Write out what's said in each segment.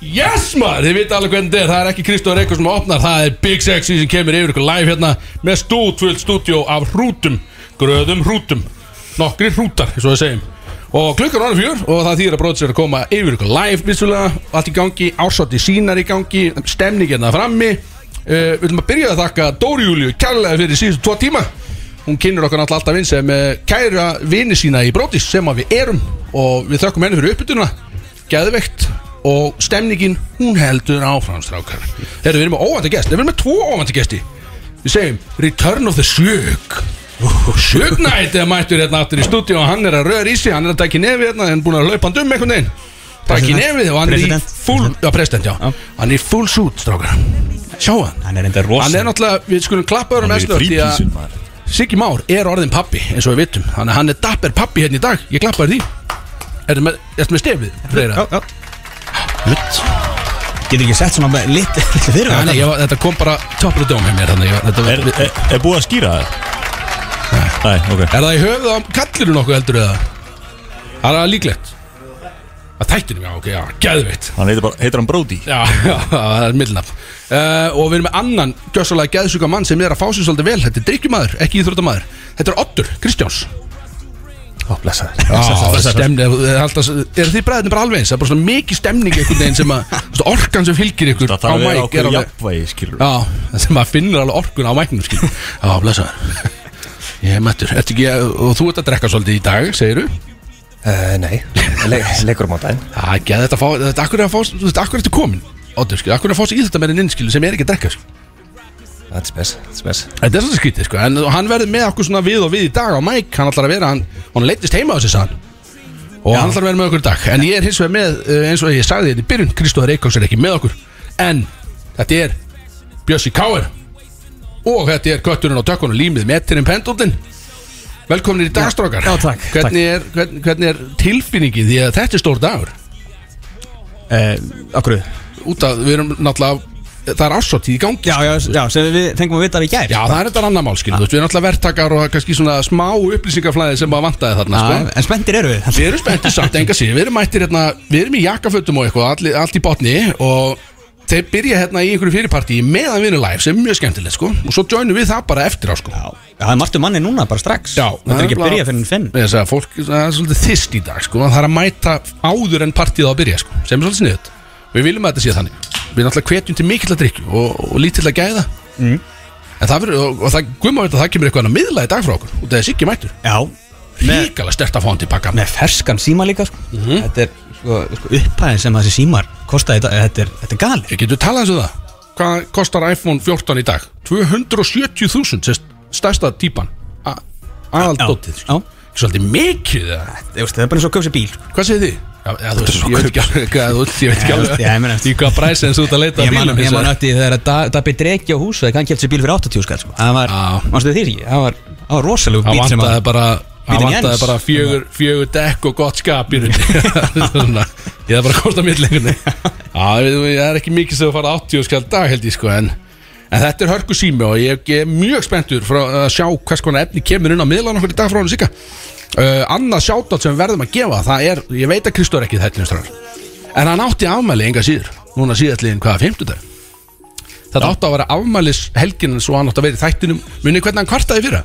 Yes maður, þið vita alveg hvernig þetta er Það er ekki Kristóð Reykjavík sem opnar Það er Big Sexy sem kemur yfir ykkur live hérna Með stútvöld stúdjó af hrútum Gröðum hrútum Nokkri hrútar, eins og við segjum Og klukkan var fjör og það þýðir að bróðsir að koma yfir ykkur live vissulega Allt í gangi, ársátti sínar í gangi Stemningina frammi uh, Við viljum að byrja að þakka Dóri Júliu Kærlega fyrir síðustu tvo tíma Hún kynur okkur náttúrulega alltaf vinn sem eh, kæra vini sína í brótis sem að við erum og við þökkum henni fyrir uppbytuna geðveikt og stemningin hún heldur áfram strákar Heyrðu, við erum með óvænti gest, Nei, við erum með tvo óvænti gesti við segjum Return of the Slug Slugnætt er mættur hérna aftur í stúdíu og hann er að röra í sig, hann er að taka í nefið hérna, hann er búin að laupa hann um einhvern veginn taka í President. nefið og hann er í President. full já, president, já, Já. hann er í full suit strákar sjá hann, Hann er hann enda er rosa náttúrulega, við skulum klappa öðrum Hann er í eftir því að frípísun maður Siggi Már er orðin pappi eins og við vitum Þannig að hann er dapper pappi hérna í dag Ég klappar því Ertu með, ertu með stefið, Freyra? já Rutt Getur ekki sett svona með lit litlu fyrir Já, nei, ég, var- þetta kom bara toppur dóm hjá mér þannig, ég, þetta, Er, er, er, er búið að skýra það? Nei, ok er það í höfuð á kallinu nokkuð heldur eða? Það er það líklegt Að þættinum, já, ok, já, geðveitt Hann heitir, bara, heitir hann Brody Já, já, það er millnafn uh, Og við erum með annan gjössalega geðsuga mann sem er að fá sér svolítið vel Þetta er drikkjumadur, ekki íþróttamadur Þetta er Oddur, Kristjáns Ó, blessa þér Já, stemni, er, er þið bræðinni bara alveg eins? Það er bara svona mikið stemning einhvern veginn sem að þú veist, Orkan sem fylgir ykkur Það þarf að vera mic er okkur alveg- jafnvægi, skilur Já, það sem maður finnur alveg orkun á mæknum skil Já, blessaður Ég er mættur, ertu ekki, að- og þú ert að drekka svolítið í dag, segiru Uh, nei, Le leikur um á daginn Það er ekki að þetta fá, þetta akkur er að fá, þú veist, akkur er þetta komin Óttur, skil, akkur er að fá sér í þetta með inn, skil, sem er ekki að drekka, skil Þetta er spes, þetta er spes Þetta er svolítið skrítið, sko, en hann verður með okkur svona við og við í dag á mæk Hann ætlar að vera, hann, hann leittist heima á þessi sann Og hann ætlar að vera með okkur í dag En ég er hins vegar með, eh, eins og ég sagði þetta í byrjun Kristóður Reykjáks er ekki með okkur En þetta er Bjössi Káir Og þetta er kötturinn á tökkunum límið Mettirinn Pendullin Velkomin í dagstrókar Já, takk, hvernig, er, hvernig, hvernig er tilfinningin því að þetta er stór dagur uh, Okkur Út að við erum náttúrulega Það er ársóttíð í gangi Já, já, já, sem við fengum að vita af í gær Já, það er þetta annar mál, skil, þú veist, við erum alltaf verktakar og það er kannski svona smá upplýsingaflæði sem maður vantaði þarna, Já, sko. En spenntir eru við Við erum spenntið samt, enga síðan, við erum mættir hérna, við erum í jakkafötum og eitthvað, all, allt í botni og þeir byrja hérna í einhverju fyrirpartíi meðan við erum live, sem er mjög skemmtilegt, sko, og svo joinum við það bara eftir á, sko. Já, það er margt um manni núna bara strax Þetta það er ekki að bara- byrja fyrir finn Ég sagði, fólk, það er svolítið þist í dag, sko, það er að mæta áður en partíð á að byrja, sko, sem er svolítið sniðut. Við viljum að þetta sé þannig. Við náttúrulega hvetjum til mikill að drikju og, og lítill að gæða. En það verður, og, og það, guðmá veit að það kemur eitthvað að miðla í dag frá okkur, og það er sikki mættur. Já, með, Ríkala stert að fá hann tilbaka. með ferskan síma líka sko. Þetta er sko, sko, upphæðin sem þessi símar kostaði í dag Þetta er, þetta er gali Getur við talað eins og það? Hvað kostar iPhone 14 í dag? 270.000, sérst, stærsta típan. A- Aðaldótið, Já, sko. Svolítið mikið, eða? Þú veist, það er bara eins og að köpsi bíl Hvað segir þið? Já, já, þú veist, ég veit ekki alveg hvað þú ég veit ekki Já, þú veist, já, ég meina, alveg í hvað præs en þú ert að leita Ég að man, bílum ég hins man vegar. ötti þegar að Da- Dabbi Dreki á húsveg hann kæfti sér bíl fyrir 80 skall sko. það var, Já. mannstu þið því það var, það var rosalegu Það bíl sem vantaði að bara Það Bíllinn vantaði Jens. bara fjögur, fjögur dekk og gott skap í rauninni Svona, Ég það bara að kosta mitt lengur Já, við- við- það er ekki mikið sem þú fara 80 skall dag held ég sko en, en þetta er hörku sími og ég, ég er mjög spenntur frá að sjá hvers konar efni kemur inn á miðlan okkur í dag frá hann sika uh, Annað sjátátt sem við verðum að gefa það er, ég veit að Kristóður ekki þetta stráður En hann átti afmæli enga síður Núna síðastliðin hvaða fimmtudag Þetta átti að vera afmælis helginin Svo hann átti að vera í þættinum Munið hvernig hann kvartaði fyrra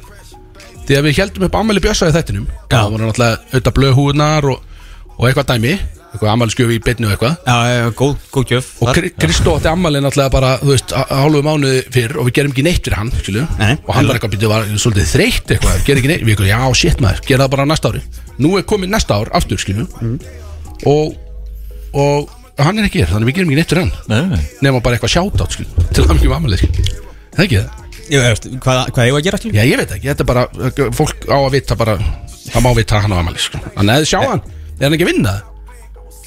Því að við heldum upp afmæli bjössa í þættinum Já. Það voru náttúrulega auðvitað blöðhúðnar og, og eitthvað dæmi Eitthvað afmælisgjöf í beinni og eitthvað Já, já, já, góð, góð gjöf Og Þar- Kri- Kristó átti afmæli náttúrulega bara Þú veist, á- hálfu mánuði fyrr Og við gerum ekki neitt fyrir hann, skilju Nei, nei. Og hann var eitthvað býtið var svolítið þreytt eitthvað Gerir ekki neitt, við eitthvað, já, shit maður, gera það bara næsta ári Nú er komið næsta ár, aftur, skilju Mm. Og, og hann er ekki hér, þannig við gerum ekki neitt fyrir hann Nei, nei, nei nema bara eitthvað sjátátt skil til það mikið mammalið skil það ekki það? Já, þú veist, hvað, hvað ég var að gera allir Já ég veit ekki, þetta er bara fólk á að vita bara, það má vita að hann á ammalið skil en eða sjá hann, er hann ekki að vinna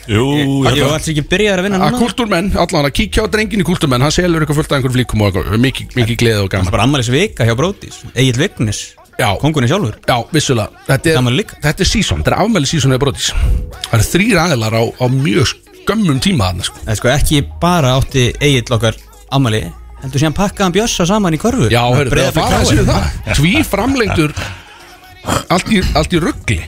Jú, ég Ég held að var allir ekki byrjaðar að vinna að núna kultúrmenn, allan að kíkja á drengin í kultúrmenn hann selur eitthvað fullt af einhverjum flíkum og eitthvað mikið, mikið gleði og Það er gaman bara ammælis vika hjá Brótis Egil Vignis Já. Kongunni sjálfur Já, vissulega, þetta Gaman er, líka. þetta er sísón, þetta er afmæli sísón eða brotis það eru þrýr aðilar á, á mjög skömmum tíma þarna sko Það er sko ekki bara átti Egil okkar ammæli Heldur síðan pakkaðan bjössa saman í korfu Já, hörru, það Breiðablik fara að KR. séu það Tví framlengdur allt í, allt í ruggli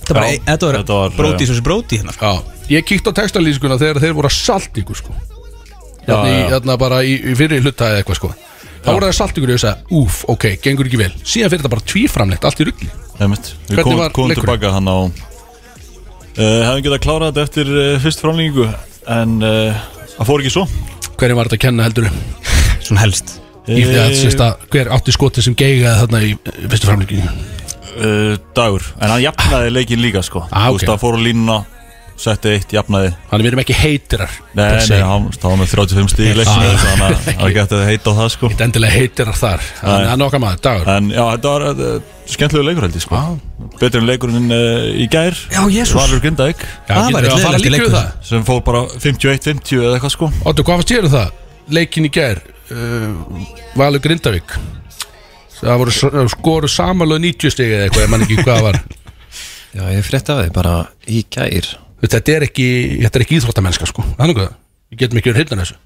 Þetta bara- Já, þetta var þetta var, eh, Brótis og þessi Bróti hérna sko. Já, Ég kíkti á textalýsinguna þegar þeir voru að salt ykkur sko Þarna í, já. þarna bara í, í fyrir hluta eða eitthvað sko Þá voru það salt ykkur og ég sagði, úf, ok, gengur ekki vel Síðan fyrir þetta bara tvíframlegt, allt í rugli Einmitt. Við Hvernig komum var kom leikurinn? tilbaka hann á uh, Hefum getað klárað þetta eftir uh, fyrst framlengingu En uh, það fór ekki svo Hvernig var þetta að kenna heldur Svona helst Eh. Í því að sérst að hver átti skoti sem geigaði þarna í eh, fyrstu framlíki uh, Dagur, en hann jafnaði leikin líka sko Ah, ok. Þú veist, það fór á línuna Setti eitt, jafnaði Þannig við erum ekki heitirar Nei, nei, hann stáði með 35 stíð í leikinu Þannig að hann getið heita á það sko Þetta endilega heitirar þar Þannig að það er nokkað maður, dagur En já, þetta var uh, skemmtilegu leikur held ég sko Ah. Betri en leikurinn uh, í gær Já, Jesús. Valur Grindavík Já, Það getur var við að eitt fara leiðilegt líka við leikur. það Sem fór bara 51-50 eða eitthvað sko Óttu, hvað fannst ég um það? Leikin í gær uh, Valur Grindavík Það voru s- eh, skoru samanlega 90 stig eða eitthvað, ég man ekki hvað það var Já, ég frétt af þið bara í gær Þetta er ekki, þetta er ekki íþróttamennska sko Þannig að við getum ekki verið hildin þessu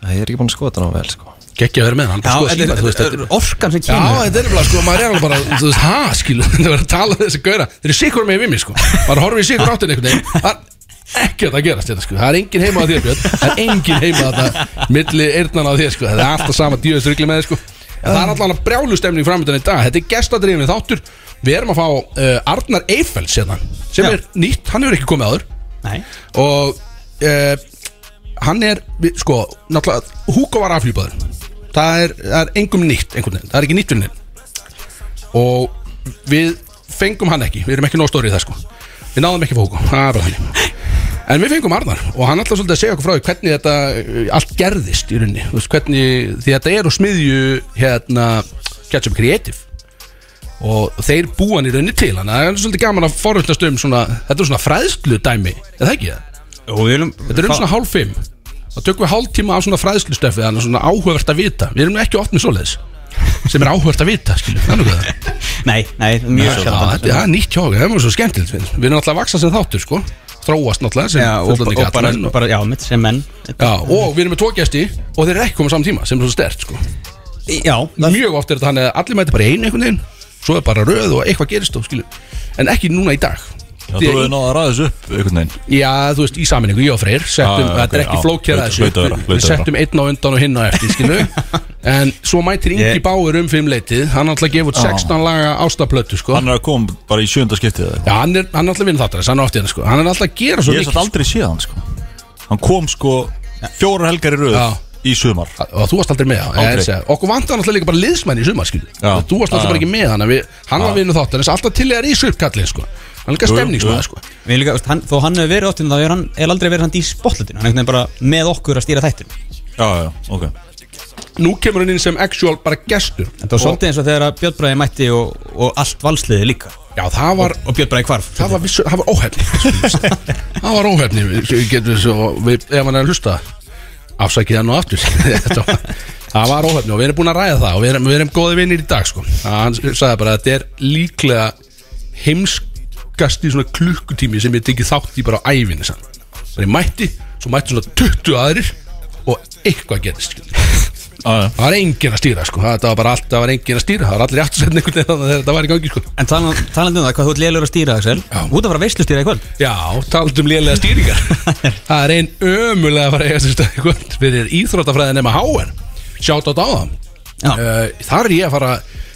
Það er ekki búin að skota ná vel, sko Gekki að vera með hann, Já, hann skoða þetta síma, er- þú veist þetta þetta er er- orkan sem Já, kemur þetta er bara, sko, maður er alveg bara, þú veist, ha, skilu, þetta var að tala við þessi gauðra Þeir eru sikur með vimi, sko, maður horfir í sikur áttin einhvern veginn Það er ekkert að gerast þetta, sko, það er engin heima að þér, Björn Það er engin heima að þetta, milli eyrnana á þér, sko, það er alltaf sama djöðust rugli með þér, sko En það er allan að brjálu stemning framöndan í dag, þetta er gestadrifin þáttur Við erum að fá uh, Arnar Eiffels hérna, sem Já. er nýtt, hann hefur ekki komið áður Nei og uh, hann er, við- sko, náttúrulega Hugo var afhjúpaður það er, það er engum nýtt einhvern veginn, það er ekki nýtt fyrir neinn og við fengum hann ekki, við erum ekki nóg stórið það sko við náðum ekki að fá Hugo, það er bara þannig En við fengum Arnar og hann alltaf svolítið að segja okkur frá því hvernig þetta uh, allt gerðist í rauninni, þú veist hvernig, því þetta er á smiðju hérna Ketchup Creative og þeir búa hann í rauninni til hann það er svolítið gaman að forvöldast um svona þetta er svona fræðslu dæmi, er það ekki það? Og við viljum Þetta er um svona hálf fimm og tökum við hálf tíma af svona fræðslustöfið þannig að svona áhugavert að vita við erum nú ekki oft með svoleiðis sem er áhugavert að vita skilur, þannig að það Nei, nei, Já, mjög þetta- sjaldan. það er nýtt hjá okkur, það er mjög svo skemmtilegt finnst. við erum náttúrulega að vaksa sem þáttur sko þróast náttúrulega sem Já, og, og, fullorðnir bara, karlmenn og, bara, já, mitt sem menn já, og við erum með tvo gæsti og þeir eru ekki komið saman tíma sem er svo stert sko Já, það, mjög oft er þetta þannig að allir mæti bara í einu einhvern veginn svo er bara röð og eitthvað gerist og skilur en ekki núna í dag Já, Því- þú hefur náða að ræða þessu upp einhvern veginn Já, þú veist, í sammenningu, ég og Freyr settum, Já, já, þetta er Ah, ok, ekki já, flókjara hlaut- þessu hlaut að Við- vera, hlaut Við að vera. settum einn á undan og hinn á eftir, skilju En svo mætir Ingi Ég- Báir um fimm leitið Hann ætla að gefa út 16 laga ástaplötu, sko Ah. Hann er að koma bara í sjönda skiptið eða eitthvað. Já, hann er, hann er alltaf vinn þáttarins, hann er oft í hann, sko Hann er alltaf að gera svo Ég er mikið satt aldrei séð hann sko Hann kom sko fjórar helgar í röð Já. í sumar sko. Og þú varst aldrei með á Aldrei. ég, segja, Okkur vantar alltaf líka bara liðsmenn í sumar, skilju Já. Þú varst alltaf Já, bara já. ekki með hann en við, Hann var vinn þáttarins, alltaf til eða í uppkallið, sko Hann er líka Jú, jú, stemningsmaður, jú. sko við líka, veist, hann, þó hann hefur verið áttin þá er hann er aldrei verið hann í spotletinu Hann er einhvern veginn bara með okkur að stýra þættin Já, já, ok Nú kemur hann inn sem actual bara gestur Þetta var svolítið eins og þegar að Björn Bræði mætti og, og allt valsliði líka Já, það var Og Björn Bræði hvarf það var, vissu, það var óhefni það var óhefni við getum svo, við, ef hann er að hlusta afsækið hann og aftur Þetta var- það var óhefni og við erum búin að ræða það og við erum, við erum góði vinnir í dag sko. hann sagði bara að þetta er líklega heimskast í svona klukkutími sem ég tekið þátt í bara á ævinni sann. þannig ég mætti, svo mætti svona 20 aðrir og eitthvað gerist skilur. Já, já. það var engin að stýra sko. það var bara allt, það var engin að stýra það var allir í aftur einhvern veginn þannig að þetta var í gangi sko. En talan- talandi um það, hvað þú ert lélur að stýra, Axel Já. Þú ert að fara veislustýra í kvöld Já, taldum lélega stýringar Það er einn ömulega að fara að eiga sér stað í kvöld Fyrir íþróttafræðin nema háen Sjátt á dáðan Já. uh, Þar er ég að fara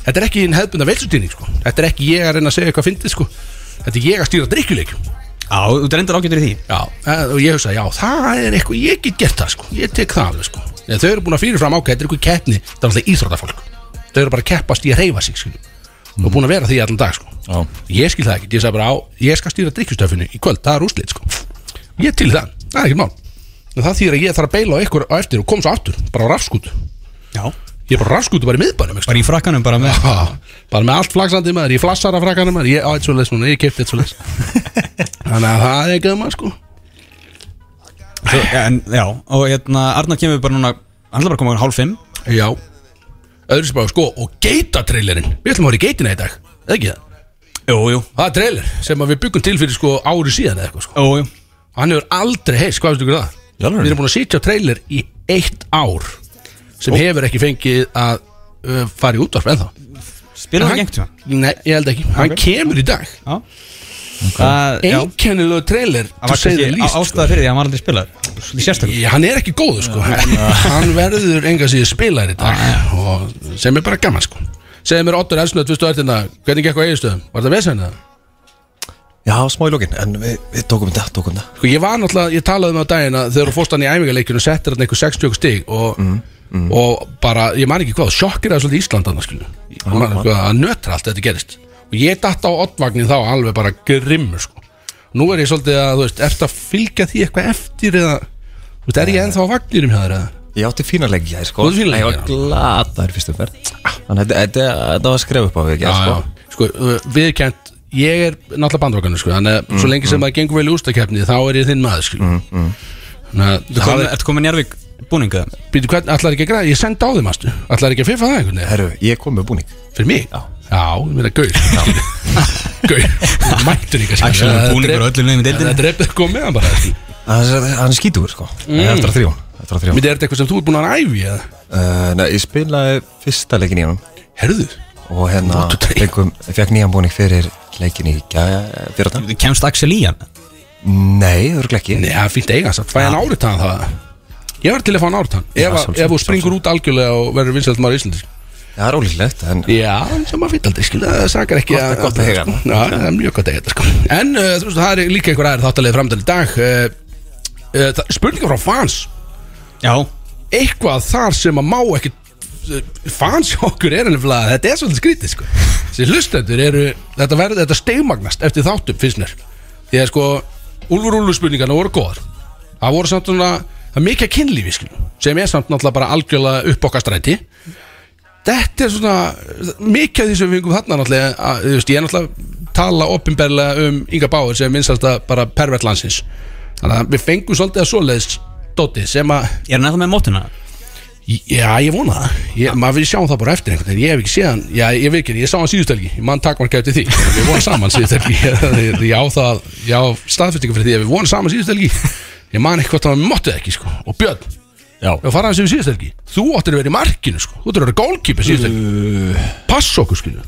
Þetta er ekki einn hefðbunda velsutýring sko. Þetta er ekki ég að reyna að segja eitthvað fyndið sko. Þetta er ég að stýra drikkjuleikjum Já, þú ert reyndar ágættur í því Já, eh, og ég hugsa, já, það er eitthvað, ég get gert það, sko, ég tek það alveg, sko en þau eru búin að fyrirfram ákveða, þetta er eitthvað keppni það er alltaf íþróttafólk, þau eru bara að keppast í að reyfa sig, skilju, og búin að vera því allan dag, sko, Já. ég skil það ekki ég sagði bara, á, ég skal stýra drikkjustöfinu í kvöld það er úslit, sko, ég til það það er ekkert mál, en það þýr að ég þarf að beila á ykkur á eftir og kom svo aftur, bara á rafskút Já ég er bara á rafskútu bara í miðbænum, ekki, Bara í frakkanum, bara með Ha, bara með allt flaksandi maður, ég flassar af frakkanum maður ég á eitt svoleiðis núna, ég kipti eitt svoleiðis þannig að það er ekki að maður sko Svo, en, Já, og hérna, Arnar kemur bara núna Hann ætla bara að koma um hálf fimm Já Öðru sem bara sko Og geitatrailerinn Við ætlum að vera í geitina í dag Eða ekki það Jú, jú Það er trailer Sem að við byggum til fyrir sko ári síðan eða eitthvað sko Jú, jú Og Hann hefur aldrei heist Hvað veistu ykkur það? Í alvöru? Við erum búin að sitja á trailer í eitt ár Sem hefur ekki fengið að uh, fara í útvarp ennþá Spila það Hann- gengt hjá Nei, ég held ekki Hann kemur í dag Já Það já, einkennilegu trailer það sko. var kannski ástæða fyrir því að hann var aldrei spilað Sérstaklega Í, hann er ekki góður sko hann verður enga síður spilar í dag og sem er bara gaman sko segðu mér Ottur Elsnöð, viðstu öllina hérna, hvernig gekk á eiginstöðum, var það vesennið það? Já, smá í lókin, en við, við tókum þetta, tókum þetta sko ég var náttúrulega, ég talaði um það á daginn að þegar þú fórst hann í æfingarleikinu og settir hann einhver 60 stig og, og bara, ég man ekki hvað, sjokkir það svolítið Ísland annars skilu og man eitthvað að nötra allt þetta gerist og ég datt á oddvagnin þá alveg bara grimmur sko nú er ég svolítið að, þú veist, ert að fylgja því eitthvað eftir eða, þú veist, er ég ennþá á vagnirum hjá þér eða? Ég átti fína leik í gær, sko Þú átti fína leik, Ég var já. glataður fyrstu umferð Þannig að þetta- þetta þetta var skref upp á við, já, ekki, sko já. sko viðkjönt, ég er náttúrulega bandvakanur sko, þannig að svo lengi sem það gengur vel í ústakefni þá er ég þinn maður sko. mm, mm. Þannig að það er, Ertu komin Njárvík búninga? býtu hvern, allar ekki að græða ég sendi á þeim aðstu, allar ekki að fiffa það einhvern veginn Herru, ég kom með búning fyrir mig, já, ég meina gaur gaur, mættur ekki að Axel er búningur á öllum liðum í deildinni. það drefið kom meðan bara sko. Hann er- hann er skítugur, sko Mm. Eftir að þrjón, eftir að þrjón myndi er þetta eitthvað sem þú er búin að æfi eða, Uh, Nei, ég spilaði fyrsta leikin í hann herðu og hérna What the- fengum, fekk nýjan búning fyrir leikin í gæja fyrir það Kemst Axel í hann? Nei, örglega ekki Nei, það er fínt eiga samt, fæ hann áritaðan það Ég var til að fá hann áritaðan Já, Ef, að- sjálfsagt, ef þú springur út algjörlega og verður vinsælt maður í Íslandi Það er ólíklegt en Já, sem að fýta aldrei, skilja, það sakar ekki Gott- gott að heyra. sko. Já, það er mjög gott að heyra, sko En uh, þú veist, það er líka einhver aðeir þáttalegið framdæl í dag uh, uh, það- Spurningar frá fans Já Eitthvað þar sem að má ekki eh, Fans hjá okkur er ennfélag Þetta er svolítið skrítið, sko Þessi hlustendur eru, þetta verður, þetta steigmagnast Eftir þáttum, finnst mér Því að sko, Úlfur Úlfur spurningarna voru góðar Það voru samt svona, það er mikið af kynlífi, skilja Sem er samt náttúrulega bara algjörlega upp okkar stræti þetta er svona mikið af því sem við fengum þarna náttúrulega að, þú veist, ég er náttúrulega tala opinberlega um Inga Báður sem minnstast að bara pervert landsins þannig að við fengum svolítið að svoleiðis Dóti sem að, Er hann eða með mótuna? já ég vona það ég, maður við sjáum það bara eftir einhvern veginn ég hef ekki séð hann, já ég veit ekki, ég sá hann síðustelgi ég mann takkmarka eftir því, við vorum saman síðustelgi ég á það, ég á staðfestingu fyrir því að við vorum saman síðustelgi ég man eitthvað hvort hann móttið ekki sko og Björn, Já, Já, fara hans yfir síðast helgi Þú áttir að vera í markinu sko Þú áttir að vera gólkipa síðast helgi Pass okkur skilju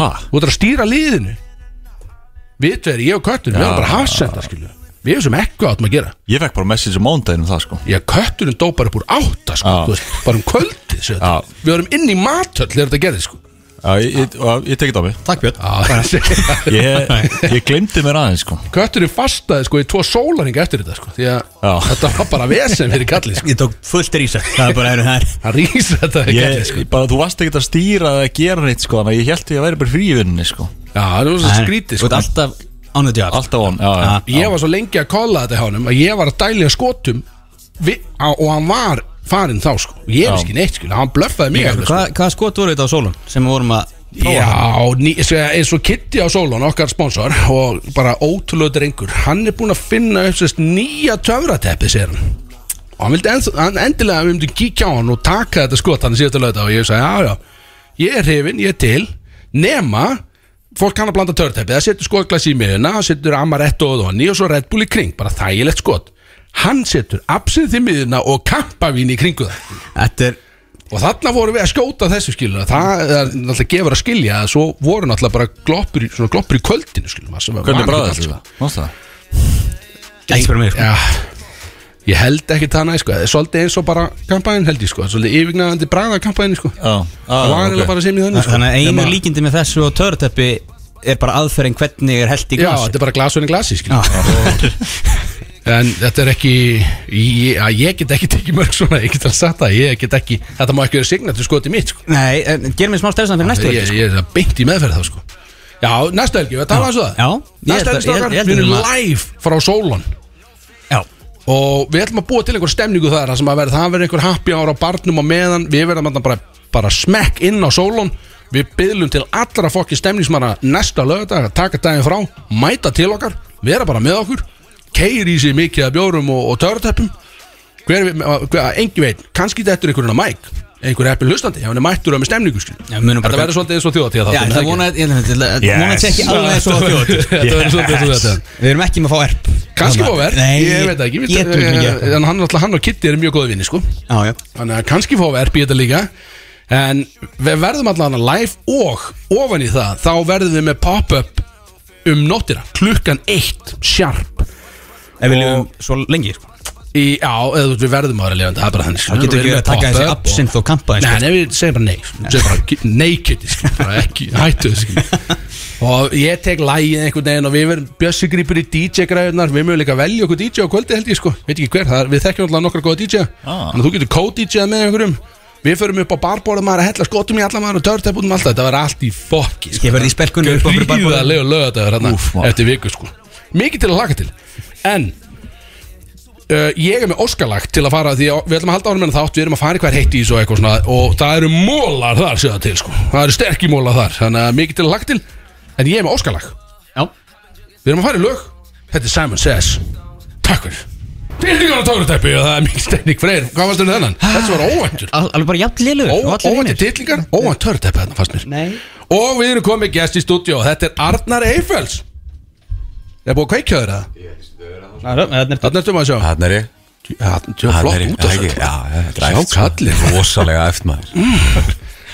ha? Þú áttir að stýra liðinu Við tveir, ég og kötturinn, við erum bara hafsenda skilju Við erum sem ekku áttum að gera Ég fekk bara message á mándaginn um það, sko Ég kötturinn dó bara upp úr átta sko Já. Þú veist, Bara um kvöldið sér Já. þetta Við vorum inn í matöll þegar þetta gerði sko Já, ég, ég, ég, ég tekið á mig Takk Björn Já. Ég, ég glemdi mér aðeins, sko Kötturinn fastaði sko í tvo sólaringa eftir þetta sko Því að Já. þetta var bara vesen fyrir kallið sko Ég tók fullt rísa Það er bara að eru það er- Hann rís þetta í kallið Ég, sko bara, þú varst ekkert að stýra eða gera neitt, sko Þannig að ég held að ég væri bara frí í vinninni, sko Já, það var svo skrítið Þú sko ert alltaf ánöðu djátt Alltaf von, já, Já. já ég var svo lengi að kolla þetta hjá honum að ég var að dælja skotum vi, á, og hann var farinn þá sko og ég veist ekki neitt sko, hann blöffaði mig alveg, sko. Hvað hvaða skot voru þetta á sólun sem við vorum að Já, ný, sko, eins og Kitty á Solon, okkar sponsor og bara ótrúlega drengur hann er búinn að finna upp sérst nýja töfrateppi segir hann og hann vildi enn, hann endilega að við myndum kíkja á hann og taka þetta skot hann síðast að löta og ég sagði já já, ég er hrifin, ég er til nema, fólk kann að blanda töfrateppi það setur skotglas í miðuna, það setur amaretto og donni og svo Red Bull í kring, bara þægilegt skot hann setur absinth í miðuna og kampavín í kringu það Þetta er Og þarna vorum við að skjóta þessu skilur Það er náttúrulega gefur að skilja að Svo voru náttúrulega bara gloppur, í- svona gloppur í kvöldinu skilur maður, sem var Hvernig vanið bræði allt, þetta? Mást það? Ekki spyrir mig sko. Já, ég held ekki það næ sko Það er Svolítið eins og bara kampaðin held ég sko Svolítið yfirgnæðandi bræða kampaðin sko Já, Það var já, eiginlega ok bara sem í þannig sko Ah, Þannig að einu Nema- líkindi með þessu og töruteppi er bara aðferðin hvernig er held í Já, Ah. glas þetta er bara glasurinn glasi skilur Já. En þetta er ekki Ég, að ég get ekki tekið mörg svona Ég get alveg sagt það Ég get ekki Þetta má ekki vera signatur skotið mitt sko Nei, en gerum við smá stefnsan fyrir næstu ég, helgi, sko. ég er það beint í meðferð þá sko Já, næsta helgi, við talaðum svo það Já. Ég held Næsta helgi að- ég- strákar, ég held við erum að- hérna- live frá Solon Já, Og við ætlum að búa til einhver stemningu þar þar sem að verða, það verður einhver happy hour á barnum og meðan Við verðum þarna bara, bara smekk inn á Solon Við byðlum til allra fokki stemningsmanna næsta lögadag að taka daginn frá, mæta til okkar, vera bara með okkur Keiri í sig mikið af bjórum og, og törteppum Hver, hver, engi veit, kannski þetta er einhverjum að mæk einhver heppin hlustandi, ef hann er mættur og með stemningu skil. Já, við munum bara- Þetta verður svolítið eins og þjóðatíða já það vonaði ég held að- þetta Yes. vonaði ekki alveg svo að þjóð Þetta verður svolítið eins og þetta Við erum ekki með að fá erp Kanski Þannig að- fóver, Nei, ég veit það ekki Ég trúi ekki Eh, erp. En hann, alltaf, hann og Kitty eru mjög góða vinni sko Já, já Þannig að kannski fóver býða þetta líka En við verðum allan að live og ofan í það Þá verðum við með pop-up um nóttina klukkan eitt, sharp Ef við lifum svo lengi sko. í, Já, eða þú veist, við verðum að vera lifandi Það er bara þannig sko. Þá getur við ekki verið að taka þessi absint og kampa sko. Nei, eins nei, við segjum bara nei sko. Segjum bara naked, sko. bara ekki, hættu þessu sko. Og ég tek lægið einhvern veginn og við verðum Bjössi grípur í DJ-græðunar Við mögum líka velja okkur DJ á kvöldi held ég sko Veit ekki hver, það er, við þekkjum alltaf nokkra góða DJ Ah. Þannig að þú getur kó-DJ með einhverjum Við förum upp á barborðum maður að hella skotum í alla maður og törtep út um alltaf Þetta var allt í fokki sko. Ég verð í spelkunni upp á fyrir barborðum. Gríðarlegur laugardagur þarna Úff, maður. Eftir viku sko Mikið til að laka til En Uh, ég er með óskalag til að fara því að við ætlum að halda árum en þátt, við erum að fara í hver heitt í þessu og eitthvað svona og það eru mólar þar séða til sko, það eru sterkir mólar þar þannig að mikið til að lagt til, en ég er með óskalag Já við erum að fara í lög, þetta er Simon Says Takk fyrir Tilningar á tórutæpi og það er mikið steinning freyr Hvað fannst þenni þennan? Þessi var óvæntur Al- Alveg bara jafn liður Óvæntur tilningar, óvænt tórutæpi þarna fannst mér Nei Og við erum komið gæst í stúdíó, þetta er Arnar Eiffels Er búið að kveikja þér það? Þannig Þarna ertum að sjá Þannig er ég Þarna ertu flott út að Já, þetta Sjá er æft kallinn. Mm. sko. Rosalega æft maður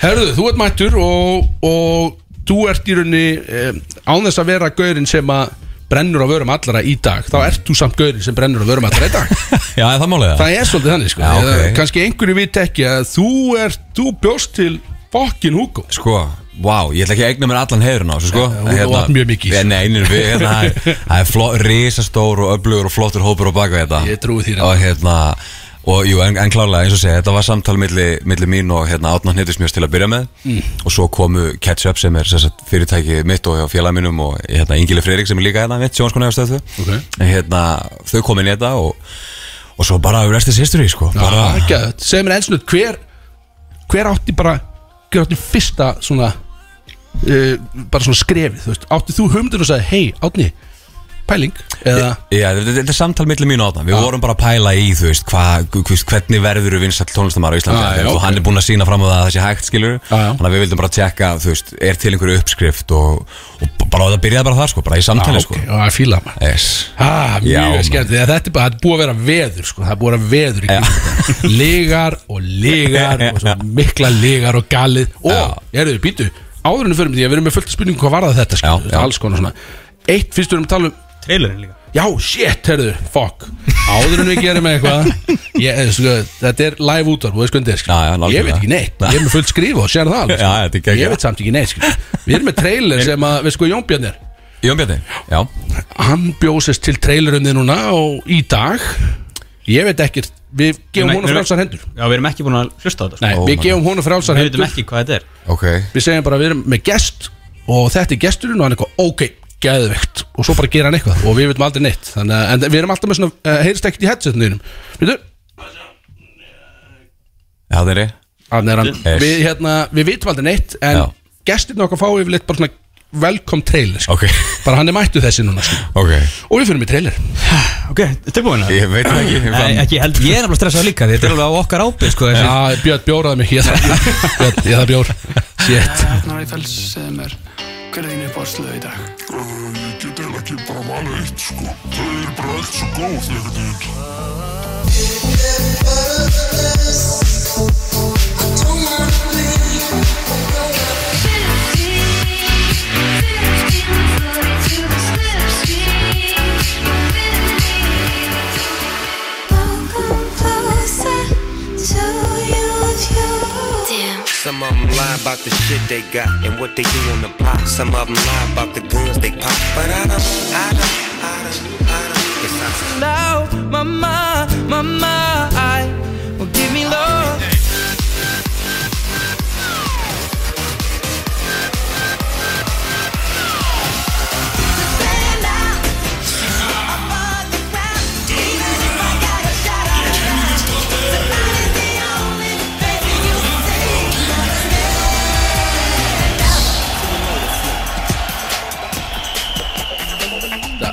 Herðu, þú ert mættur og, og þú ert í raunni um, án þess að vera gaurinn sem að brennur á vörum allara í dag þá ert þú samt gaurinn sem brennur á vörum allara í dag Já, er það málið það? það er svolítið þannig sko Já, ok. Eða kannski einhverju vit ekki að þú ert þú bjóst til fokkin Hugo Sko, vá, ég ætla ekki að eigna mér allan heiðurinn á þessu sko Hugo var mjög mikið í þessu. ég, Nei, einir við, hérna, það er- það er fló- risastór og öflugur og flottur hópur á baka þetta Ég trúi því, Og hérna, og jú, en, en klárlega eins og segja, þetta var samtal milli, milli mín og hérna Átna Hnittismjörs til að byrja með Mm. Og svo komu Catch Up sem er sem sagt, fyrirtæki mitt og hjá félag mínum og hérna Ingili Freirik sem er líka hérna mitt, sjónskona hjá stöðu Ok. Hérna, þau komin í þetta og, og svo bara rest is history sko bara, Geðveikt. segir mér eins og neitt hver hver átti bara hver átti fyrsta svona uh, bara svona skrefið þú veist átti þú humdur og sagði hei átni pæling eða Já, þetta, þetta er samtal millir mín og átna Við vorum bara að pæla í, þú veist, hva, hva, hvernig verður við vinsall tónlistamæður á Íslandi Já, ah, já, og ok. hann er búinn að sína fram á það að það sé hægt, skilur Já, já. Þannig að við vildum bara tjekka, þú veist, er til einhverju uppskrift og, og b- bara það byrjaði bara þar, sko, bara í samtali, Ah, ok, og að fíla maður sko yes. Ah, Já, mjög maður. skemmt Þegar þetta er bara, það er búið að vera veður sko. Það er búið að vera veður í kringum Ligar og ligar og svo mikla ligar og galið Og, ég erum við býtu, áðurinu fyrir mig því að við erum með fullt af spurningum hvað var það þetta sko, Já, já. Alls konar svona Eitt fyrst við erum að tala um Trailerin líka Já, shit, herðu, fuck Áður en við gerum eitthvað ég, eh, sko, Þetta er live útvarp og skoðum disk Já, já, nákvæmlega. Ég veit ekki neitt, ég er með fullt skrifa og sér það alveg, sko. Já, þetta er geggjað. Ég veit samt ekki neitt sko. Við erum með trailer sem að, við sko, Jónbjarnir Jón Bjarni, já hann bjósist til trailerunni núna og í dag ég veit ekkert, við gefum Nei, honum nei, nei. frálsar hendur Já, við erum ekki búin að hlusta á þetta sko. Nei, Oh við my gefum honum frálsar Við veitum hendur ekki hvað þetta er Ok, við segjum bara við erum með gest og þetta er gesturinn og hann eitthvað ok, geðvegt og svo bara gera hann eitthvað og við veitum aldrei neitt þannig að en við erum alltaf með svona, uh, heyrist ekkert í headsetinu þínum veitu, já, það er ég hann er hann Yes. við, hérna, við veitum aldrei neitt en Já. gesturinn okkar fá yfirleitt bara svona velkom trailer sko. Ok, bara hann er mættu þessi núna sko. ok, og við fyrir með trailer Ok, tilbúin að ég veit það ekki ég Nei, fann- ekki, ég held, ég er alveg stressað líka því Þetta er alveg á okkar ábyrð, sko þessi- Já, Björn bjóraði mig, ég þarf Björn, ég þarf bjór Shit Arnar Eiffels, segðu mér, hver er þín uppáhaldslög í dag? Eh, Ég get eiginlega ekki bara valið eitt sko Þau eru bara allt svo góð einhvern veginn Damn. Some of them lie about the shit they got and what they do on the block. Some of them lie about the guns they pop. But I don't, I don't, I don't, I don't. It's not now, my mind, my mind will give me love.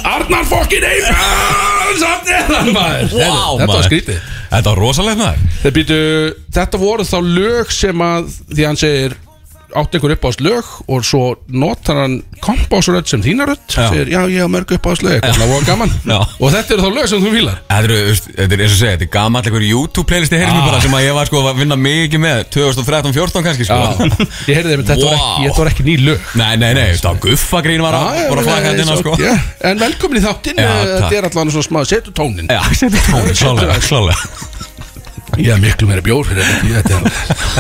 Arnar fokkin Eiffels Samt er hann maður Vá, Heyrðu, Þetta var maður. skrítið Þetta var rosalegt maður Þeir býtu, Þetta voru þá lög sem að Því hann segir átt einhver uppáðslög og svo notar hann kompásrödd sem þínarödd Já. segir já ég á mörg uppáðslög eitthvað svona voða gaman Já. og þetta eru þá lög sem þú fílar Þetta eru, veist, þetta er eins og segja, þetta er gamall einhver YouTube-playlisti heyrðum Ah. ah. bara sem að ég var sko að vinna mikið með 2013-14 kannski sko ég heyrði þeim þetta, wow. Vá. þetta var ekki ný lög Nei, nei, nei, þetta var guffagrín var að, Já, var ég meina, að flaka þetta innan it's sko okay. en velkomin í þáttinn Já, eh, takk. þetta er allan svona smá setu tónin Já, þetta er tónið, klálega, klálega ég er miklu meira bjór fyrir þetta þetta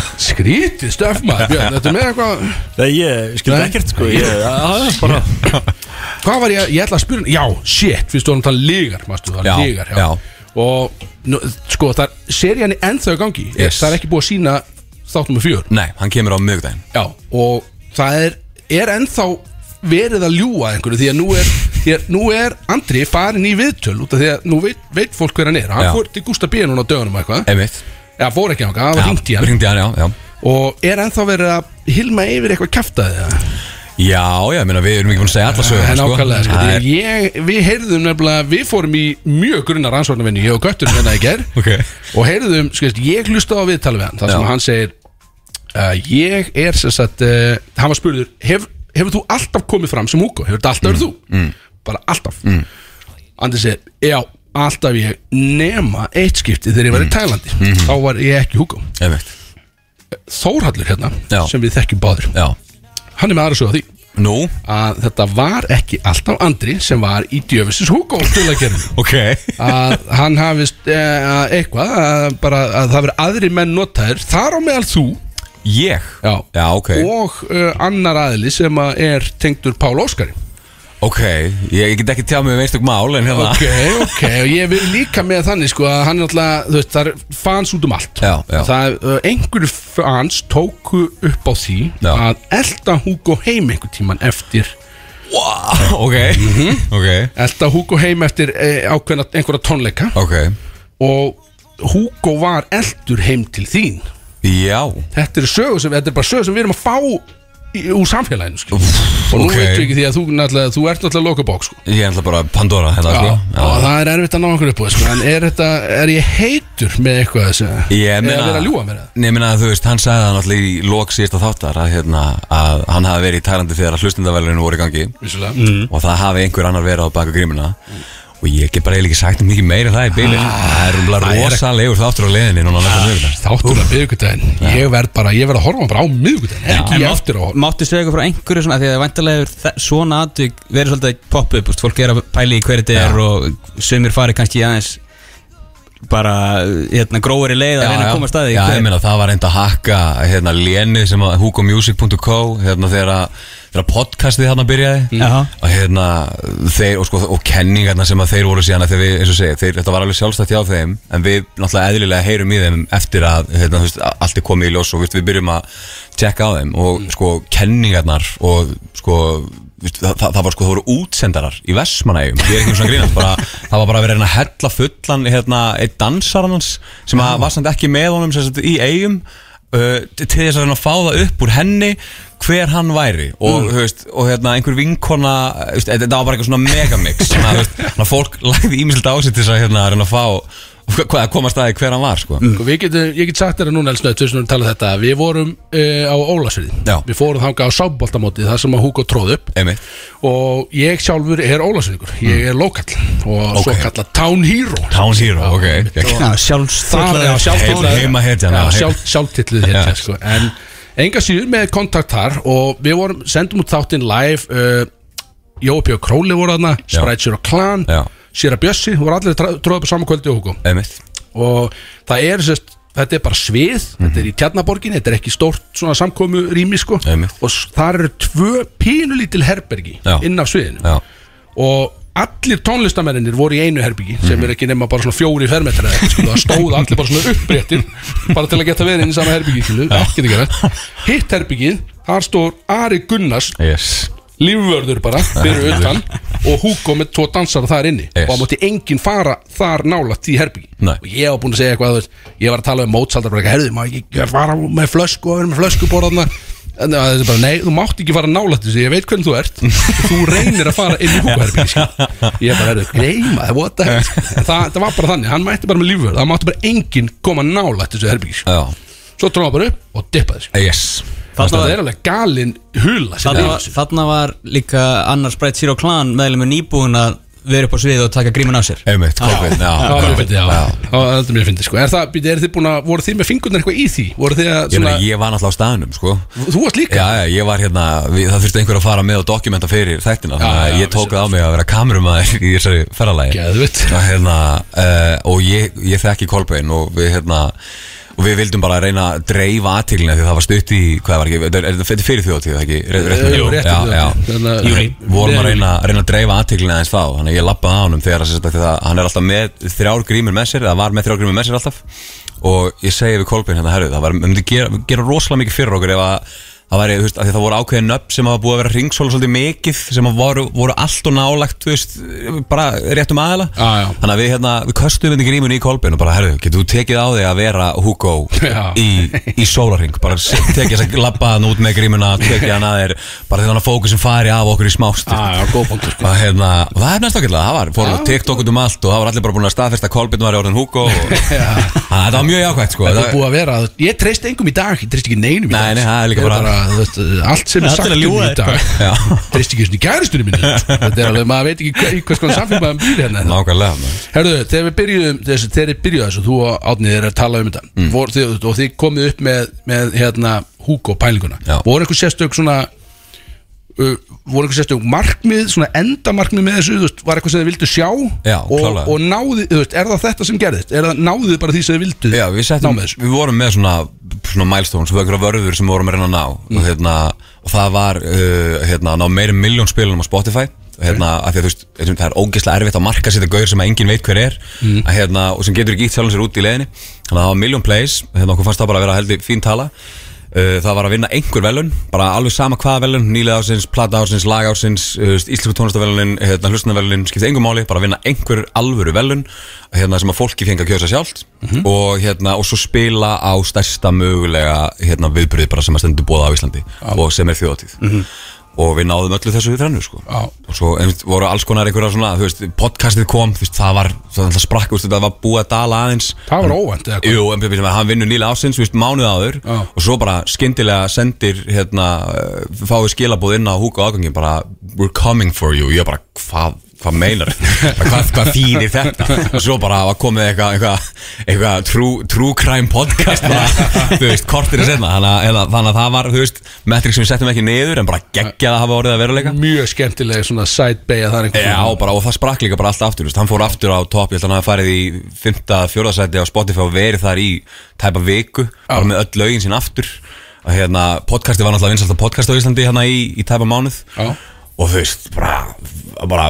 er skrítið stöf maður Björn, þetta er með eitthvað Nei, ég skilði Nei. ekkert sko Ég, að, bara hvað var ég, ég ætla að spyrja um- já, shit, við stóðum að tala lígar mástu, það Já, er lígar, já, já. og nú, sko, það er serían er ennþá í gangi Yes. það er ekki búið að sína þáttum með fjör Nei, hann kemur á miðvikudaginn já, og það er, er ennþá verið að ljúga einhverju því að nú er, því að nú er Andri farin í viðtöl út af því að nú veit, veit fólk hver hann er hann Já. fór til Gústa B. núna á dögunum eitthvað Einmitt eða fór ekki á hann, það var hringt í hann Ringdi hann, já, já og er ennþá verið að hilma yfir eitthvað kæftæði Já, já, ég meina, við erum ekki búin að segja alla sögur En ákvæmlega, sko, Það því er- að ég, við heyrðum nefnilega, við fórum í mjög grunna rannsvarnavinni, ég og Göttur hérna í ger Ok. og heyrðum, sko, veist, ég hlusta á viðtal við hann, þar sem Já. hann segir uh, ég er sem sagt uh, hann var spurður, hef, hefur þú alltaf komið fram sem Hugo, hefur þetta alltaf verið þú? Mm. Bara alltaf mm. Andi segir, já, alltaf ég nema eitt skipti þegar ég var í Tælandi þá var ég ekki Hugo Mm. Mhm. Einmitt, Þórhallur hérna, Já. sem við þekkjum báður já hann er með aðra sögð því Nú, að þetta var ekki alltaf Andri sem var í djöfisins Hugo spilagerðinu ok að hann hafist e, eitthvað að, bara, að það veri aðri menn notaðir þar á meðal þú Ég? Já. ok og uh, annar aðli sem að er tengdur Pál Óskari Ok, ég get ekki tjá mig um einstök mál en hérna ok, ok, og ég vil líka með þannig sko að hann er alltaf, þú veist, það er fans út um allt Já, já. það, uh, einhverju fans tóku upp á því Já. að elda Hugo heim einhver tíman eftir Wow, ok Mhm. Ok, elda Hugo heim eftir e, ákveðna einhverja tónleika ok og Hugo var eldur heim til þín Já, þetta er, sögur sem, þetta er bara sögur sem við erum að fá í, úr samfélaginu skil. og nú ok. okay. veitum við ekki því að þú, náttúrulega- þú ert náttúrulega lokabók sko. ég er alltaf bara Pandora hérna, Já, sko og það er erfitt að ná einhverju upp á þessu en er, þetta, er ég heitur með eitthvað þessu Ég meina, er að vera að ljúga mér það Nei, ég meina, þú veist, hann sagði það náttúrulega í lok síðasta þáttar að, hérna, að hann hafi verið í Tælandi þegar að hlustundavelunum voru í gangi vissulega og það hafi einhver annar verið á baka grímuna og ég get bara eiginlega ekki sagt mikið meira en það í bílinn Það er umlega rosalegur þáttur á leiðinni núna næsta miðvikudag Þáttur að miðvikudaginn, ég verð bara, ég verð að horfa bara á miðvikudaginn, ekki En eftir á mátt- Máttu segja eitthvað frá einhverju svona af Því að væntalega hefur þe- svona atvik verið svolítið pop up úst, Fólk er að pæli í hverju þetta er Og sömur fari kannski aðeins Bara hérna, gróður í leið Að reyna að koma að staði já, ég meina, það var reynd að hakka hérna léni sem að hugomusic.co hérna þegar að þegar að podcastið þarna byrjaði Jaha. og hérna þeir og, sko, og kenningarna sem að þeir voru síðan að þegar við, eins og segja, þeir, þetta var alveg sjálfstætt hjá þeim en við náttúrulega eðlilega heyrum í þeim eftir að hérna, þú veist, a- allt er komið í ljós og þú veist, við byrjum að tjekka á þeim og sko kenningarnar og sko þú veist, Það, það, það var sko, það voru útsendarar í Vestmanægjum Ég er ekki um svona grínast, bara, það var bara verið að reyna að hella fullan hérna, einn dansar hans sem að var samt ekki með honum sem sagt, í eigum uh, til þess að reyna að fá það upp úr henni hver hann væri og, mm. veist, og hérna, einhver vinkona þú veist, þetta var bara eitthvað svona megamix svona, þú veist, þannig að fólk lagði ímislegt á sig til þess að hérna, reyna að fá hvað að komast að því hver hann var sko. Sko, við getum, ég get sagt þér að núna elsnöð, þess að við tala um þetta, við vorum uh, á Ólasviði, Já. við fórum þangað á sáboltamótið, það sem að Hugo tróð upp einmitt, og ég sjálfur er Ólasviðingur, ég er lokal og Ok. svo kallað Town Hero Town Hero, ok Já, sjálfstóllar Það er sjálftilluð Heima- heimahetjan, já, heim- Sjálftilluð hetja Já. sko. En enga síður með kontakt þar Og við vorum, sendum út þáttinn live uh, Jói P. og Króli voru þarna Já. Sprite og Klan Já. Sýra Bjössi, voru allir trá- tróðu upp á saman kvöldi og hugo einmitt, Og það er sérst Þetta er bara svið, þetta er í Tjarnaborgin Þetta er ekki stórt svona samkomu rými sko Mhm. Einmitt. Og s- þar eru tvö pínulítil herbergi Já. Inn af sviðinu já og allir tónlistamennir voru í einu herbyggi sem er ekki nema bara svona fjóri fermetra sko, það stóð allir bara svona uppréttir bara til að geta verið inn í sama herbyggi skilu, ekki að gera hitt herbyggið, þar stóð Ari Gunnars yes. lífvörður bara, fyrir utan og Hugo með tvo dansara þar inni Yes. og það mátti enginn fara þar nála því herbyggi Nei. og ég var búinn að segja eitthvað þú veist, ég var að tala um mótsaldar bara, herðu, má ég ekki fara með flösku og vera með flöskuborðarna en það er bara, nei, þú mátt ekki fara nála þessu ég veit hvernig þú ert, þú reynir að fara inn í Hugo herbyggi skil. ég bara, herðu, greima, what the heck En það, það var bara þannig, hann mætti bara með lífvörð það mátti bara enginn koma nála þessu herbyggi skil. já svo tróða bara upp og dippaði sig yes Þannig að það er alveg galin hula sem Þarna, er í var, þessu. þarna var líka annar Sprite Zero Clan meðlega með nýbúin að vera upp á svið og taka grímun á sér Einmitt, COVID, já, Já, mér COVID, fyndi, já, já, þetta er mér fyndi sko. Er það, býtu, eru þið búin að, voru þið með fingurnar eitthvað í því? Voru þið að, Ég meina, svona, ég var náttúrulega á staðnum, sko þú varst líka? Já, já, ég var hérna, við, það þurfti einhver að fara með og dokumenta fyrir þættina Þannig já, að ég tók það á mig að vera kamerumæður í þessari ferðalagi Geðveikt. Og hérna, uh, og ég, ég þekki Kolbein og við hérna Og við vildum bara reyna að dreifa aðtílinni því það var stutt í, hvað var ekki, þetta er- er þetta fyrir þjóðtíð, það ekki? Rétt- rétt- Jú, rétt fyrir já, já. þjóðhátíð. Þannig að- Júlí. Vorum að reyna, reyna að dreifa aðtílinni aðeins þá, þannig að ég lappaði á honum þegar að, sem sagt, að það, hann er alltaf með þrjár grímur með sér, eða var með þrjár grímur með sér alltaf og ég segi við Kolbein hérna, herru, það var, við myndum gera, gera rosalega mikið fyrir okkur ef að það væri, þú veist, af því að það voru ákveðin nöfn sem hafa búið að vera ringsóla svolítið mikið sem að voru, voru allt og nálagt, þú veist, bara réttum aðila Já, já. þannig að við hérna, við köstum þetta grímun í Kolbein og bara, herru, getur þú tekið á þig að vera Hugo Já. í, í sólarring bara se- tekið þess að labba hann út með grímuna tekið hann að þér, bara þegar hann að fókusin fari af okkur í smást Já, já, góð punktur, sko. og hérna, og það hefnast okkurlega, það var fórum á TikTok út um allt og það var allir bara búin að staðfesta að Kolbeinn var í orðin Hugo og Þannig að þetta var mjög jákvæmt sko Þetta Það- er búið að vera að, ég treyst engum í dag, ég treyst ekki neinum í dag sko. Nei, nei, það er líka Ég bara- þú veist, Allt sem Það er er sagt til að um ljúga í þér dag Já. Treyst ekki svona gæristunni minni Þetta er alveg, maður veit ekki hver- í hvers konar samfélg maður býr hérna Nákvæmlega maður. Herðu, þegar við byrjuðum, þessu, þegar við byrjuðum þessu, þú og Átnið er að tala um þetta mm. Vor, þið, og þið komið upp með, með hérna, Hugo pælinguna Já. voru einhver sérstök svona uh, voru einhver sérstök markmið, svona endamarkmið með þessu, þú veist, var eitthvað sem þið vildu sjá Já, og, klálega. og náði, þú veist, er það þetta sem gerðist? Er það náðið þið bara því sem þið vildu Já, við settum, ná með þessu? við vorum með svona, svona milestones, við okkur vörður sem við vorum að reyna að ná Mm. og, hérna, og það var uh, hérna, að ná meirum miljón spilunum á Spotify og, hérna, að því að þú veist, þetta- það er ógeðslega erfitt að marka sér þetta gaur sem að enginn veit hver er Mm. að, hérna, og sem getur ekki ítt sjálfum sér út í leiðinni þannig að það var miljón plays, hérna, okkur fannst það bara að vera heldig fín tala Uh, það var að vinna einhver velun bara alveg sama hvaða velun, nýlega ásins, plata ásins lag ásins, uh, íslensku tónlistavelunin hérna, hlustnavelunin, skipti engum máli bara að vinna einhver alvöru velun hérna, sem að fólki fengi að kjósa sjálft og, hérna, og svo spila á stærsta mögulega hérna, viðbröð bara sem að stendur bóða á Íslandi og sem er þjóðatíð og við náðum öllu þessu við þrennu sko. Já. og svo einmitt, voru alls konar einhverja svona, þú veist, podcastið kom þú veist, það var, það sprakk, þú veist, það var búið að dala aðeins Það var óvænt eða hvað? Jú, en sem að hann vinnur nýla ásins, víst, mánuð áður Já. og svo bara skyndilega sendir hérna, eh, fáið skilabóð inn á húka ágangin bara, we're coming for you ég bara, hvað hvað meinar Bara, hvað, hvað þýðir þetta og svo bara var komið eitthvað eitthvað eitthva, true, true crime podcast bara, þú veist, kortir að setna þannig að, eða, þannig að það var, þú veist, metrik sem við settum ekki niður en bara geggjað að hafa orðið að veruleika Mjög skemmtilega svona side bay að það er einhver Já, bara, og það sprakk líka bara alltaf aftur þú veist, Hann fór aftur á topp, ég held að hann hafi farið í 5. fjórðasæti á Spotify og verið þar í tæpa viku, bara með öll lögin sín aftur og hérna, podcasti var náttúrulega vinsalt að podcast á Íslandi hérna í, í tæpa mánuð Já. og þú veist, bara, bara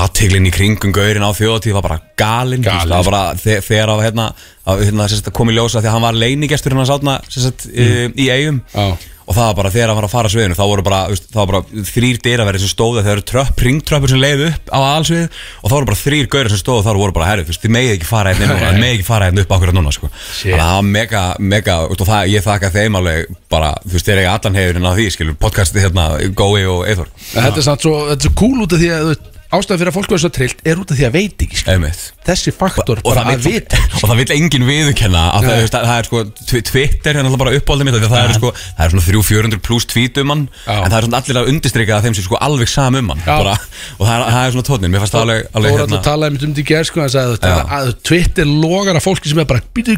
aðteglin í kringum gaurin á þjóðatíð var bara galin, þú veist, Galin. það var bara þe- þegar að, hérna, að hérna, sérst, kom í ljósa því að hann var leinigestur hérna sátna sérst, mm. í eigum Já. og það var bara þegar hann var að fara að sviðinu þá voru bara, þú veist, þá var bara þrýr dyraverðir sem stóðu þegar eru tröpp, ringtröppur sem leiðu upp á allsvið og þá voru bara þrýr gaurir sem stóðu og þá voru bara herri, þú veist, þið megið ekki fara hérna núna, þið megið ekki fara hérna upp akkurat núna sko. þannig að það var mega, mega þú veist, og það, ég þakka þeim alveg bara, þú veist, þeir eiga allan hefurinn á því, skilur, podcastið hérna Gói og Eithor, En Þetta er samt svo, þetta er svo cool út af því að þú veist, ástæðan fyrir að fólk verður svo trillt er út af því að veit ekki skilur. einmitt Þessi faktor Eh. og bara það, að vill, vita og það vill enginn viðurkenna að Nei. það, þú veist, það er sko tw- Twitter er náttúrulega bara uppáldið mitt af því að það er sko það er svona 300-400 pluss tweet um hann Já. en það er svona allir að undistrika að þeim sem sko alveg sam um hann Já. bara, og það er, það er svona tónin mér fannst það alveg, Þóra alveg hérna. talaði mitt um því gerð sko, hann sagði, Já. að, að Twitter logar að fólki sem er bara býtu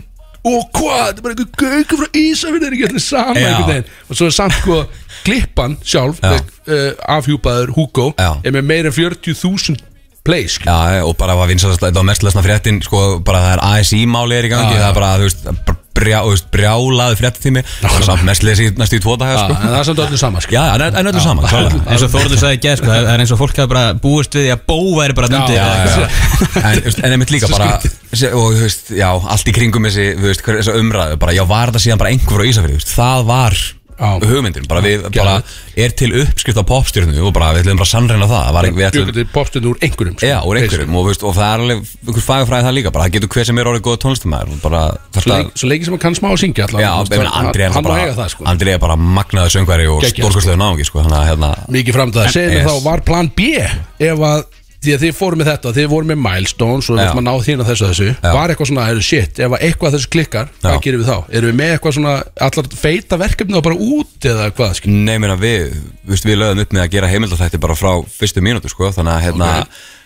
og hvað, þetta er bara einhver gaukur frá Ísafinn er ekki allir saman Já. einhvern veginn og svo er samt sko klippan sjálf Já. uh, afhjúpaður Hugo Já. er með meira en 40.000 plays sko. Já, og bara var vinsalast, þetta var mest lesna fréttin sko, bara það er ASI-máli er í gangi Já, já. það er bara, þú veist, bara brjá, þú veist brjálaði fréttatími, það er samt mest lesi næstu í tvo en daga, sko það er samt öllu sama sko. Já, en en öllu saman, klálega eins og Þórður sagði ekki sko, það er eins og fólk hafa bara búist við því að bóa er Já, bara nöndið já, já. En, veist, en einmitt líka bara se- og þú veist, já, allt í kringum þessi, þú veist, hver, þessi umræðu, bara já, var þetta síðan bara einhver á Ísafjörðu, veist, það var hugmyndin, bara við, bara er til uppskrift á popstjörnu og bara við ætlum bara að sannreina það, það var, við ætlum bjökundi popstundur úr einhverjum sko. Já, úr einhverjum og, veist, og það er alveg einhver fagafræði það líka bara, það getur hver sem er orðið góð tónlistamæður og bara þarf Svo að leik- svo leikið sem hann kann smá að syngja allavega, Já, þú veist, ég meina, Andri er hann má eiga bara, það sko Andri er bara magnaður söngveri og sko, Geggjaður. stórkostlegu náungi, sko, þannig að hérna mikið framdæða, segir mér Yes. þá var plan B ef að því að þið fórum með þetta, þið vorum með milestones og við Já. ætlum að ná þín að þessu og þessu Já. var eitthvað svona, er, shit, ef að eitthvað af þessu klikkar hvað Já. gerum við þá? Erum við með eitthvað svona allar feita verkefni og bara út eða hvað, skil? Nei, meina við, viðst, við lögum upp með að gera heimildatætti bara frá fyrstu mínútu, sko, þannig að, hérna,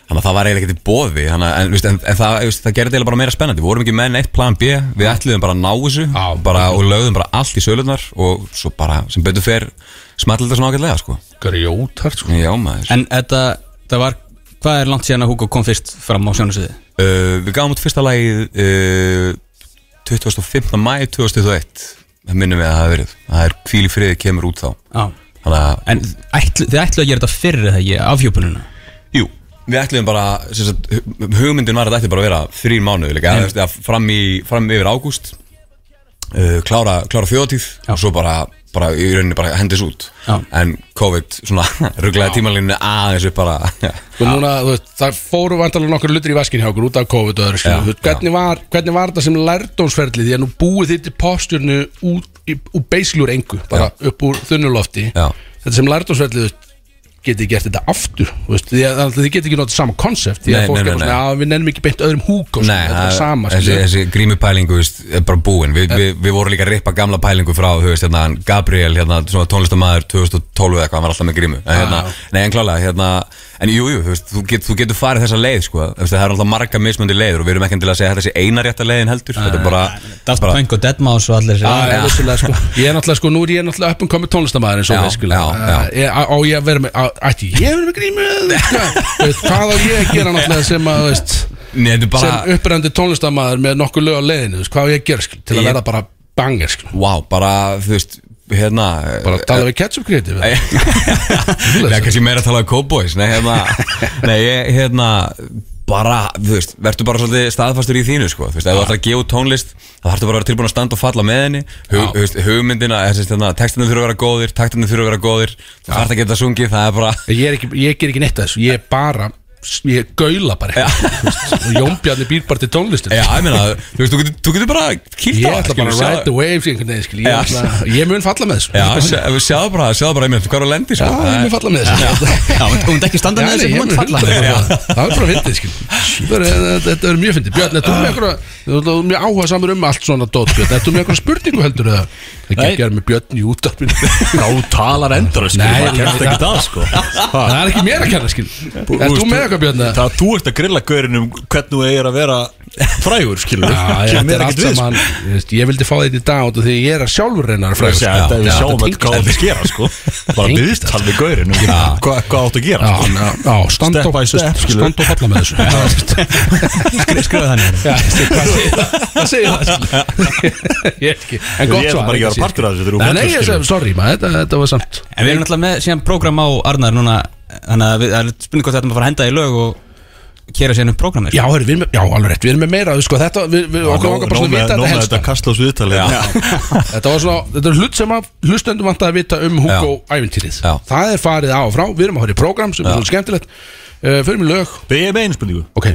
þannig að það var eiginlega ekkert í bóði, þannig að, en, viðst, en, en það, viðst, það gerði eiginlega bara meira spennandi, við vorum ekki með neitt plan B, við ætluðum bara að ná þessu Já. bara, og lögðum bara allt í sölunar og svo bara, sem betur fer, smallið þetta svona ágætlega, sko. Grjótart, sko Já, maður. En þetta, það var, hvað er langt síðan að Hugo kom fyrst fram á sjónasviði? Uh, við gáum út fyrsta lagið uh, 25. mæ 2021, það minnum við að það hafi verið, það er Hvíl í friði kemur út þá, Já þannig að En ætl, þið ætluðu að gera þetta fyrir það ekki, afhjúpununa Jú, við ætlum bara sem sagt, hu- hugmyndin var að þetta ætti bara að vera þrýr mánuður líka, eða, þú veist, eða fram, í, fram yfir ágúst uh, klára, klára þjóðatíð og svo bara, bara í rauninni bara hendis út Já. en COVID svona rugglaði tímalínu aðeins upp bara Og Sko, núna, þú veist, það fóru vandalega nokkur hlutir í vaskin hjá okkur út af COVID og öðru skilur. Já, Þú veist, hvernig, var, hvernig var þetta sem lærdómsferðli því að nú búið þitt í postjörnu út, í- úr basically úr engu, bara upp úr þunnulofti Já. Þetta sem lærdómsferðli, þú veist, getið gert þetta aftur þú veist, því að þannig að þið getið ekki notið sama konsept því að Nei, fólk nei, er nei, bara svona, að við nennum ekki beint öðrum húk og Nei, svona, þetta er það- sama þessi, skilur. þessi grímupælingu veist, er bara búin Vi, við, við vorum líka að rippa gamla pælingu frá þú veist, hérna, Gabriel, hérna, svona tónlistamæður 2012 eða eitthvað, hann var alltaf með grímu Ah, en, hérna, Nei, en klálega, hérna, en jú, jú þú, veist, þú, get, þú getur farið þessa leið sko, þú veist, það er alltaf marga mismöndi leiður og við erum ekki til að segja að þetta sé eina rétta leiðin heldur Þetta Ah, er bara, Daft bara Punk og Deadmau5 og allir Já, sér já, vissulega, sko. Ég er náttúrulega sko, nú er ég náttúrulega uppum komið tónlistamæður eins og Já, það skilja já, já. Á ég að vera með, á- ætti ég að vera með grímu eða eitthvað? Þú veist, Hvað á ég að gera náttúrulega sem að, þú veist Nei, þetta er bara sem upprændi tónlistamæður með nokkuð lög á leiðinu, þú veist, hvað á ég að gera skil, til að Ég- verða bara banger skil, Vá, bara, þú veist, hérna bara að tala við ketchup kreatíf Nei, Nei, kannski meira að tala um Cowboys Nei, hérna, nei ég, hérna bara, þú veist, verður bara svolítið staðfastur í þínu, sko, þú veist, ef þú ætlar að gefa út tónlist þá þarfstu bara að vera tilbúin að standa og falla með henni Hug, þú veist, hugmyndina, þessi, hérna, textinni þurfa að vera góðir taktinni þurfa að vera góðir, þú þarfst að geta sungið það er bara, ég, er ekki, ég ger ekki neitt að þessu, ég er bara ég gaula bara eitthvað þú veist, og Jónbjarni býr bara til tónlistin já, ég meina þú veist, þú getur, þú getur bara kýlt ég ætla bara að ride the waves einhvern veginn, skil, ég, Já. ætla, ég mun falla með þessu Já, sjá- sjáðu bara, sjáðu bara einmitt hvað er að lendi, sko Já, ég mun falla með þessu Já, þú myndi ekki standa Já, með nei, ég þessu, þú mun myndi falla hundra- Það er bara fyndið skil Þetta er- þetta- eh, Þetta er mjög fyndið Björn, þetta er með eitthvað Þú er mjög áhuga samur um allt svona dót Björn, þetta er með eitthvað spurningu heldur eða Það gekk ég með Björn í útarpinu Já, þú talar endur Nei, Nei, það kemst ég- ekki það sko Það er ekki mér að kenna skil Er þú með eitthvað Björn eða? Það að þú ert að grilla gaurin um hvernig þú eigir að vera frægur, skilur Já, já, þetta er allt sko. saman ég veist, Ég vildi fá þetta í dag út af Því ég er að sjálfur reyna að fræða Já, þetta er við sjáum þetta að hvað það skera sko Bara Tengist viðtal við gaurin um hvað hvað áttu að gera sko. Stand Step og by step, skilur. stand og falla með þessu Já, Skrifa þannig já, veistu, Hvað segir það? Hvað segir það? skilur? Ég veit ekki En Ég gott ætla svar bara ekki að engu vera partur af þessu þegar þú Nei, nei, fellur, ég skilur. sagði, sorry, maður, þetta, þetta var samt En við erum alltaf með síðan prógram á Arnar núna Þannig að við- það er spurning hvort þetta maður fara að henda í lög og kera síðan upp sko. prógramir Já, heyrðu, við erum með, já, alveg rétt, við erum með meira sko, þetta, við, við, okkur Nó- vangar bara svona að nóg með- vita nóg þetta með helsta þetta kastlós viðtali Þetta var svona, þetta er hlut sem að hlustendum vant að vita um Hugo ævintýrið Já. Það er farið á og frá, við erum að horfa í program sem er svona skemmtilegt uh, Förum í lög, Við erum einu spurningu ok,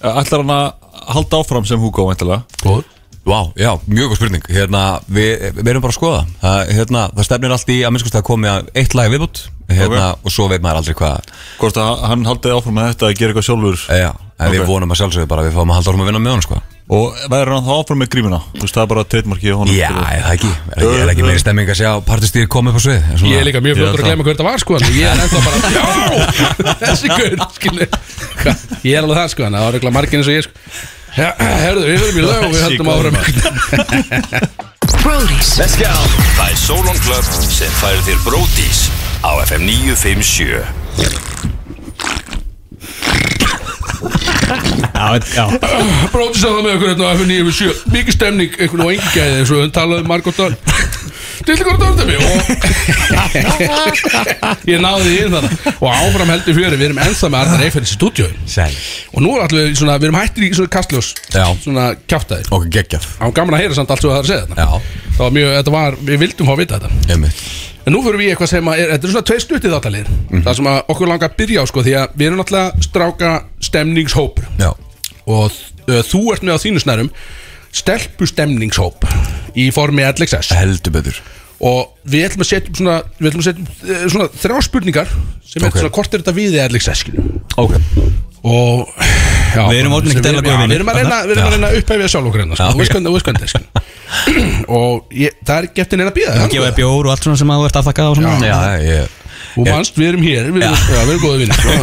Ætlar hann að halda áfram sem Hugo væntalega góður Vá, já, mjög góð spurning hérna, við, við erum bara að skoða það, hérna, það stefnir allt í að minnskust að komi að eitt lag viðbútt hérna, og svo veit maður aldrei hvað Hvort að hann haldi áfram með þetta að gera eitthvað sjálfur já, en Ok. við vonum að sjálfsögðu bara að við fáum að halda orðum að vinna með honum sko. Og verður hann þá áfram með grímuna Þú veist það er bara trademarkið á honum sko. Já, skilur. er það ekki er, ekki- er ekki meiri stemming að sjá partistýr koma upp á svið svona, Ég er líka mjög Ég er fljóttur að það. glemma hver þetta var sko en Ég er ennþá bara, já, þessi gaur skilu. Ég er alveg það sko, en það var regla margin eins og ég sko Já, herðu, við förum í lög og við Þessi höldum áfram Brody's Let's go Það er Solon Club sem færir þér Bródís á FM 957 Bróti sagði það með okkur hérna á F9 Mikið stemning, einhvern og engi gæði eins og hann talaði um margótt að Til ykkur að dörða mig og ég náði því inn þannig og áfram heldur fjöri, við erum ennþá með Arnar Eiffels í stúdíói Sæl. og nú er allir við svona, við erum hættir í svona kastljós Já. svona kjáftæðir Ok, geggjaf það var gaman að heyra samt allt sem það er að segja þarna Já. það var mjög, þetta var, við vildum fá að vita þetta Einmitt. En nú fyrir við í eitthvað sem að er, þetta er svona tvei stuttið átalið Mhm. mm. Það sem að okkur langar að byrja á sko Því að við erum náttúrulega stráka stemningshópur Já. Og uh, þú ert með á þínu snærum Stelpustemningshóp Í formi LXS Heldur betur og við ætlum að setja upp svona, við ætlum að setja upp eh, svona þrjá spurningar sem Ok. er svona hvort er þetta við eða erlikseskinu Ok Og já, Við erum orðin sem ekkert við- eðla góðir já, Við vinir. erum að reyna, við erum að reyna að upphefja sjálf okkur hérna sko. Já, Þú veist hvernig, þú veist hvernig sko. Og ég, það er ekki eftir neina að býða Við gefa þér bjór og allt svona sem að þú ert aftakkað á Já. svona Já, ég Og mannst, við erum hér, við erum, já. við erum góðið vinir sko.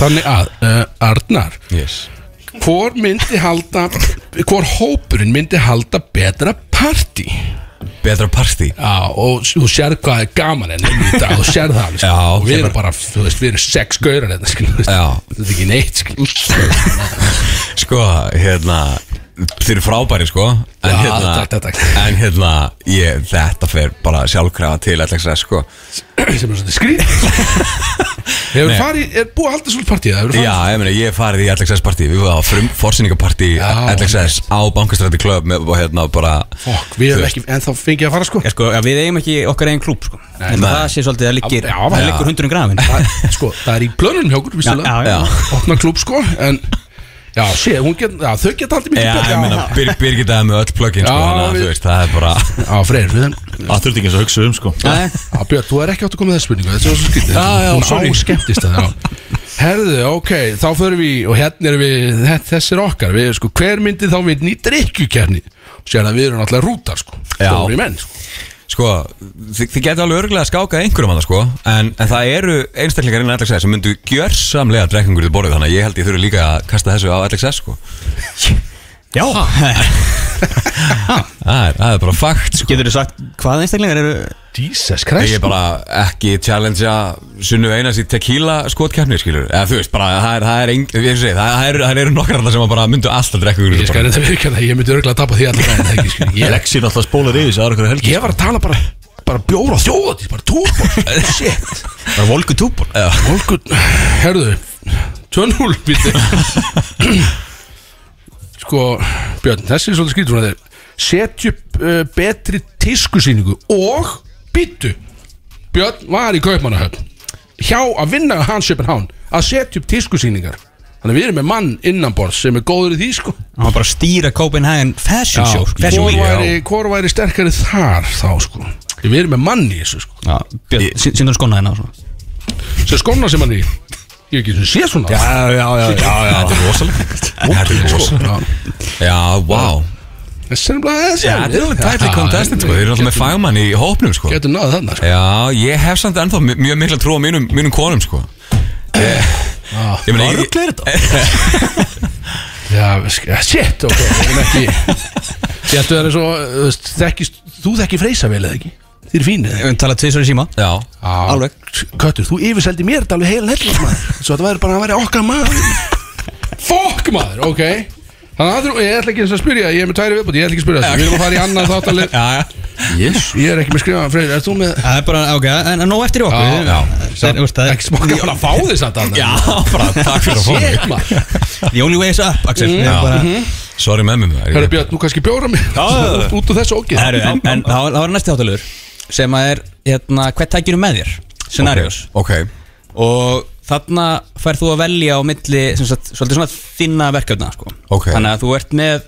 Þannig að, uh, Arnar Yes Hvor myndi halda Hvor hópurinn myndi halda betra partí Betra partí Já, og s- þú sér hvað er gaman en um í dag, þú sér það alveg, sko. Já, og við sem erum bara, þú veist, við erum sex gaurar þetta, skil, þú veist. Já. þetta er ekki neitt, skil Sko, hérna Þeir eru frábæri, sko En Já, hérna, takk, takk, takk. En hérna ég, Þetta fer bara sjálfkrafa til ætlags að sko sem er svolítið skrýt Hefur Nei. farið, er búið að halda svolítið partíð hefur farið Já, ég meina, ég hef farið í LXS partí Við varum á frum forsýningapartí Já. LXS á Bankastræti Club með, og hérna bara Fokk, við hefum ekki, en þá fengið að fara sko Já, sko, já, Við eigum ekki okkar eigin klúb sko. En Nei. það sé svolítið að liggir Já, Það já. liggur hundurinn grafin það, Sko, það er í plönunum hjá okkur, vissulega Já, já, já. Opna klúb sko, en Já, sé, hún get, já, þau geta aldrei mikið Já, ég meina, Bir- Birgit aðeins með öll plugin sko, Já, Þannig að við- þú veist, það er bara Já, Freyr, við þeim Það þurfti ekki eins að hugsa um sko Nei. Já, Björn, þú er ekki átt að koma með þessu spurningu Þetta er svo skrítið Já, já, sorry. Hún áskemmtist það, já Herðu, ok, þá förum við í- Og hérna erum við, þe- þessi er okkar Við, sko, hver myndi þá við nýtt reykjukerni Sér að við erum náttúrulega rútar, sko Já. Stóri menn, sko Sko, þi, þið getur alveg örgulega að skáka einhverjum að það sko en, en það eru einstaklingar innan LXS sem myndu gjörsamlega drekkingur í borðið Þannig að ég held ég þurfi líka að kasta þessu á LXS sko Já Það er, það er bara fakt sko Getur þú sagt hvað einstaklingar eru Jesus Ég Christ er bara ekki challengea Sunnu Einars í tequila skotkeppni skilur Eða þú veist, bara það er, það er, ein, ég segi, það, það er, það eru nokkar þarna sem að bara myndu alltaf drekka úr Ég skal reynda virkjana, ég myndi örgulega að tapa því allir daginn, það ekki, sko. ég, Lexi er alltaf spólar yfir sig aðra hverju helgi ég var að tala bara bara bjóra þjóðatís, bara túrbor shit, Bara volgu túbor Já, volkut, herðu 2-0 býttu. sko, Björn, þessi er svolítið skýtur svona þeir setja upp uh, betri tískusýningu og býttu Björn var í Kaupmannahöfn hjá að vinna hans uppin hán að setja upp tískusýningar þannig að við erum með mann innanborð sem er góður í því sko Hann var bara að stýra Copenhagen Fashion Show sko, Fashion hvor, Week væri, hvor væri sterkari þar þá sko við erum með mann í þessu sko Já, Björn, síndur hann skona hérna sem skóna sem hann er í ég hef ekki sem sé svona já, já, já, já, já. Þetta er rosalegt Þetta er rosalegt Já, wow þessi sko, er sko. bara þessi Já, þetta er alveg tætli contestant sko. Þeir eru alltaf með fagmann í hópnum sko. getur náðu þarna sko. Já, ég hef samt ennþá mi- mjög mikla trú á mínum, mínum konum sko. Ég meina, ég- Ruglir þetta? já, sk- ja, shit, ok við erum ekki ég ættu það er svo þú veist, þekkist, þú þekkir freysa vel eða ekki þið er fínir Við tala tvisar í síma Já, alveg köttur, þú yfirseldi mér þetta alveg heila hellur maður svo þetta væri bara að vera okkar maður fokk maður, ok þannig að þú, ég ætla ekki eins að spyrja ég er með tæri viðbúti, ég ætla ekki að spyrja þessu við erum að fara í annan þáttalið já, já ég er ekki með skrifaðan freyr, er þú með Það er bara, ok, en nóg eftir í okkur Já, Það er, veist, það er- ekki smá gaman að fá því samt að Já, bara takk fyrir að fá mig Shit maður The only way is up, Axel Við Já. erum bara- Sorry með mér maður, Herra ég- Björn, nú kannski bjóra mig já, já. Út úr þessu ógið Herru, En en þá þá er næsti þáttalögur sem að er, hérna, hvert tækir með þér scenarios Ok, og þarna fær þú að velja á milli sem sagt, svolítið svona þinna verkefna sko. Ok. þannig að þú ert með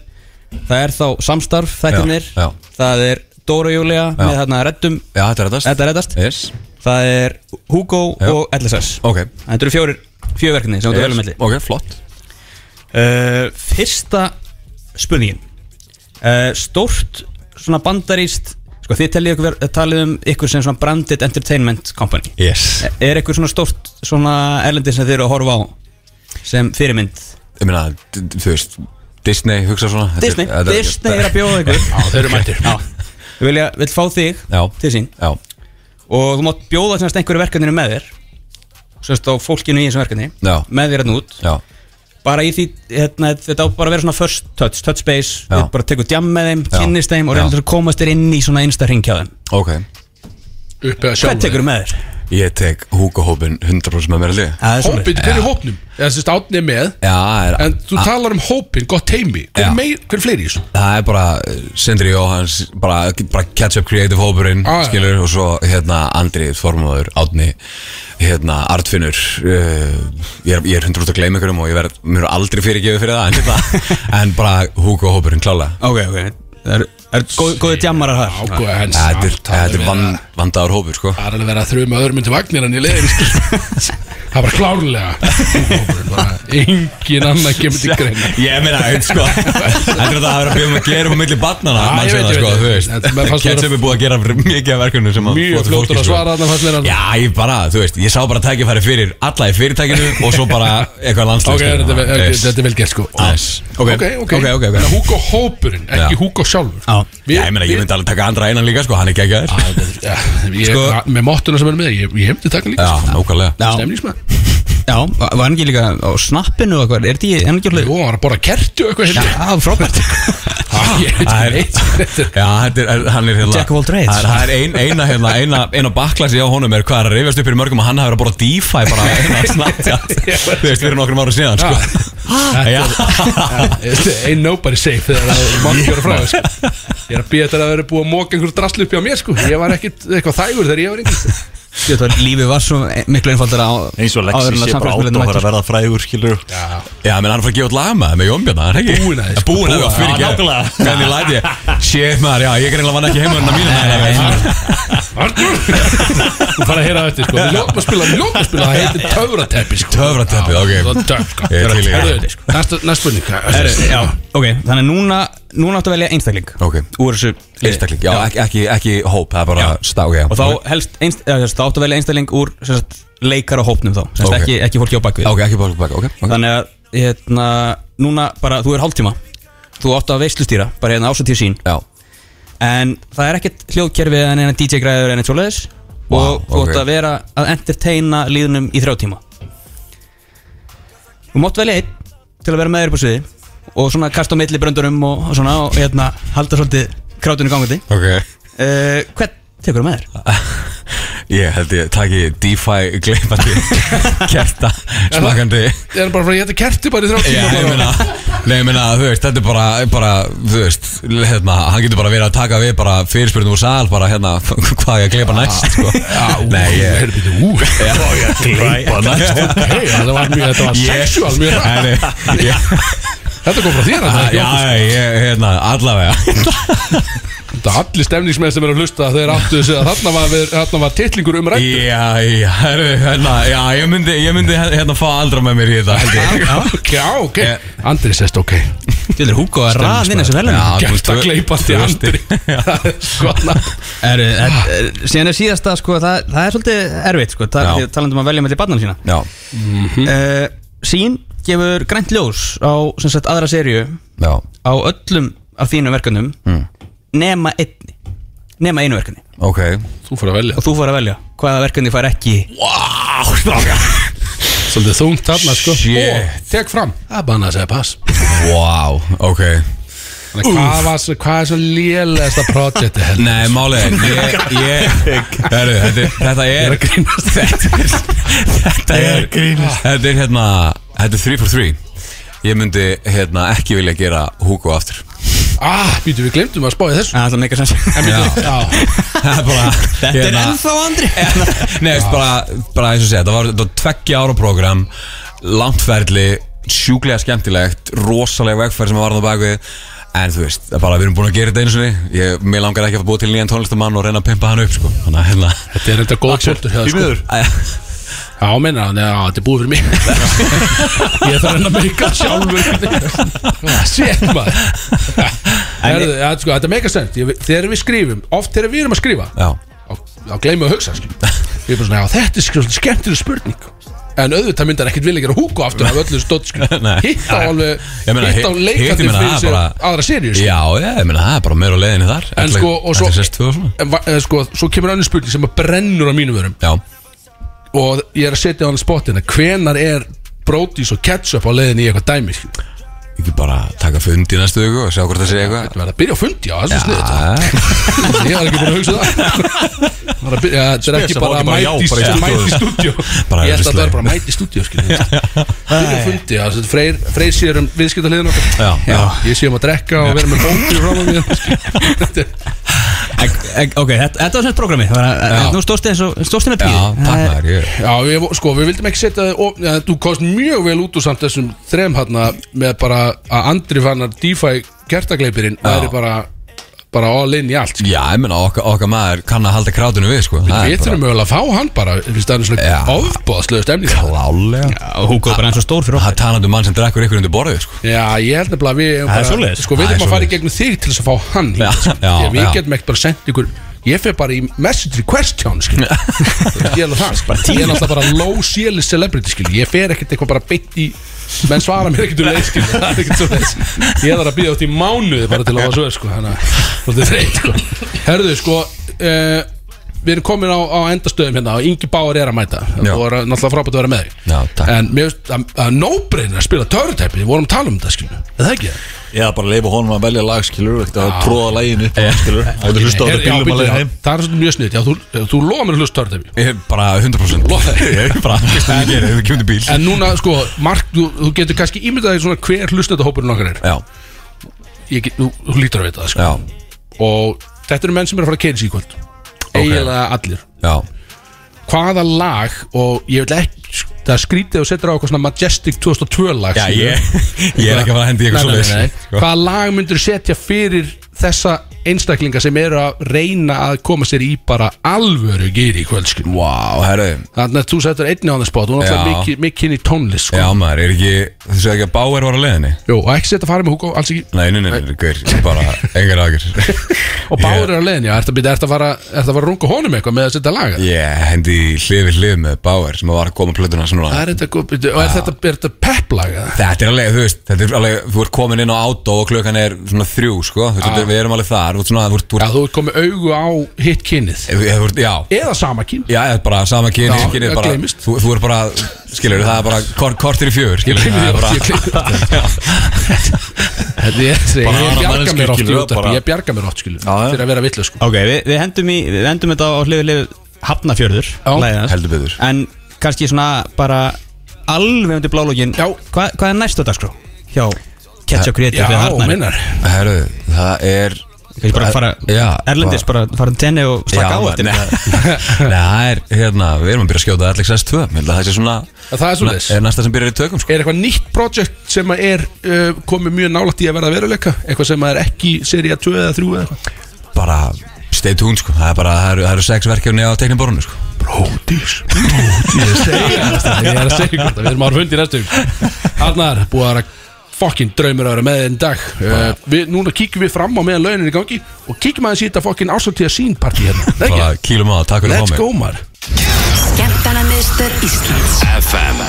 það er þá samstarf þættirnir Já, já. það er Dóra Júlia með þarna reddum já, þetta er reddast Þetta er reddast. Yes, það er Hugo Já. og LSS ok þetta eru fjórir, fjórir verkefni sem þú ert að velja á milli Ok, flott uh, Fyrsta spurningin uh, Stórt svona bandaríst sko, þið talið, ykkur, ver- talið um ykkur sem svona branded entertainment company Yes Er ykkur svona stórt svona erlendi sem þið eru að horfa á sem fyrirmynd Ég meina, d- d- þú veist Disney, hugsa svona Þetta er- Disney, þetta Disney er að bjóða ykkur Já, þeir eru mættir Já, við vilja, vil fá þig Já. til sín Já, og þú mátt bjóða semst einhverju verkefninu með þér semst á fólkinu í þessu verkefni Já. með þér hann út já, bara í því, hérna, þetta á bara að vera svona first touch, touch base, Já. við bara tekur djam með þeim, Já. kynnist þeim og Já. reyndir að komast þér inn í svona einsta hringja þeim ok Upp eða Hvern tekur sjálf með þér? Ég tek Hugo Hópin 100% með mér að liða Það er svoleiðis. Hópin, hver er hópnum? Eða sérst átni er með Já, er, En þú a- talar um hópin, gott heimi Hver, Já. meir, hver er fleiri í þessu? Það er bara eh, Sindri Jóhans bara, bara catch up creative hópurinn Já, já. skilur, og svo hérna Andri Þormáður, Átni hérna Artfinnur uh, ég, er, ég er 100% að gleyma ykkurum og ég verð mér er aldrei fyrirgefið fyrir það en, hérna, en bara Hugo hópurinn klála Ok, ok, það eru Það eru góð- góðir djammarar þar Ágóð, en Þetta er- samt þetta alveg er van- vandaður hópur sko Það er alveg verið að þrjuma öðrum undir vagnir en ég leiðin Það var klárlega Engin annar kemur til greina Ég meina, þú veist, sko Þetta er þetta að vera að byrja um að gera um milli barnana Já, ég manns veit, hérna, ég sko, veit. þú Þetta- mér veist fannst Ketchup er búið að gera mikið af verkunum sem að Mjög flottu fólki, fljótur að sko. svara þarna fannst mér alveg. Já, ég bara, þú veist, ég sá bara tækifæri fyrir alla í fyrirtækinu og svo bara eitthvað Ok, landslið þetta er vel- ok, þetta er vel gert sko Ok, Ok, ok, ok, ok, ok. En Hugo hópurinn, ekki Já. Hugo sjálfur Já. Já, ég meina, ég myndi alveg taka andra einan líka, sko, hann er geggjaður Já, ég, Sko- Með móttuna sem er með, ég, ég hefndi taka líka sko. Já, nákvæmlega Já, Stemningsmann já, var var hann ekki líka á snappinu og eitthvað, er þetta í enngjörlega? Jú, hann var að borða kertu og eitthvað Já, hérna frábært Ég veit Það ekki er- neitt sem þetta er. Já, þetta er, er- hann er hérna Jack of all trades. Það er- Það er ein, eina, hérna, eina, eina bakklasi á honum er hvað er að rifjast upp fyrir mörgum og hann hafi verið að bora DeFi bara hérna snabbt Þú veist, fyrir nokkrum ára síðan, sko Já, Ain't nobody safe þegar það er mann fjóra frá þér, sko. Ég er að býja þetta að vera búið að móka einhver draslu upp hjá mér sko. Ég var ekkit eitthvað þægur þegar ég var yngri sko. Ég veit að lífið var svo miklu einfaldara á Eins og áður en Lexi að sé bara átt samfélagsmiðlarnir að mættu. fara að verða frægur, skilur já menn hann er að fara að gefa út lag með það með Jón Björn, hann er ekki Búinn að því, sko. Búin að Búinn það, fyrir Já, nákvæmlega. ekki Hvernig læt ég, shit maður, já, ég greinlega vann ekki heimurinn að mínu Arnur Þú fara að heyra þetta sko. Við ljóðum að spila, við ljóðum að spila Það heitir töfrateppi sko. Töfrateppi, ok. Það er töf sko. Ég er til í það. Herðu, Næsta næsta spurning Herru, já, ok, þannig að núna, núna áttu að velja einstakling Ok. Úr þessu liði. Einstakling, já, ekki, ekki, ekki hóp, það er bara stá, ok Og þá helst, einst, eða, þess, þá áttu að velja einstakling úr sem sagt, leikar á hópnum þá sem sagt, Ok. ekki, ekki fólki á bakvið Ok, ekki bara baka, ok, ok Þannig að, hérna, núna bara, þú er hálftíma Þú áttu að veislustýra, bara hérna ásatíð sín Já, En það er ekkert hljóðkerfi en eina DJ-græður en eitt svoleiðis Vá, Og þú ok. áttu að vera að entertaina líðunum í þrjá tíma Þú mátt velja einn til að vera með þér upp á sviði Og svona kasta á milli bröndurum og, og svona Og hérna, halda svolítið krátinu gangandi ok uh, Hvern tekur þú með þér? Ég held ég taki DeFi gleipandi kerta smakandi Ég er bara að fara að geta kerti bara í þrjá Já, tíma ég bara. meina, nei, ég meina, þú veist, þetta er bara, bara, þú veist, hérna, hann getur bara verið að taka við bara fyrirspyrnum úr sal, bara hérna, hvað ég að gleipa næst, sko. Já, ú, nei, ég, herru, býttu, ú. gleipa næst. Hey, Þetta var mjög, þetta var sexual mjög rætt. Nei, nei, ég, Þetta kom frá þér þetta er ekki já, okkur, sko. ég, hérna, allavega. Þetta er allir stemningsmenn sem er að hlusta Þeir áttu þessi að þarna var, þarna var titlingur um rætt Já, já, herru, hérna, já, ég myndi, ég myndi hérna fá aldra með mér í þetta, held ég. Já, ok Andri sest ok Þú veitir, Hugo er raðinn þessu velum Já, þú veist, Gert að tvö- gleipa tvö til Andri stig. Það er sko nafn. er, er, er, Eh, Síðan er síðasta, sko, það, það er svolítið erfitt, sko Það Já. er talandum að velja með til barnan sína Já, Mm. uh, Sín gefur grænt ljós á, sem sagt, aðra serju já, Á öllum af þínum verkefnum Mm. Nema einni Nema einu verkefni ok. Þú fyrir að velja Og þú fær að velja hvaða verkefni fær ekki Wow, stráka. Svolítið þungt þarna sko Shit. Og tek fram Það er bara að segja pass Wow, ok. Þannig, hvað, var, svo- hvað er svo lélegasta projekti heldur? Nei, málið er ég, ég, heru, þetta, er- þetta er Þetta er Þetta er Þetta er hérna Þetta er 3 for 3 Ég myndi hérna ekki vilja gera Hugo aftur Ah, býtu við glemdum að spája þessu Það er það meika sens Já, já. Það er bara Þetta er ennþá Andri Nei, veist, bara, bara eins og segja, þetta var, þetta var tveggja ára program Langtferðli, sjúklega skemmtilegt Rosalega vegferð sem var þarna á bakvið En þú veist, það er bara við erum búin að gera þetta einu sinni Ég, Mér langar ekki að fá búið til nýjan tónlistamann Og reyna að pimpa hann upp, sko Þannig að hérna Þetta er enda góð punktur hjá þér, sko. Já, meina hann, já, þetta er búið fyrir mig Ég þarf hennar meika sjálfur Sveit maður Herðu, ja, sko, Þetta er meika sent Þegar við skrifum, oft þegar við erum að skrifa Já, þá gleymum við að hugsa skilur. Við erum bara svona, já, þetta er svolítið skemmtileg spurning En auðvitað myndar ekkit vilja gera húku aftur af öllu stótt skil Nei. Hitt á alveg, Ég meina, hitt á hitt- hitt, leikandi ég meina, fyrir það er sér bara- aðra seríu sko. skilur. já, já, ég meina það er bara meira á leiðinni þar En sko, og svo Þetta er sérst tvö og svona en va- eh, sko, Svo kemur önnur spurning sem að brennur á mínum vörum Já, Og ég er að setja á hann spottina Hvenar er brótis og ketchup á leiðinni í eitthvað dæmi skilur? ekki bara taka fund í næstu viku og sjá hvort það sé eitthvað Þetta verður að byrja að fundi á þessu snið Já, Ég var ekki búin að hugsa það Var að byrja- Þetta er ekki Spes, bara það að var ekki bara já, mæti bara í mæti í stúdíó. stúdíu Bara Ég ætla að það öðruvíslega. er bara að mæti í stúdíu Byrja fundi, já, þetta freyr, freyr sér um viðskiptaliðin okkar Já, já. Ég sé um að drekka og vera með bóndi frá mig Þetta er- Ok, þetta, þetta var semst programmi Það var að- Já. Nú stóðst þið stóðst þið með já píu takk maður ég- Já, við, sko, við vildum ekki setja þið of- ja, Þú kost mjög vel út úr samt þessum þrem hérna með bara að Andri fannar DeFi kertagleipirinn væri bara bara all in í allt sko. Já, ég menna okkar, okkar maður kann að halda krátinu við sko. Það er Við þurfum mögulega að fá hann bara Fyrst það er svona ofbóðslega stemning Klálega Já, Hugo er bara eins og stór fyrir okkur Það talandu um mann sem drekkur ykkur undir borðið sko. Já, ég held nefnilega að við eigum Það er bara- svoleiðis. Sko, við Það er erum að fara í gegnum þig til þess að fá hann hingað, sko. já, Því að Við já. getum ekkert bara sendt ykkur Ég fer bara í message request hjá hann skil. Þú veist, Ég er alveg það skil. Ég er alltaf bara low sielis celebrity skil. Ég fer ekkert eitthvað bara beint í Menn svara mér ekkert um leið skil. Það er ekkert svo Ég þarf að býða út í mánuði bara til að hafa svo er sko. Þannig að það er þreyt sko. Herðu sko uh, Við erum komin á, á endastöðum hérna og Ingi Báar er að mæta Já. og er náttúrulega frábært að vera með þig Já, takk En mér finnst að- að no-brainer að spila törutæpi Við vorum að tala um þetta, skilju Er það ekki? Ég er bara að leifa honum að velja lag, skilur Ekkert að tróða lagin upp á hann, skilur Það er hlusta á þetta Er- já, bílum að býttu, leiða já, heim Það er svolítið mjög sniðt Já, þú, þú lofa mér að hlusta törutæpi Ég er bara 100% Lofa þér. Ég er bara fyrst að ég gerir Þú kemur til bíl En núna, sko, Mark, þú, þú getur kannski ímyndað þér svona hver hlusta þetta hópurinn okkar er Já, Ég get, þú, þú lítur að veita það, já, sko Og þetta eru menn sem eru að fara að keira sig í kvöld Eiginlega allir já Hvaða lag, og ég vil ekki Það er skrítið og setur á eitthvað svona Majestic 2002 lag Já, skilurðu. ég, ég er ekki að fara að hendi ykkur Nei, svo nei, leys nei, nei. Hvaða lag myndur setja fyrir þessa einstaklinga sem eru að reyna að koma sér í bara alvöru gýri í kvöldskil Vá, herru Þannig að þú settur einni á það spot Þú Já. náttúrulega mikið- mikið inn í tónlist sko. Já maður, er ekki Þú segir ekki að Bauer var á leiðinni Jú, og ekki setja að fara með Hugo, alls ekki Nei, nei, nei, nei, gaur, bara engar ágjur Og Báður er á leiðin, já, ertu að, ert að fara Ertu að fara að runga honum eitthvað með að setja lag að? Ég hendi í hlið við hlið með Bauer sem var að koma á plötuna sem núna Það er þetta góð Og er þetta, er þetta pepplag eða? Þetta er alveg, þú veist, þetta er alveg, þú ert komin inn á átó og klukkan er svona þrjú, sko, þú veist, þetta er- við erum alveg þar, þú ert svona, þú ert, þú Já, ert, þú ert komið augu á hitt kynnið þú ert, þú ert já, Eða sama kyn já, þetta er bara sama Já, kynni, kynni, það bara, gleymist. þú, þú ert bara, skilur, það er bara kort, kortir í fjögur, skilur, það er bara, Ég gleymi því oft, Þetta er- ég Bara aðra bjarga manneskju, mér oft í skilurðu, útarpi bara- Ég bjarga mér oft, skilur, já. fyrir að vera villu sko. Ok, við, við, hendum í, við hendum þetta á hliðu hliðu Hafnafjörður Já. lagið hans. heldur betur. En kannski svona bara alveg undir blálógin Já. Hva, Hvað er næstu dagskrá? Hjá Ketchup Creative Já, við Harnar meinar Herru, það er, Kannski bara fara já, Erlendis, bara fara til tenni og slaka á maður, eftir nei, nei, það er, hérna, við erum að byrja að skjóta Alex S2, ég held að það sé svona, Það er svona- svoleiðis. er næsta sem byrjar í tökum, sko. Er eitthvað nýtt projekt sem að er uh, komið mjög nálægt í að verða að veruleika? Eitthvað sem að er ekki seria 2 eða 3 eða eitthvað? bara stay tuned sko það er bara, það eru, það eru sex verkefni á tekniborunni sko Bródís Ég er að segja þetta, ég er að segja þetta Við erum ára fundi næstu Arnar, búið að vera fokkin draumur að vera með einn dag uh, við, Núna kíkjum við fram á meðan launin í gangi Og kíkjum aðeins í þetta fokkin ásvartíða sínparti hérna Er bara ekki? kýlum á það, takk fyrir að Let's fá mig go maður Skemmtanamiðstöð Íslands FM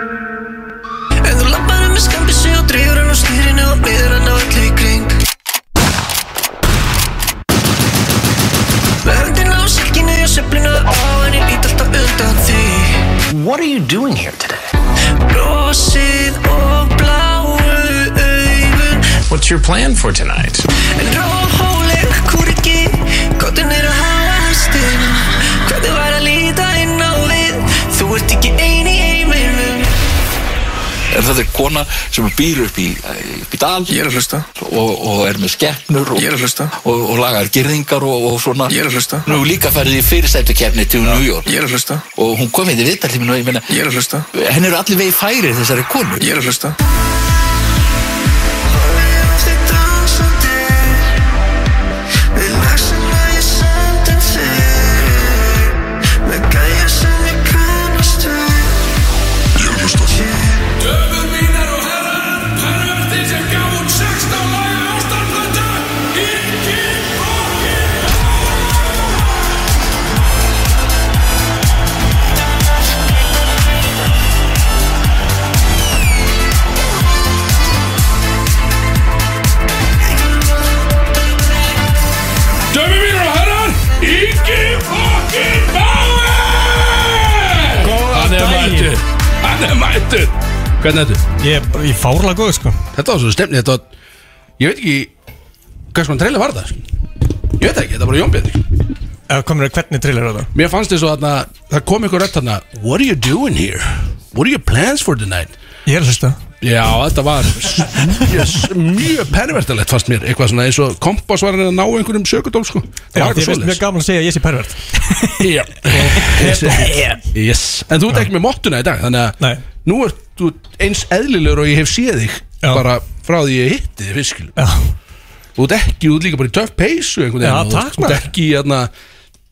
En þú lappar um með skambissi og dregur hann á stýrinu og miður hann á öllu í kring Með höndina á silkinu og söflinu á henni lít alltaf undan því What are you doing here today? Brosið og bláu augun What's your plan for tonight? En róleg kúriki, kottin er að hafa hestin Hvernig var að líta inn á við, þú ert ekki ein í heiminum En þetta er kona sem býr upp í, upp í dal Ég er að hlusta Og, og er með skeppnur og, Ég er að hlusta Og, og lagar girðingar og, og svona Ég er að hlusta Nú er líka farið í fyrirsættu keppni til New York Ég er að hlusta Og hún kom hérna í viðtal til mín og ég meina Ég er að hlusta Henn eru allir vegi færir þessari konu Ég er að hlusta Þið dansandi Við lag sem að ég samt en þig Með gæja sem ég kannast við Ég hlusta Döfur mínar og herrar Pervertin sem gaf hún 16 laga ástandlöta Ekki Dömi mínir og herrar Ingi fokkin Báir Góðan daginn. Hann er mættur Hvernig er þetta? Ég er í fárlega góð sko Þetta var svo stemni Þetta var Ég veit ekki Hvað svona treyla var það sko. Ég veit það ekki Þetta var jónbjörn Ef komur þér hvernig trillir þetta Mér fannst þess að það kom ykkur rödd þarna What are you doing here? What are your plans for tonight? Ég er að hlusta Já, þetta var s- mjög, s- mjög pervertalegt fast mér Eitthvað svona eins og kompás var hann að ná einhverjum sökudól sko Það Já, var því eitthvað finnst svoleiðis. mjög gaman að segja að ég sé pervert Já Yes En þú ert ekki með mottuna í dag Þannig að Nei nú ert þú eins eðlilegur og ég hef séð þig bara frá því ég hitti þig fyrst skilur. þú ert ekki, þú ert líka bara í töff peysu einhvern Já, veginn, og þú ert- takk, þú ert maður. ekki hérna,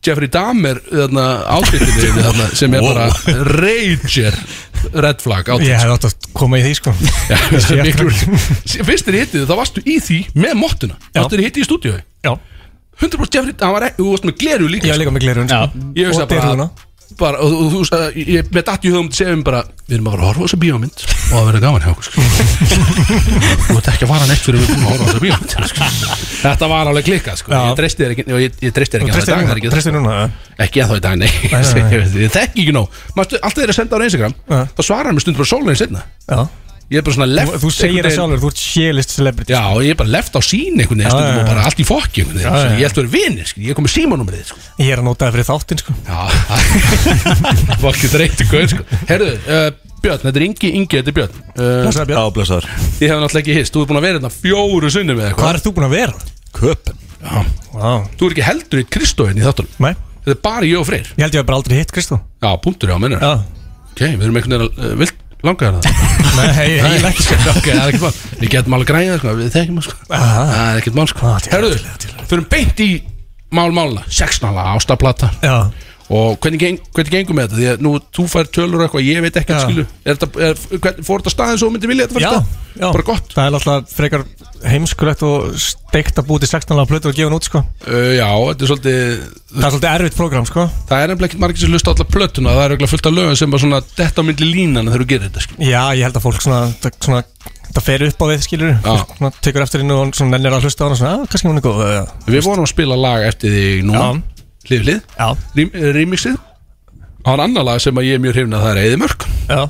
Jeffrey Dahmer hérna, átbyttinni hérna, sem er Wow. bara rager red flag Ég átbyttinni hefði átt að koma í því sko Það er Ég- miklu- fyrst þeir hittið þá varstu í því með mottuna Varstu þeir hittið í stúdíu Já 100% Jeffrey, hann var, ekki- þú varst með gleru líka Ég var líka með glerun sko. Ég veist að Og bara, dyrhúðuna. bara og, og, þú veist að ég með datt í um hugum segjum bara, við erum að fara að horfa á þessa bíómynd og það verður gaman hjá okkur sko. Þú ert ekki að fara neitt fyrir við erum búin að horfa á þessa bíómynd sko. Þetta var alveg klikkað sko. Ég treysti þér ekki, og ég, ég treysti þér Þú ekki sko. treystir núna- treystir núna, ja. Ekki að þá í dag, nei, Nei, nei, nei. Ég veit, Ég þekki ekki nóg Mastu, Alltaf þeir eru að senda á Instagram þá svarar mér stundum bara sólegin setna Já Ég er bara svona left Þú- Þú segir það sjálfur, þú ert sjélist celebrity Já, og ég er bara left á sín einhvern veginn Já, já, stundum já. og bara allt í fokki einhvern veginn Já, Svo já, já. Ég held að vera vinir, sko. ég kom með símanúmerið sko. Ég er að nota það fyrir þáttinn sko Já, fokki þreyti gaur sko. Herðu, uh, Björn, þetta er Ingi, Ingi, þetta er Björn uh, Blessaður, Björn. Já, blessaður Ég hef náttúrulega ekki hist, þú ert búin að vera hérna fjóru sunnum eða Hvað er þú búin að vera? Köpen Já wow. Þú er ekki heldur í Kristóin í þáttunum Nei Þetta er bara ég og Freyr Ég held ég hef bara aldrei hitt Kristó Já, punktur, já, minnur Já Ok, við erum einhvern veginn að uh, vilt langa þér það Nei, ég vil ekki sko Ok, það er ekki mál Við getum alveg græðið, sko, við þekkjum það, sko Það er ekkert mál, Ah, sko Herðu, förum beint í mál málna Sexnala, ástaplata Já Og hvernig, geng, hvernig gengum með þetta? Því að nú, þú fær tölur og eitthvað, ég veit ekkert, Já. skilu er þetta, er, hvern, Fór þetta staðin svo myndi vilja þetta Já, fara af já Bara gott Það er alltaf frekar heimskulegt og steikt að búti 16 laga plötu og gefa hún út sko stað? Uh, já, þetta er svolítið Það er svolítið erfitt program, sko Það er nefnilega ekkert margir sem hlusta á alla plötuna Það er eiginlega fullt af lögum sem bara svona Detta á myndi línan þegar þú gerir þetta, skilu Já, ég held að fólk svona, það, svona, það fer upp á við skilur Fólk svona, tekur eftir inn og svona nennir að hlusta á hana svona, að, kannski hún er góð eða- Við vorum að spila lag eftir því núna Hlið við hlið Rem- Remixið Það var annar lag sem að ég er mjög hrifin að það er Eðimörk Já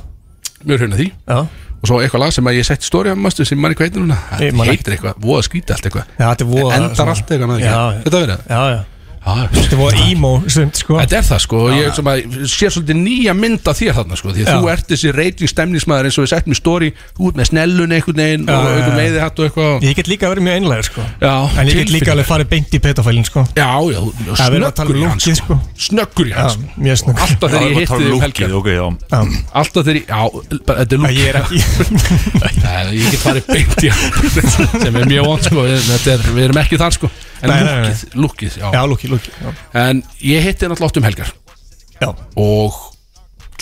Mjög hrifin að því Já Og svo eitthvað lag sem að ég setti stóri á mastu sem mann ekki veitir núna Ég Það man heitir eitthvað, voða skrítið allt eitthvað Já, þetta er voða Endar svona- allt eitthvað með Já, ekki já. Þetta verið Já, já Þetta er voða emo sumt sko Þetta er það sko og Ég sem að, sér svolítið nýja mynd af þér þarna sko Því að Já. þú ert þessi reyting stemningsmaður eins og við settum í stóri Þú ert með snellun einhvern veginn Já, og já, einhvern já. veiði hatt og eitthvað Ég get líka verið mjög einlega sko Já, En ég get líka alveg farið beint í petafælin sko Já, já, þú- Það verður að tala um snöggur í hann, Snöggur í sko. lúkið sko Já, hans mjög snöggur Alltaf þegar ég hitti þig um helgina Ok, já Já. Alltaf þegar ég, já, bara, þetta er lúk Ég er ekki Nei, ég get farið beint í hann Sem er mjög vond, sko Þetta er, við erum ekki þar, sko En Nei, nei, nei. lúkið, lúkið, já Já, lúkið, lúkið já. En ég hitti hann alltaf oft um helgar Já Og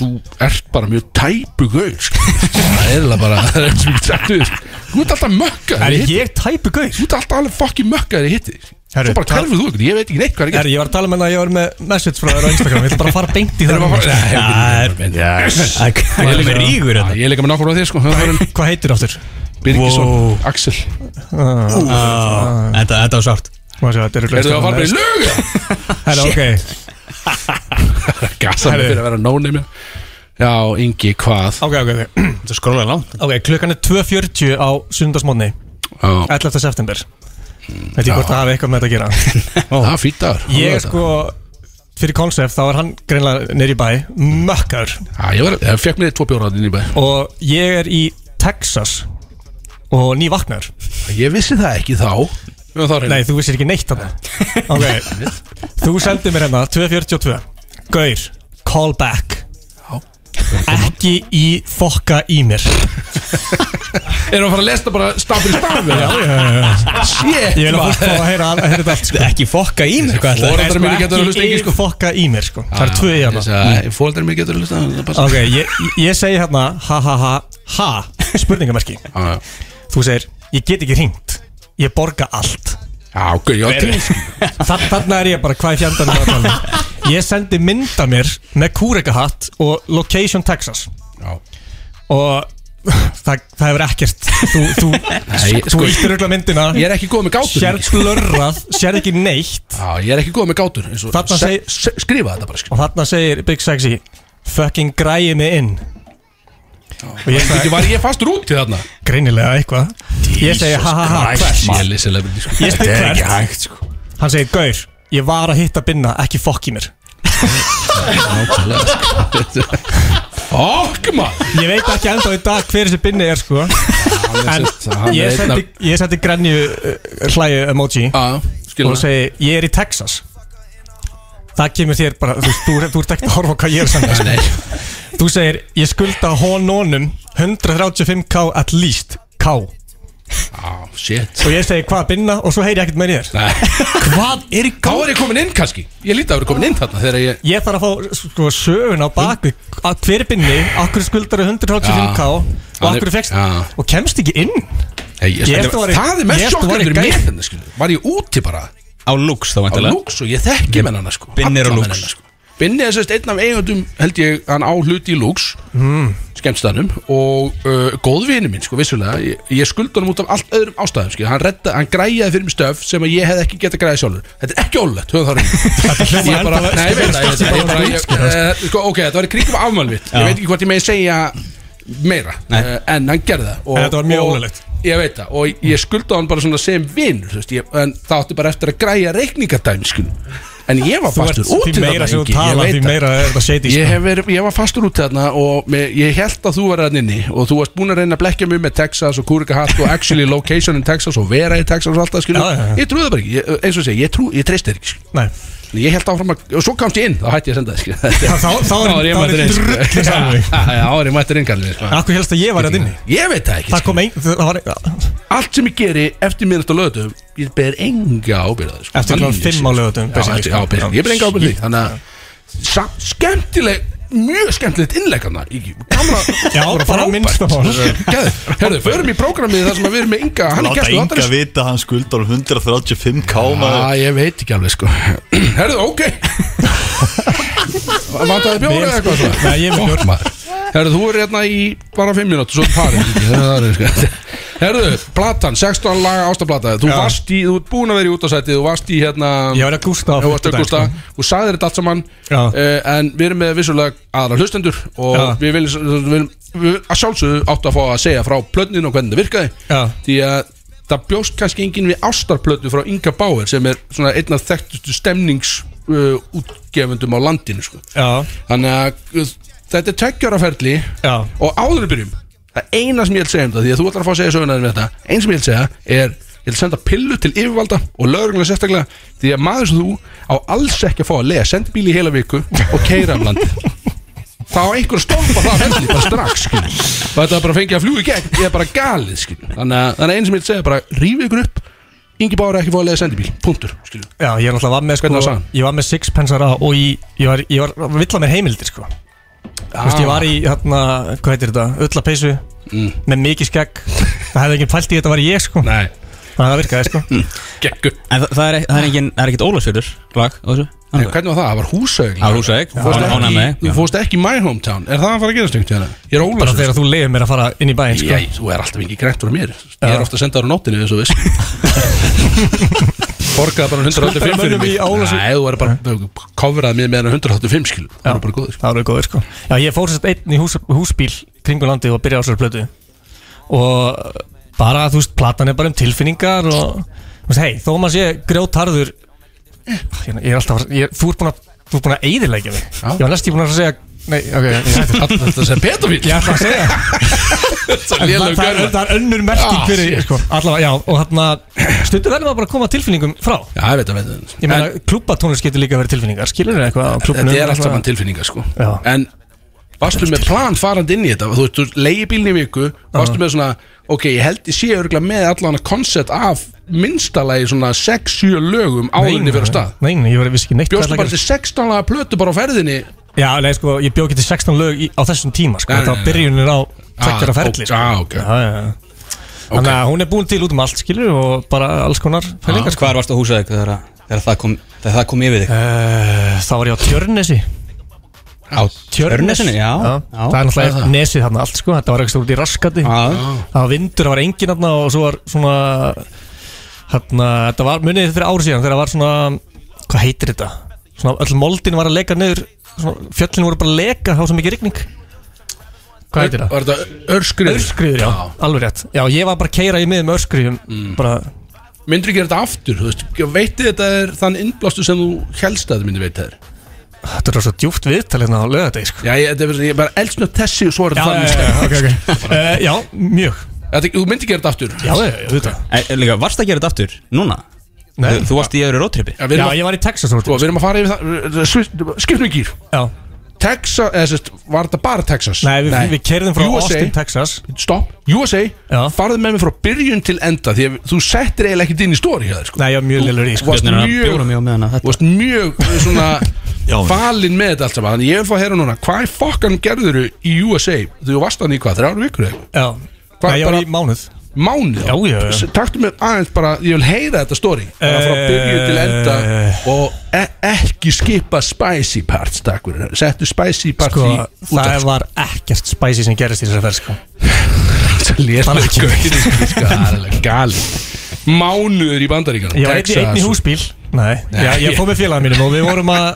þú ert bara mjög tæpu gaur, sko Það er eiginlega bara, það er eins og ég get sagt við þig, sko. Þú ert alltaf mökkaður Er þegar hitti ég tæpu gaur? Þú ert alltaf alveg fokkin mökkaður í hitti þig. Herru, Svo bara það- hverfur þú ykkur, ég veit ekki neitt hvað er Herri, ég var að tala með það að ég var með message frá þér á Instagram Ég ætla bara að fara beint í það Erum við að fara- Nei, Ég Nei, er líka með rígur Ég er líka með nákvæmlega þér sko Hvað heitir áttur? Birgisson, Axel Þetta þetta var sárt Þetta Erum við að fara bara í lög? Herra, ok Gassa mig Herru. fyrir að vera nónum Já, Ingi, hvað? Ok, ok, ok Þetta er skrólaði langt Ok, klukkan er 2.40 á sundarsmónni Já. Hmm, 11. september Veit ég hvort það hafi eitthvað með þetta að gera Það er fýtt dagur Ég er sko Fyrir konsept þá var hann greinlega neyri bæ Mökkaður Já, ég, var, ég fekk mér tvo bjóraðin í bæ Og ég er í Texas Og ný vaknar Ég vissi það ekki þá Nei, þú vissir ekki neitt þarna Ok Þú sendir mér hérna 242 Gaur Call back Ekki í fokka í mér Erum við að fara að lesta bara stafir í stafir? Já, já, já, já. Shit Ég vil að fólk fá að heyra, að heyra þetta allt sko. Ekki fokka í mér hvað ætlaði- Foreldrar mínir geta verið að hlusta Ekki ekki, sko. í fokka í mér sko. Það er tvö í hana Mm. Fóldar mér getur að lusta Ok, ég, ég segi hérna Ha ha ha ha Spurningamerki Þú segir Ég get ekki hringt Ég borga allt Já, ok, já, Hver- til Þa- Þarna er ég bara Hvað er fjandarinn að tala um? Ég sendi mynda mér Með kúrekahatt Og location Texas Já Og Það, það hefur ekkert Þú, þú, Nei, þú sko, íttir ögla myndina Ég er ekki góð með gátur Sérð blörrað, sérð ekki neitt Já, ég er ekki góð með gátur eins og- Þarna se- se- Skrifa þetta bara, sko. skrifa Og þarna segir Big Sexy Fucking græði mig inn Og ég Ekki var ég fastur út í þarna Greinilega eitthvað Ég segi ha ha ha hvert Ég lýsi lefnir sko Ég spyr Þetta er ekki sko. hvert Hann segir Gaur Ég var að hitta binna Ekki fokk í mér Fokk maður Ég veit ekki enda í dag hver þessi binni er sko hann En er ég einn sendi, ég sendi grenju uh, hlæju emoji ah, Og segi Ég er í Texas Það kemur þér bara Þú, þú, þú ert ekkert að horfa á hvað ég er að senda sko. Nei Þú segir, ég skulda hononum 135k at least K Á, shit Og ég segi hvað binna og svo heyri ég ekkert meir í þér Hvað er í Þá er ég komin inn kannski Ég líti að vera komin inn þarna Þegar ég Ég þarf að fá sko, sögun á baku að hver er binni, akkur skuldar 135k Já. og Hann er- akkur fekst já. og kemst ekki inn Hey, ég, Ég ég, ætti að vera- það er ég mest ætti að sjokkur vera fyrir í mig gær. hérna, skilur. Var ég úti bara Á lúks þá á vantilega lúks og ég þekki með hana sko Binni er á alla Lux. menn hennar, sko. Binni er sérst einn af eigundum held ég hann á hluti í lúks mm. skemmstanum og uh, góðvinu minn sko vissulega ég, ég skulda hann út af allt öðrum ástæðum skilur. hann, redda, hann græjaði fyrir mig stöf sem að ég hef ekki getað græðið sjálfur þetta er ekki ólulegt höfum það hljómar reynd ég bara ennþá- nei, ég veit það, ég- ég- ég bara- Lux, ég- eh, sko, ok þetta var í kringum afmæl mitt Já. ég veit ekki hvort ég megi segja meira uh, en hann gerði það En þetta var mjög og- ólöglegt. ég veit það og ég skulda hann bara svona sem vinnur en það átti bara eftir að græja reikningadæmi skilur. en ég var Þú ert- fastur út því meira sem þú Ingi, ég talar, veit því það. meira er þetta shady, ég, sko. hef verið, ég var fastur út þarna og með, ég held að þú var hann inni og þú varst búin að reyna að blekja mig með Texas og Kurika Hatt og actually location in Texas og vera í Texas og allt það skilur Já, já, já. ég trúði það bara ekki, ég, eins og segi, ég, trú, ég treysti þér ekki skilur. Nei En Ég held áfram að, og svo komst ég inn, þá hætti ég að senda það skilur. Þetta- þá- þá er- ég þá er mættur inn, skilur. drullið sjálfur. Já, já, þá er ég mættur inn, kallið sko. Akkur helst að ég var að inni Ég veit það ekki Það kom ein, það var, allt sem ég geri eftir minnast á lögutum ég ber enga ábyrða sko. Eftir klukkan Þannig séð, fimm á laugardögum, sko. Já, eftir- basically, sko. já, basically. ég ber enga ábyrða því Shit. þannig að samt skemmtileg mjög skemmtilegt innlegg hann gamla Já, bara minnst á hann herðu, förum í prógramið þar sem að við erum með Inga hann er Láta gæstu Inga þáttarins vita að hann skuldar 135k Já, Ah, ég veit ekki alveg sko herðu, ok vantaði bjóra eða eitthvað svona? Nei, ég er með bjór. Fokk, maður. herðu, þú er hérna í bara fimm minútur svo er parið Ingi. Það er þannig, sko. herðu, platan, 16 laga ástaplata þú Já. varst í, þú ert búin að vera í útasæti þú varst í hérna Ég var að gústa á Þú varst að fimmtudag, Gústa sko. og sagði þetta allt saman Já. uh, En við erum með vissulega aðra hlustendur Og Já. við viljum, við viljum við, Að sjálfsögðu áttu að fá að segja frá plötnin og hvernig það virkaði Já. Því að það bjóst kannski enginn við ástarplötnu frá Inga Bauer Sem er svona einn af þekktustu stemnings uh, útgefendum á landinu sko. Já. Þannig að uh, þetta er tveggjaraferli Já. Og áður en við byrjum Það eina sem ég vil segja um þetta Því að þú ætlar að fá að segja söguna þín við þetta Einn sem ég vil segja er Ég vil senda pillu til yfirvalda og lögreglega sérstaklega Því að maður sem þú á alls ekki að fá að lega Sendbíl í heila viku og keira um landið Það á einhver að stoppa það ferli bara strax skilur. Og þetta er bara að fengja að fljúi gegn Ég er bara galið skilur. Þannig að, þannig að einn sem ég vil segja er bara Rífi ykkur upp Ingi Bára ekki að fá að lega sendibíl Punktur skilur. Já, ég náttúrulega var með sko Hvernig var sagan? Ég var með sixpensara og ég, ég var, ég var villan með heimildir sko Þú veist, ég var í hérna, hvað heitir þetta, öll peysu Með mikið skegg Það hefði ekki pælt í að þetta var ég sko Nei Þannig að það virkaði sko Gekku En það, það er, það er engin, það er ekkert Ólafsfjörður Lag og þessu Nei, Hvernig var það? Það var húsauk Það var Húsavík. Þú fórst Já, ekki- ánægð með. Þú fórst ekki í my hometown Er það að fara að gerast yngt hérna? Ég er Bara ólæsum þegar þú leiðir mér að fara inn í bæinn sko Ég, þú er alltaf ekki grænt frá mér Ég er ofta að senda á nóttinu eins og viss Borgaði bara 185 fyrir Skuldar mönnum mig í Ólafsvík. Nei, þú er bara Kofraði mér með hann 185 skil Það er bara góður Það voru góðir sko Já, ég fór sérst einn í hús, húsbíl kringum landið og byrjaði á sér plötu Og bara, þú veist, platan er bara um tilfinningar og Þú veist, hei, þó maður sé grjótarður Hérna, Ég ég er alltaf, að- ég, þú ert búin að, þú ert búin að eyðilegja mig Ég var næst ég búin að segja Nei, ok, ég hætti Allt þetta sem pedofíl Ég ætla að segja Þetta En það, lélegur það, er, gaur. það er önnur merking Ah, fyrir shit. sko, allavega, já, og þarna stundum verðum að bara að koma tilfinningum frá Já, ég veit að veit að ég meina, klúpatónlist getur líka verið tilfinningar skilur þér eitthvað á klúpinu Þetta er allt saman tilfinningar sko Já. En varstu með plan farandi inn í þetta Þú veist, þú leiði bílni í viku Varstu með svona, ok, ég held ég sé örgulega með allan að koncept af minnstallagi svona 6-7 lögum áðurinn fyrir stað nei, nei, ég var vissi ekki neitt hvað Bjóstu það bara gerist. til 16 laga plötu bara á ferðinni já, nei, sko, ég bjók ekki til 16 lög í, á þessum tíma sko, Nei, nei, þetta var nei. byrjunin á tveggjara ferli sko. ok, ah, ok. Já, já, já. þannig að hún er búin til út um allt skilur og bara alls konar Ah. pælingar sko. Hvar varst á Húsavík þegar, að- þegar það, kom, þegar það kom yfir þig? uh, þá var ég á Tjörnesi Á Tjörnesinu, já, já. það er náttúrulega nesið þarna allt sko þetta var ekki stórt í raskati Ah. það var vindur, það var engin þarna og svo var svona þarna, þetta var munið fyrir ár síðan þegar það var svona hvað heitir þetta svona öll moldin var að leka niður svona, fjöllin voru bara að leka þá var svo mikið rigning hvað heitir það? Var þetta örskriður? Örskriður, já, Mm. alveg rétt Já, ég var bara að keira í miðum örskriðum bara, Myndur ekki gera þetta aftur, þú veist Veitið þetta er þann innblástu sem þú helst að þið myndi veita þér Þetta er svo djúpt viðtal hérna á lögadegi sko. Já, ég, þetta er ég er bara eldsnögt þessi og svo er Já, þetta þannig já, já, stemning, ok, sko. ok uh, Já, mjög Þetta- Þú myndir gera þetta aftur Já, já, já, þetta En, líka, varst að gera þetta aftur? Núna? Nei. Þú, þú varst í öðru róttripi? Já, Sko, við Já, erum að- ég var í Texas Sko, við erum að fara yfir það Skipnum gýr Já Texas, eða sérst, var þetta bara Texas? Nei, við, við kerðum frá Austin, Texas Stopp, USA, farðu með mig frá byrjun til enda Því að þú settir eiginlega ekkert inn í stóri hjá þér sko. Nei, ég var mjög lillur í Þú varst mjög, mjög með hana þú varst mjög eh, svona falinn með þetta allt saman Þannig ég vil fá að heyra núna, hvað í fokkan gerður í USA? Þú varst hann í hvað, þrjár vikur eða? Já, Nei, ég var í mánuð Mánuð? Já, já, Eh. já. Taktu mig aðeins bara, ég vil heyra þetta stóri Bara frá byrjun til enda Og e ekki skipa spicy parts, takk fyrir Settu spicy parts Sko, í það útvarp. var ekkert spæsi sem gerist í þessari ferð sko. Lesa Þannig ekki. gaurinn, sko, það er alveg gali Mánuður í bandaríkanum Ég var einn í- einn í húsbíl Nei, Nei. Já, ég fór með félagum mínum og við vorum að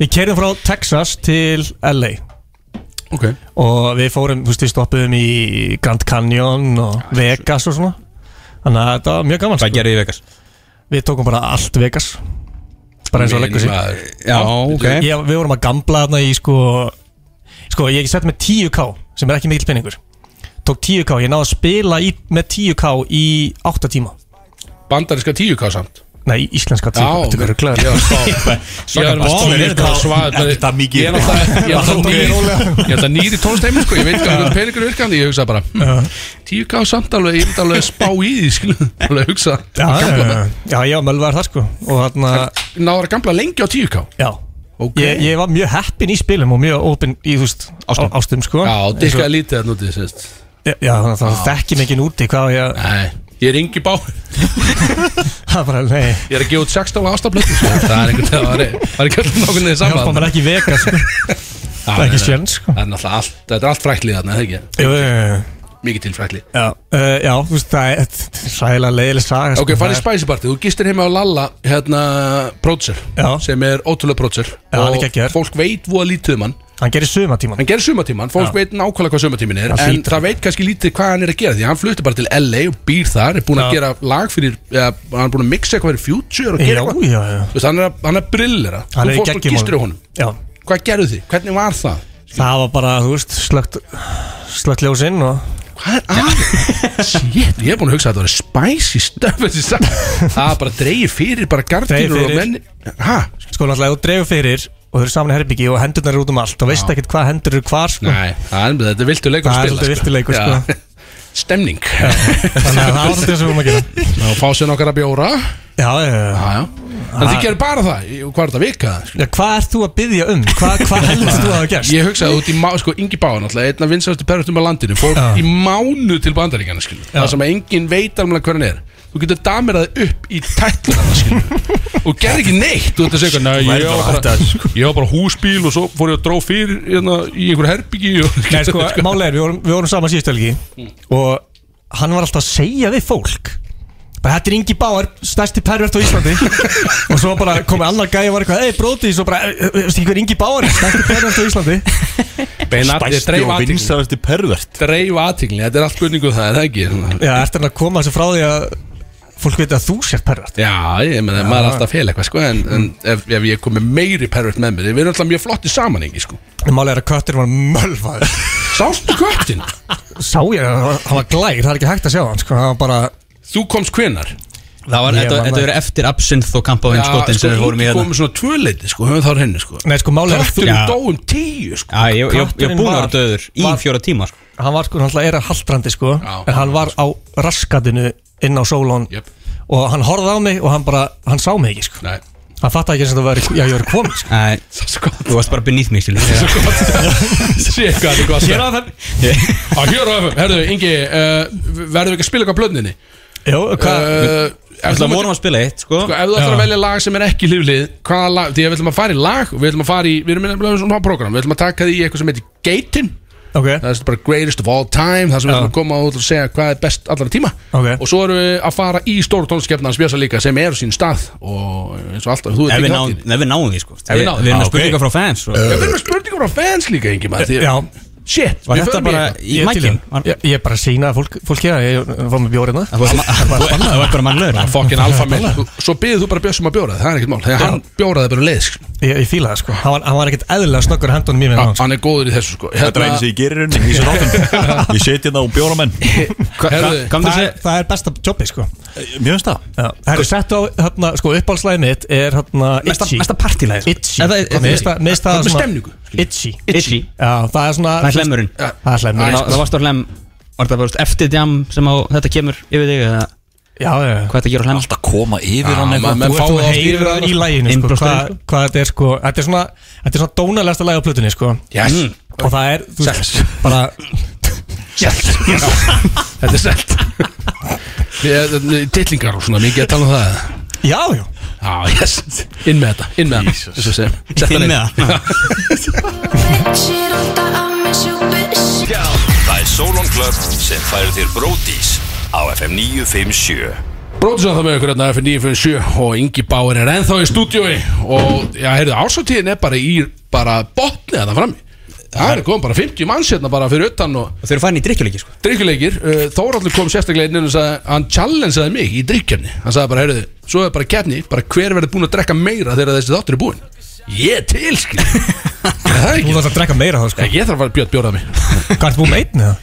Við kerðum frá Texas til LA Ok Og við fórum, þú veist, við stoppuðum í Grand Canyon og Vegas og svona Þannig að þetta var mjög gaman sko. Hvað gerðu í Vegas? Við tókum bara allt Vegas Bara eins og Minn leggur sig maður. Já, ok. ég, Við vorum að gambla þarna í sko Sko, ég sett með 10k sem er ekki mikill peningur Tók 10k, ég náði að spila í, með 10k í 8 tíma Bandaríska 10k samt Nei, íslenska 10k, Já, þetta verður já, glæður spá. Ég er vonur eitthvað svað Þetta Ég er náttúrulega- ég er náttúrulega- ég er alltaf nýri tónstæmi sko Ég veit hvað hvernig peningur virkar en Ég hugsa bara hm, 10k samt alveg Ég myndi alveg spá í því skilu Alveg hugsa Já, já, já, já, mölvaður það sko Og þarna Náður að gamla lengi á 10k Já ég, ég var mjög heppin í spilum og mjög ópin í, þú veist, ástum, á, ástum sko Já, Eins og- dikkaði lítið að nútið sérst Já, já, þannig að það Já. þekki mikið úti hvað á ég Nei, ég er yngi bá Það er bara, nei Ég er að gefa út 16 ástaflötu sko. Það er einhvern veginn Það er- það er ekki alltaf nákvæmlega þið saman Hjálpa maður ekki í Vegas sko. Já, Það er nei, ekki nei. sjens sko Það er náttúrulega allt Þetta er allt fræklið þarna, eða Jú, jú, jú ekki? Mikið til fræklið Já, uh, já, þú veist, það er sæðilega leiðileg saga sko. Ok, farið í Það er- Spicy Party, þú gistir heima á Lalla hérna, pródusser, sem er ótrúlega pródusser Já, hann er og fólk veit voða lítið um hann Hann gerir sumatíman Hann gerir sumatíman, fólk Já. veit nákvæmlega hvað sumatímin er Það en hlýtur. það veit kannski lítið hvað hann er að gera því hann flutti bara til LA og býr þar er búin að Já. gera lag fyrir, eða, hann er búin að mixa eitthvað fyrir Future og Já, gera eitthvað já, já. Þú veist, hann er, að- hann er brillera, þú Hann er í fórst og geggjum gistir á honum. honum Já Hvað gerðu þið? Hvernig var það? Það var bara, þú veist, slögt slögt ljósinn og Hvað er aðeins? Shit, ég er búin að hugsa að það var spicy stuff þessi saga. Það er bara dreigir fyrir bara Dreifir gardínur og fyrir. menni Hæ? Sko náttúrulega ef þú dreifir fyrir og þau eru saman í herbyggi og hendurnar eru út um allt og veist ekkert hvað hendur eru hvar sko. Nei, það er, þetta er viltu leikur Það að er spila svolítið viltu leikur, sko. Já. Stemning Þannig að það var svolítið sem við vorum að gera Ná, fá sér nokkara bjóra Já, já, já, já. En þið gerir bara það, í- hvað er þetta vika? Já, hvað ert þú að byggja um? Hvað hva helst þú að hafa gerst? Ég hugsaði út í má, sko, Ingi Báin alltaf, einn af vinsastu perrustum á landinu Fór Já. í mánu til bandaríkana, skilur Já. Það sem að enginn veit alveg hver hann er Þú getur dameraði upp í tætlana, skilur Og gerði ekki neitt, þú ert að sko." segja Nei, ég Verður var að bara, ég var bara húsbíl og svo fór ég að dró fyrir hérna, í einhver herbyggi og, Nei, sko, málega er, við vorum, við vorum saman síðust helgi og hann var alltaf að segja við fólk bara þetta er Ingi Báar, stærsti pervert á Íslandi og svo bara komið annar gæði og var eitthvað, ei bróti, svo bara "Eh, eh, veistu ekki hver Ingi Báar, er? stærsti pervert á Íslandi Beina, Spæsti og vinsælasti pervert Dreif aðtingli, þetta er allt spurningu það, er það ekki? Svona. Já, ert hann að koma þessu frá því að fólk veit að þú sér pervert Já, ég meina, Já. maður er alltaf að fela eitthvað, sko, en, en ef, ef ég komi meiri pervert með mér, við erum alltaf mjög flotti saman, ekki, sko. En málega er að köttin var mölfaður Sástu köttin? Sá ég, hann hann var glæð, það er ekki hægt að sjá hann sko, hann var bara Þú komst hvenar? Það var, Ég þetta var þetta með- verið eftir Absinthe og Kampavinn sko, skotin sem við fórum í hérna sko, komið svona tvöleiti, sko, höfum þá henni, sko. Nei, sko, málega Kötturinn dó um tíu, sko. Já, ég, ég, ég Kötturinn búin að var- vera döður í var- fjóra tíma sko. Hann var sko, hann er að haldrandi sko En hann var á raskatinu inn á sólón yep. Og hann horfði á mig og hann bara, hann sá mig ekki sko Nei. Hann fattaði ekki sem það var, já ég var komin sko Nei, þú varst bara beneath mig Sér Sér hvað þetta er gott. sko. Hér á FM Á hér á FM, herðu, Ingi, uh, verðum við ekki að spila eitthvað blöndinni? Jó, hvað? Uh, ef þú Það vorum myndir- að spila eitt sko. Sko, ef þú ætlar að velja lag sem er ekki hliflið hvaða lag, því að við ætlum að fara í lag og við ætlum að fara í, við erum með með svona program við ætlum að taka því í eitthvað sem heitir Gatin Ok. það er bara greatest of all time það sem við ætlum að koma út og segja hvað er best allara tíma Ok. og svo erum við að fara í stóru tónskefna hans Björsa líka sem er á sín stað og eins og alltaf, þú Ef ert við ekki náum- hátíð ef við náum því sko. Ef við Ah, Við náum við erum því. að Já, spurninga frá fans sko, og- við erum með spurningar á fans líka Ingi maður, því- Já. shit, við Var þetta förum í bara eitthvað. í mækinn? Ég, ég bara sínaði fólk, fólki að ég var með bjórið það Það var bara mannlegur Það er fokkin alfa minn Svo byggðu þú bara Bjössum að bjóra það er ekkert mál Þegar hann bjóraði bara um leið sko. Ég, ég fílaði það sko, hann var, hann var ekkert eðlilega snöggur í hendunum í mér Já, hann, sko. Hann er góður í þessu sko Þetta er einu sem ég gerir rauninni í þessu þáttum Ég seti hérna á bjóramenn Herðu, það, er- það er besta jobbi sko Mjög veist það Já, það er sett á, hérna, sko, uppáhaldslæðið mitt er hérna Mesta- mesta partílagið, sko. Itchy Eða- eða- Mér finnst það- mér finnst Það það er með svona- stemningu. Itchy Itchy Já, það er svona Það er hlemmurinn Já, Það er hlemmurinn sko. Það varst á hlem Var það bara eftir djam sem á, þetta kemur yfir þig eða Já, já Hvað þetta gerir á hlem Alltaf koma Já, maður- maður fáið oft yfir hann í læginu sko, hvað, Innbrosturinn hvað þetta er sko Þetta er svona Þetta er svona dónalegasta læg á plötunni sko Yes. Mm. Og það er þú, Selt. Bara Selt Þetta er selt Tillingar og svona mikið að tala um það Já, já Já, yes Inn með þetta, inn með hann Þessu sem Sett hann Inn með hann Það er Solon Club sem færir þér bródís á FM 957 Bróðsson það með ykkur hérna F957 og Ingi Báir er ennþá í stúdiói og já, heyrðu, ásatíðin er bara í bara botnið þetta frammi Það er komið bara 50 manns hérna bara fyrir utan og Þau eru farin í drikkjuleiki sko Dryggjuleikir, uh, Þóraldur kom sérstaklega inn og sagði, hann challengeaði mig í dryggjarni Hann sagði bara, heyrðu, svo er bara keppni bara hver verður búin að drekka meira þegar þessi þáttur er búin Ég er til, skil Það er ekki Þú þarf að drekka meira þá sko Ég þarf að fara bjóð bjóðað mig Hvað ert búið með einn eða?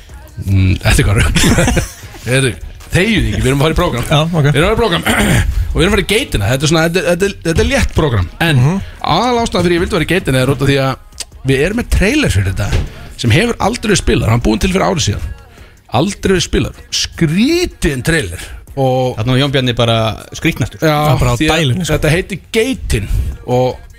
Mm, Þetta er hvað rögg Heyrðu, Þegiðu ekki, við erum að fara í prógram Já, ok Við erum að fara í prógram og við erum að fara í geitina Þetta er, svona, þetta, þetta, er- þetta er létt prógram En mm ástæðan fyrir ég vildi vera í geitina er út af því að við erum með trailer fyrir þetta sem hefur aldrei spilar, hann búinn til fyrir árið síðan Aldrei spilar Skrítin trailer og Þannig að Jón Bjarni bara skrítnastur Já, því að sko. Þetta heitir geitin og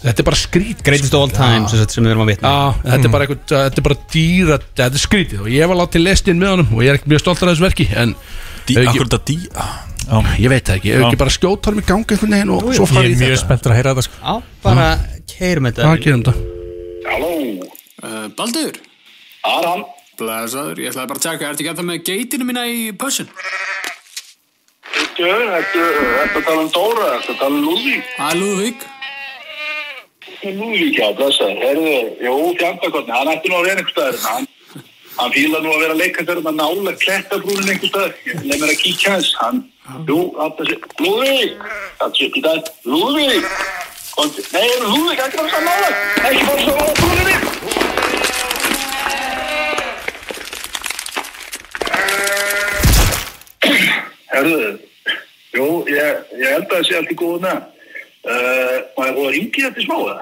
þetta er bara skrít Greatest of all time sem, sagt, sem við erum að vitna Já, þetta Mm. er bara eitthvað, þetta er bara dýra þetta er skrítið og ég var látið lestin með honum og ég er ekki mjög stoltur af þessu verki en Dí- Ah, af hverju þetta dý ég veit það ekki, ef Já. ekki bara skjóta honum í gangi einhvern veginn og svo Ég farið í er mjög þetta spenntur að heyra þetta sko Já, bara keirum þetta hvað gerum þetta? Halló uh, Baldur Aran Blesaður, ég ætlaði bara að taka, ertu ekki að það með geitinu mína í pössun? Þetta er að tala um Dóra, þetta er að tala um Lúðvík. Það er Lúðvík. Lúðvík, já, blessa. Herðu, jú, fjandakorni, hann ætti nú að vera einhver staðar. Hann, hann fílar nú að vera að leika þegar maður nála klettabrúnin einhver staðar. Ég Leif mér að kíkja hans. Hann, jú, þetta sé, Lúðvík, þetta sé ekki það, Lúðvík. Og, nei, Lúðvík, ekki bara svo nála, ekki bara svo nála brúninni. Herðu, jú, ég, ég held að það sé allt í góðuna. Uh, maður er búið að ringi þetta í smáða.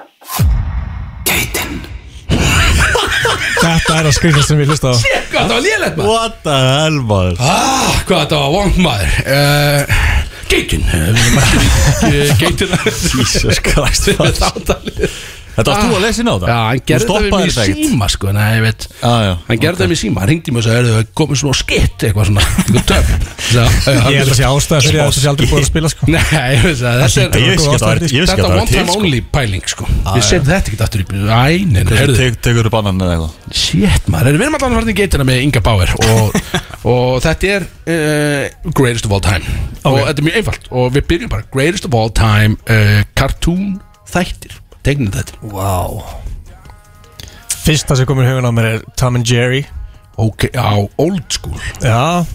Þetta er að skrifa sem ég hlusta á Shit, hvað þetta var lélegt maður What the hell maður ah, hvað þetta var vond maður uh, geitin eh, við mættum í, eh, geitina Jesus Christ, Við maður. þáttalið. Þetta varst þú að lesa inn á það? Já, hann Þú gerði þetta við stoppaði mig í þetta ekkert? síma sko, nei, ég veit Já, já Hann gerði það mér síma, hann ringdi mér og sagði, "Heyrðu, komið svona skitt eitthvað svona, eitthvað töf Ég held að sé ástæða fyrir að þessu sé aldrei búið að spila sko Nei, ég veist að Það þetta hlýtur að er Þetta vera góð ástæða. Ég vissi ekki að það er var one time til, sko. only pæling sko Já, Við setjum þetta ekki aftur í byrju Æ, nei, nei, Hversu herðu tek- Tekur upp annan eða eitthvað Shit maður, Heyrðu, við erum allan að fara í geitina með Inga Bauer og, og þetta er uh, Greatest of all time Og þetta er mjög einfalt Og við byrjum bara Greatest of all time uh, Cartoon þættir Tegnir þetta Wow Fyrsta sem komur í hugun á mér er Tom and Jerry Ok, á old school Já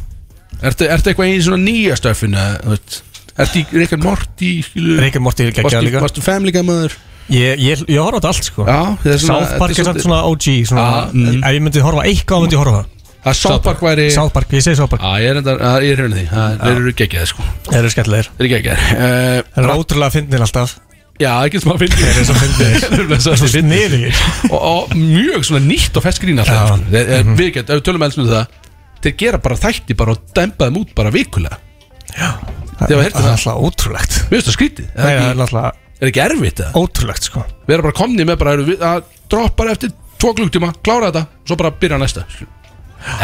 Ertu, ertu eitthvað í svona nýja stöfin Ertu í Rick and Morty Rick and Morty er geggjaður líka. Varstu family guy maður Ég, ég, ég horfa á þetta allt sko Já, þetta er svona- South þetta Park er er svolítið- samt svona OG svona, Ah, mm. Ef ég myndi horfa á eitthvað þá myndi ég horfa á Að South Park væri South Park, ég segi South Park Já, ég er reyndar, að- ég er hérna því Það- Þeir eru geggjaði sko Þeir eru skemmtilegir Þeir eru geggjaði Þeir eru ótrúlega fyndnir alltaf Eh, Já, ekki sem að fyndi Þeir eru svo fyndnir. Þeir Svo sniðugir. og, og mjög svona nýtt og fersk grín alltaf sko. Þeir- Mhm. þeir- Við getum, ef við tölum elsnum það Þeir gera bara þætti bara og dæmba þeim út bara vikulega Þeir hafa heyrt Það er þetta alltaf ótrúlegt Mér finnst það skrítið Nei, það er Er alltaf það ekki erfitt það? ótrúlegt sko Við erum bara komni með bara eru við- að droppa bara eftir tvo klukktíma, klára þetta Svo bara byrja næsta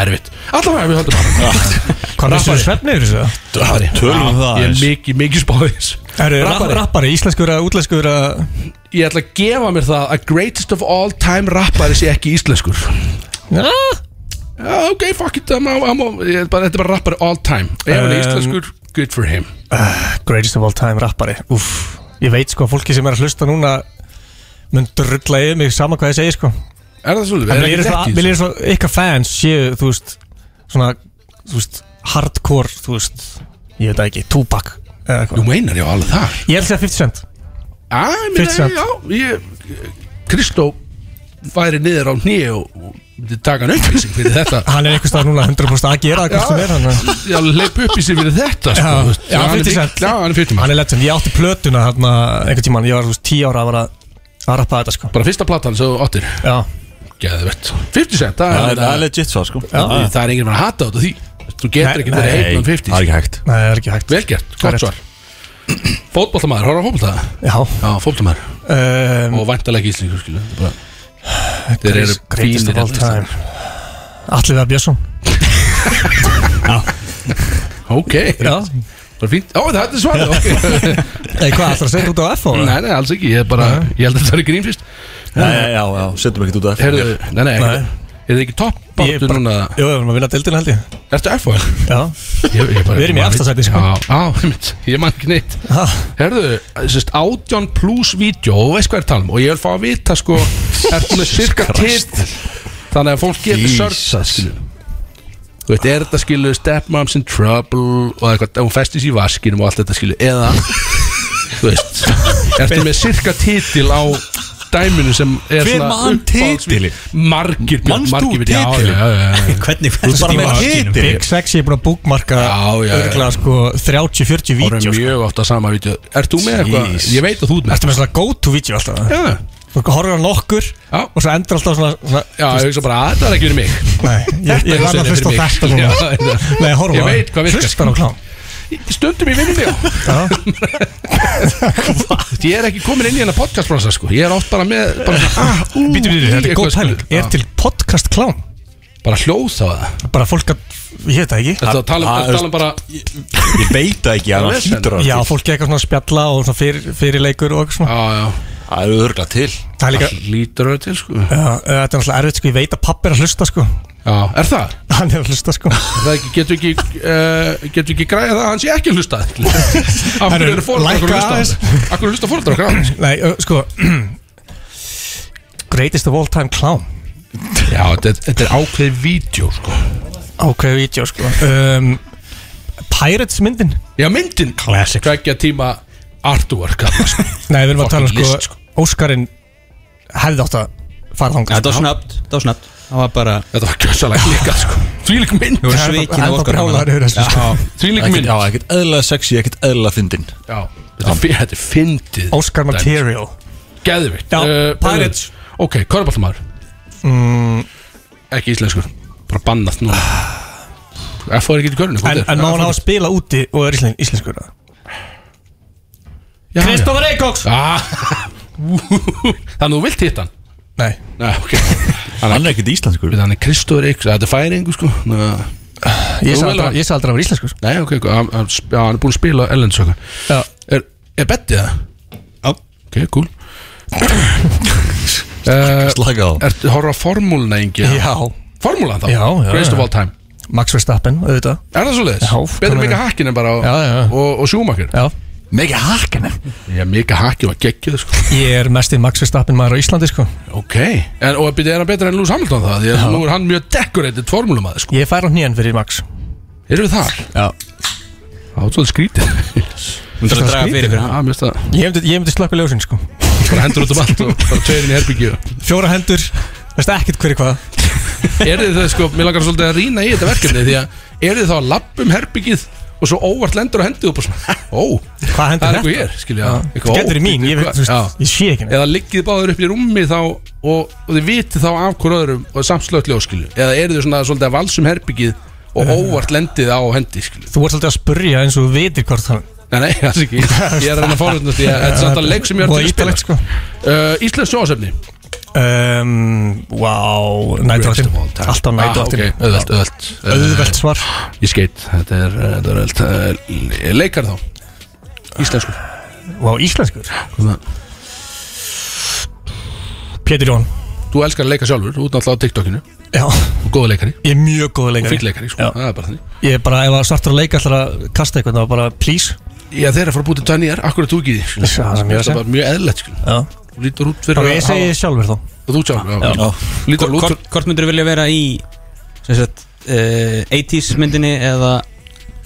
Erfitt Alltaf að við höldum Hvað er Rappari. þessu svefnir þessu? bara Tölum um Ég það er aðeins. mikið, mikið spáðis Eru rappari. rappari, íslenskur að útlenskur að Ég ætla að gefa mér það að greatest of all time rappari sé ekki íslenskur Já, Já, ok, fuck it I'm, I'm, I'm, ég er bara, Þetta er bara rappari all time Ef hann er Um, íslenskur, good for him Greatest of all time rappari Úff, ég veit sko að fólki sem er að hlusta núna mun drulla yfir mig sama hvað ég segi sko Er það svolítið? En Er ekki mér er svo, þekkt í mér er þessu? svo ykkar fans séu, þú veist, svona, þú veist, hardcore, þú veist, ég veit það ekki, Tupac eða Þú eitthvað. meinar já alveg það Ég held að segja 50 Cent. Já, ég meina, 50 já, ég Kristó væri niður á hnið og og myndi taka hann upp í sig fyrir þetta Hann er einhver stað núna 100% að gera hvað sem er hann. að- Já, leip upp í sig fyrir þetta sko, Já, þú veist. já, hann er 50 mikil- Cent. Já, hann er 50 Hann er legend, ég átti plötuna hérna einhvern tíman, ég var þú veist 10 ára að vera að rappa þetta sko Bara fyrsta platan sem þú áttir Já Geðvett 50 cent, það, Það er- það er legit svo sko Já, Það er enginn að hata þetta því Þú getur ekki verið heitn um 50 það er ekki hægt Nei, það er ekki hægt Vel gert, gott svar Fótboltamaður, horfður á fótbolta? Já Já, fótboltamaður um, Og væntalega ekki íslingur, skilu Þetta er bara- Þeir eru Greatest- Greatest of all fínir time Allir það Björnsson Ok Já Bara fínt Ó, þetta er svarið, ok Nei, hvað, ætlarðu að setja út á F á það? Nei, nei, alls ekki Ég er bara Ég held að þetta er grín fyrst Nei, já, já, já, setjum ekki út af Herðu, nei, nei Er þið ekki topp Ég er Báttu bara- núna Jú, við erum að vinna dildina held ég Ertu F.O. Já Ég- ég bara- Við erum í maður efsta veit- sæti, sko. Já, á, einmitt. ég man ekki neitt Herðu, sérst, átján pluss vídeo og þú veist hvað er talum og ég vil fá að vita sko, ertu með cirka Christ. titil þannig að fólk getur Jesus. sörg Þú veit, er þetta skilu Stepmoms in Trouble og eitthvað, hún festist í vaskinum og allt þetta skilu eða, þú veist ertu með cirka titil á dæminu sem er Hver svona man uppáhalds- titilinn? Margir Björn, Manst þú margir Björn, já, titilinn? já, já, já, já. Hvernig Þú ert bara með titil. Big Sexy er búin að búkmarka já, já. örgulega sko 30-40 Það vídeo eru sko. mjög ofta sama vídeo Ert þú með eitthvað? Jeez. Ég veit að þú ert með Ertu með svona go to vídeo alltaf Já. Þú horfir á nokkur Já. og svo endur alltaf svona, svona Já, ég hugsa bara að þetta er ekki verið mig Nei, ég, Þetta ég er verð fyrir að hlusta á mig. þetta Já, núna þetta- Nei, horfa Ég veit hvað virkar, Hlustar á sko. klám Stundum í vinnunni já. Ég er ekki komin inn í hennar podcastbransa sko. Ég er oft bara með bara, svona, ah, ú, Býtu, býtu, í þetta er eitthvað, góð sko. pæling Er Já. til podcast klám? Bara hljóð þá það Bara fólk að, ég veit það ekki Þetta tala um- Ha- ertu að tala um bara Ég veit það ekki, hann Það er vesen. hlýtur að Já, vera til. fólk er eitthvað svona að spjalla og svona fyrir, fyrirleikur og eitthvað svona Já, já Það eru örgla til Það er líka, Lítur það til sko já, uh, þetta er náttúrulega erfitt sko, ég veit að pappi er að hlusta sko Já, er það? Hann er að hlusta sko Er það ekki, getur ekki, uh, getur ekki græða það að hans ég ekki að hlusta Af hverju Herru, eru fóreldrar okkur lækka að aðeins. hlusta Af hverju hlusta fóreldrar okkur á hans Nei, uh, sko Greatest of all time klám Já, þetta, er- þetta er ákveðið vídeo sko Ákveðu vídeo sko um, Pirates myndin Já, myndin Classic. Tveggja tíma artwork þarna, sko. Nei, við erum að tala um Fucking sko, list, sko. Óskarinn hefði átt að Já, fara sko. þangast Þetta var snabbt, þetta var snabbt Það var bara Þetta var gjössalega líka sko. Þvílík mynd Þú voru svikin af Óskar brjálaður yfir þessu, sko. Þvílík Ekkert- mynd Já, ekkert eðla sexy, ekkert eðla fyndin Já, þetta er fi- þetta er fyndið Óskar sko. material Geðvitt Já, Pirates. Eh, Ok, Körbáltamæður mm, Ekki íslenskur Bara bannað núna F.O. er ekki í körnu En, en má hann á að spila úti og er íslen, íslenskur eða? Kristoffer Eikóks Ah. Þannig að þú vilt hitta hann Nei, Nei, ok Hann Hann er ekkert íslenskur er- hann er Kristóður Eikos Þetta er færingu sko Ná- Þú ég sagði vel aldrei, að- ég sagði aldrei að vera íslenskur sko. Nei, ok, ok Hann hann sp- já, hann er búin að spila Ellensöka Já, Er, er bettið það? Já. Ok, cool uh, Slaka á Ertu horfa á formúluna engi? já, Formúlan þá? Já, já, Greatest of já. all time Max Verstappen, auðvitað Er það svo leiðis? Já, Betur hvað mikið meinar? hakkinn en bara á, Já, já. og, og sjúmakir Já, Mega harkinn Já, mikið hakkinn var geggið sko. ég er mest í Max Verstappen maður á Íslandi sko Ok en, Og byrja, er hann betur en Lewis Hamilton það? Því að nú er hann mjög decorated formúlumæður sko. Ég fær á hnýjan fyrir Max Erum við þar? Já Það er svolítið skrítið Þú ætlar að draga fyrir fyrir hann Já, mér finnst það Ég myndi, ég myndi slökka ljósin sko Bara hendur út um allt og bara tveirinn í herbyggju Fjóra hendur, veist ekkert hverju hvað Er þið það sko, mér langar svolítið að rýna í þetta verkefni Því að er þið þá að labba um herbyggið Og svo óvart lendur á hendið og bara svona Ó, Hvað hendur það er þetta? eitthvað hér, skilja Þú getur í mín, ég, veit, þú veist, ég sé ekki neitt eða liggið báður upp í rúmi þá og, og þið vitið þá af hver öðrum og samt slögt ljóskilu eða eru þið svona svolítið að valsum herbyggið og óvart lendið á hendi skilu Þú ert svolítið að spurja eins og þú veitir hvort hann nei, nei, það er ekki ég er að reyna að fórhundast ég þetta er samt að leik sem ég er Og til að spila ítalegt, sko uh, Íslands sjóasefni Um, wow, nættvaktin Alltaf nættvaktin ah, ok, auðvelt, auðvelt Auðvelt svar Uh, ég skeitt þetta er, uh, þetta er auðvelt uh, leikar þá íslenskur Wow, íslenskur Hvað er það? Pétur Jón þú elskar að leika sjálfur þú ert náttúrulega á TikTokinu Já, og góða leikari ég er mjög góð og leikari fýll leikari sko Já. það er bara þannig Ég er bara, ef það svartur að leika ætlar að kasta eitthvað þá bara please Já, þeir eru að fara að búta tvær nýjar, akkur er þú ekki í því skilur? Það Það er sem ég er að er segja. bara mjög eðlert sko. Já Þú lítur út fyrir Ok, ég segi sjálfur þá Og þú sjálf, já, já. Þú lítur út fyrir Hvort hvort myndirðu vilja vera í sem sagt, uh, 80s myndinni eða